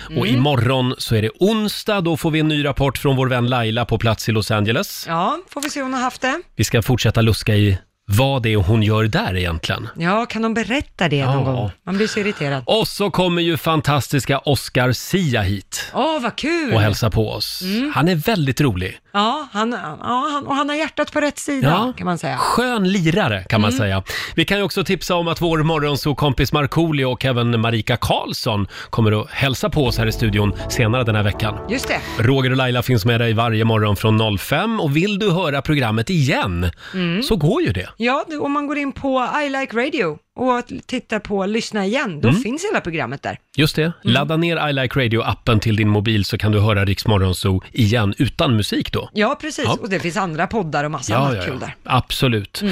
[SPEAKER 1] Och
[SPEAKER 2] Mm.
[SPEAKER 1] imorgon så är det onsdag, då får vi en ny rapport från vår vän Laila på plats i Los Angeles.
[SPEAKER 2] Ja, får vi se om hon har haft det.
[SPEAKER 1] Vi ska fortsätta luska i vad det är hon gör där egentligen.
[SPEAKER 2] Ja, kan de berätta det någon gång? Man blir så irriterad.
[SPEAKER 1] Och så kommer ju fantastiska Oscar Sia hit
[SPEAKER 2] Åh, vad kul!
[SPEAKER 1] och hälsar på oss.
[SPEAKER 2] Mm.
[SPEAKER 1] Han är väldigt rolig.
[SPEAKER 2] Ja, han, ja han, och han har hjärtat på rätt sida,
[SPEAKER 1] Ja.
[SPEAKER 2] kan man säga.
[SPEAKER 1] Skön lirare kan man
[SPEAKER 2] Mm.
[SPEAKER 1] säga. Vi kan ju också tipsa om att vår morgonsokompis Markoolio och även Marika Karlsson kommer att hälsa på oss här i studion senare den här veckan.
[SPEAKER 2] Just det.
[SPEAKER 1] Roger och Laila finns med dig varje morgon från 05 och vill du höra programmet igen
[SPEAKER 2] Mm.
[SPEAKER 1] så går ju det.
[SPEAKER 2] Ja, det- om man går in på I Like Radio och tittar på Lyssna igen, då
[SPEAKER 1] Mm.
[SPEAKER 2] finns hela programmet där.
[SPEAKER 1] Just det. Ladda ner I Like Radio-appen till din mobil så kan du höra Rix Morgonzoo igen utan musik då.
[SPEAKER 2] Ja, precis.
[SPEAKER 1] Ja.
[SPEAKER 2] Och det finns andra poddar och massa annat kul där. Mm.
[SPEAKER 1] Absolut.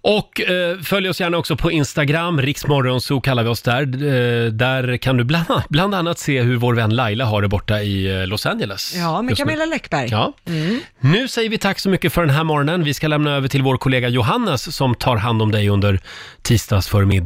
[SPEAKER 1] Och eh, följ oss gärna också på Instagram, riksmorgonso kallar vi oss där. Eh, där kan du bland, bland annat se hur vår vän Laila har det borta i eh, Los Angeles.
[SPEAKER 2] Ja, med
[SPEAKER 1] just nu.
[SPEAKER 2] Camilla Mm. Läckberg.
[SPEAKER 1] Ja. Nu säger vi tack så mycket för den här morgonen. Vi ska lämna över till vår kollega Johannes som tar hand om dig under tisdagsförmiddagen.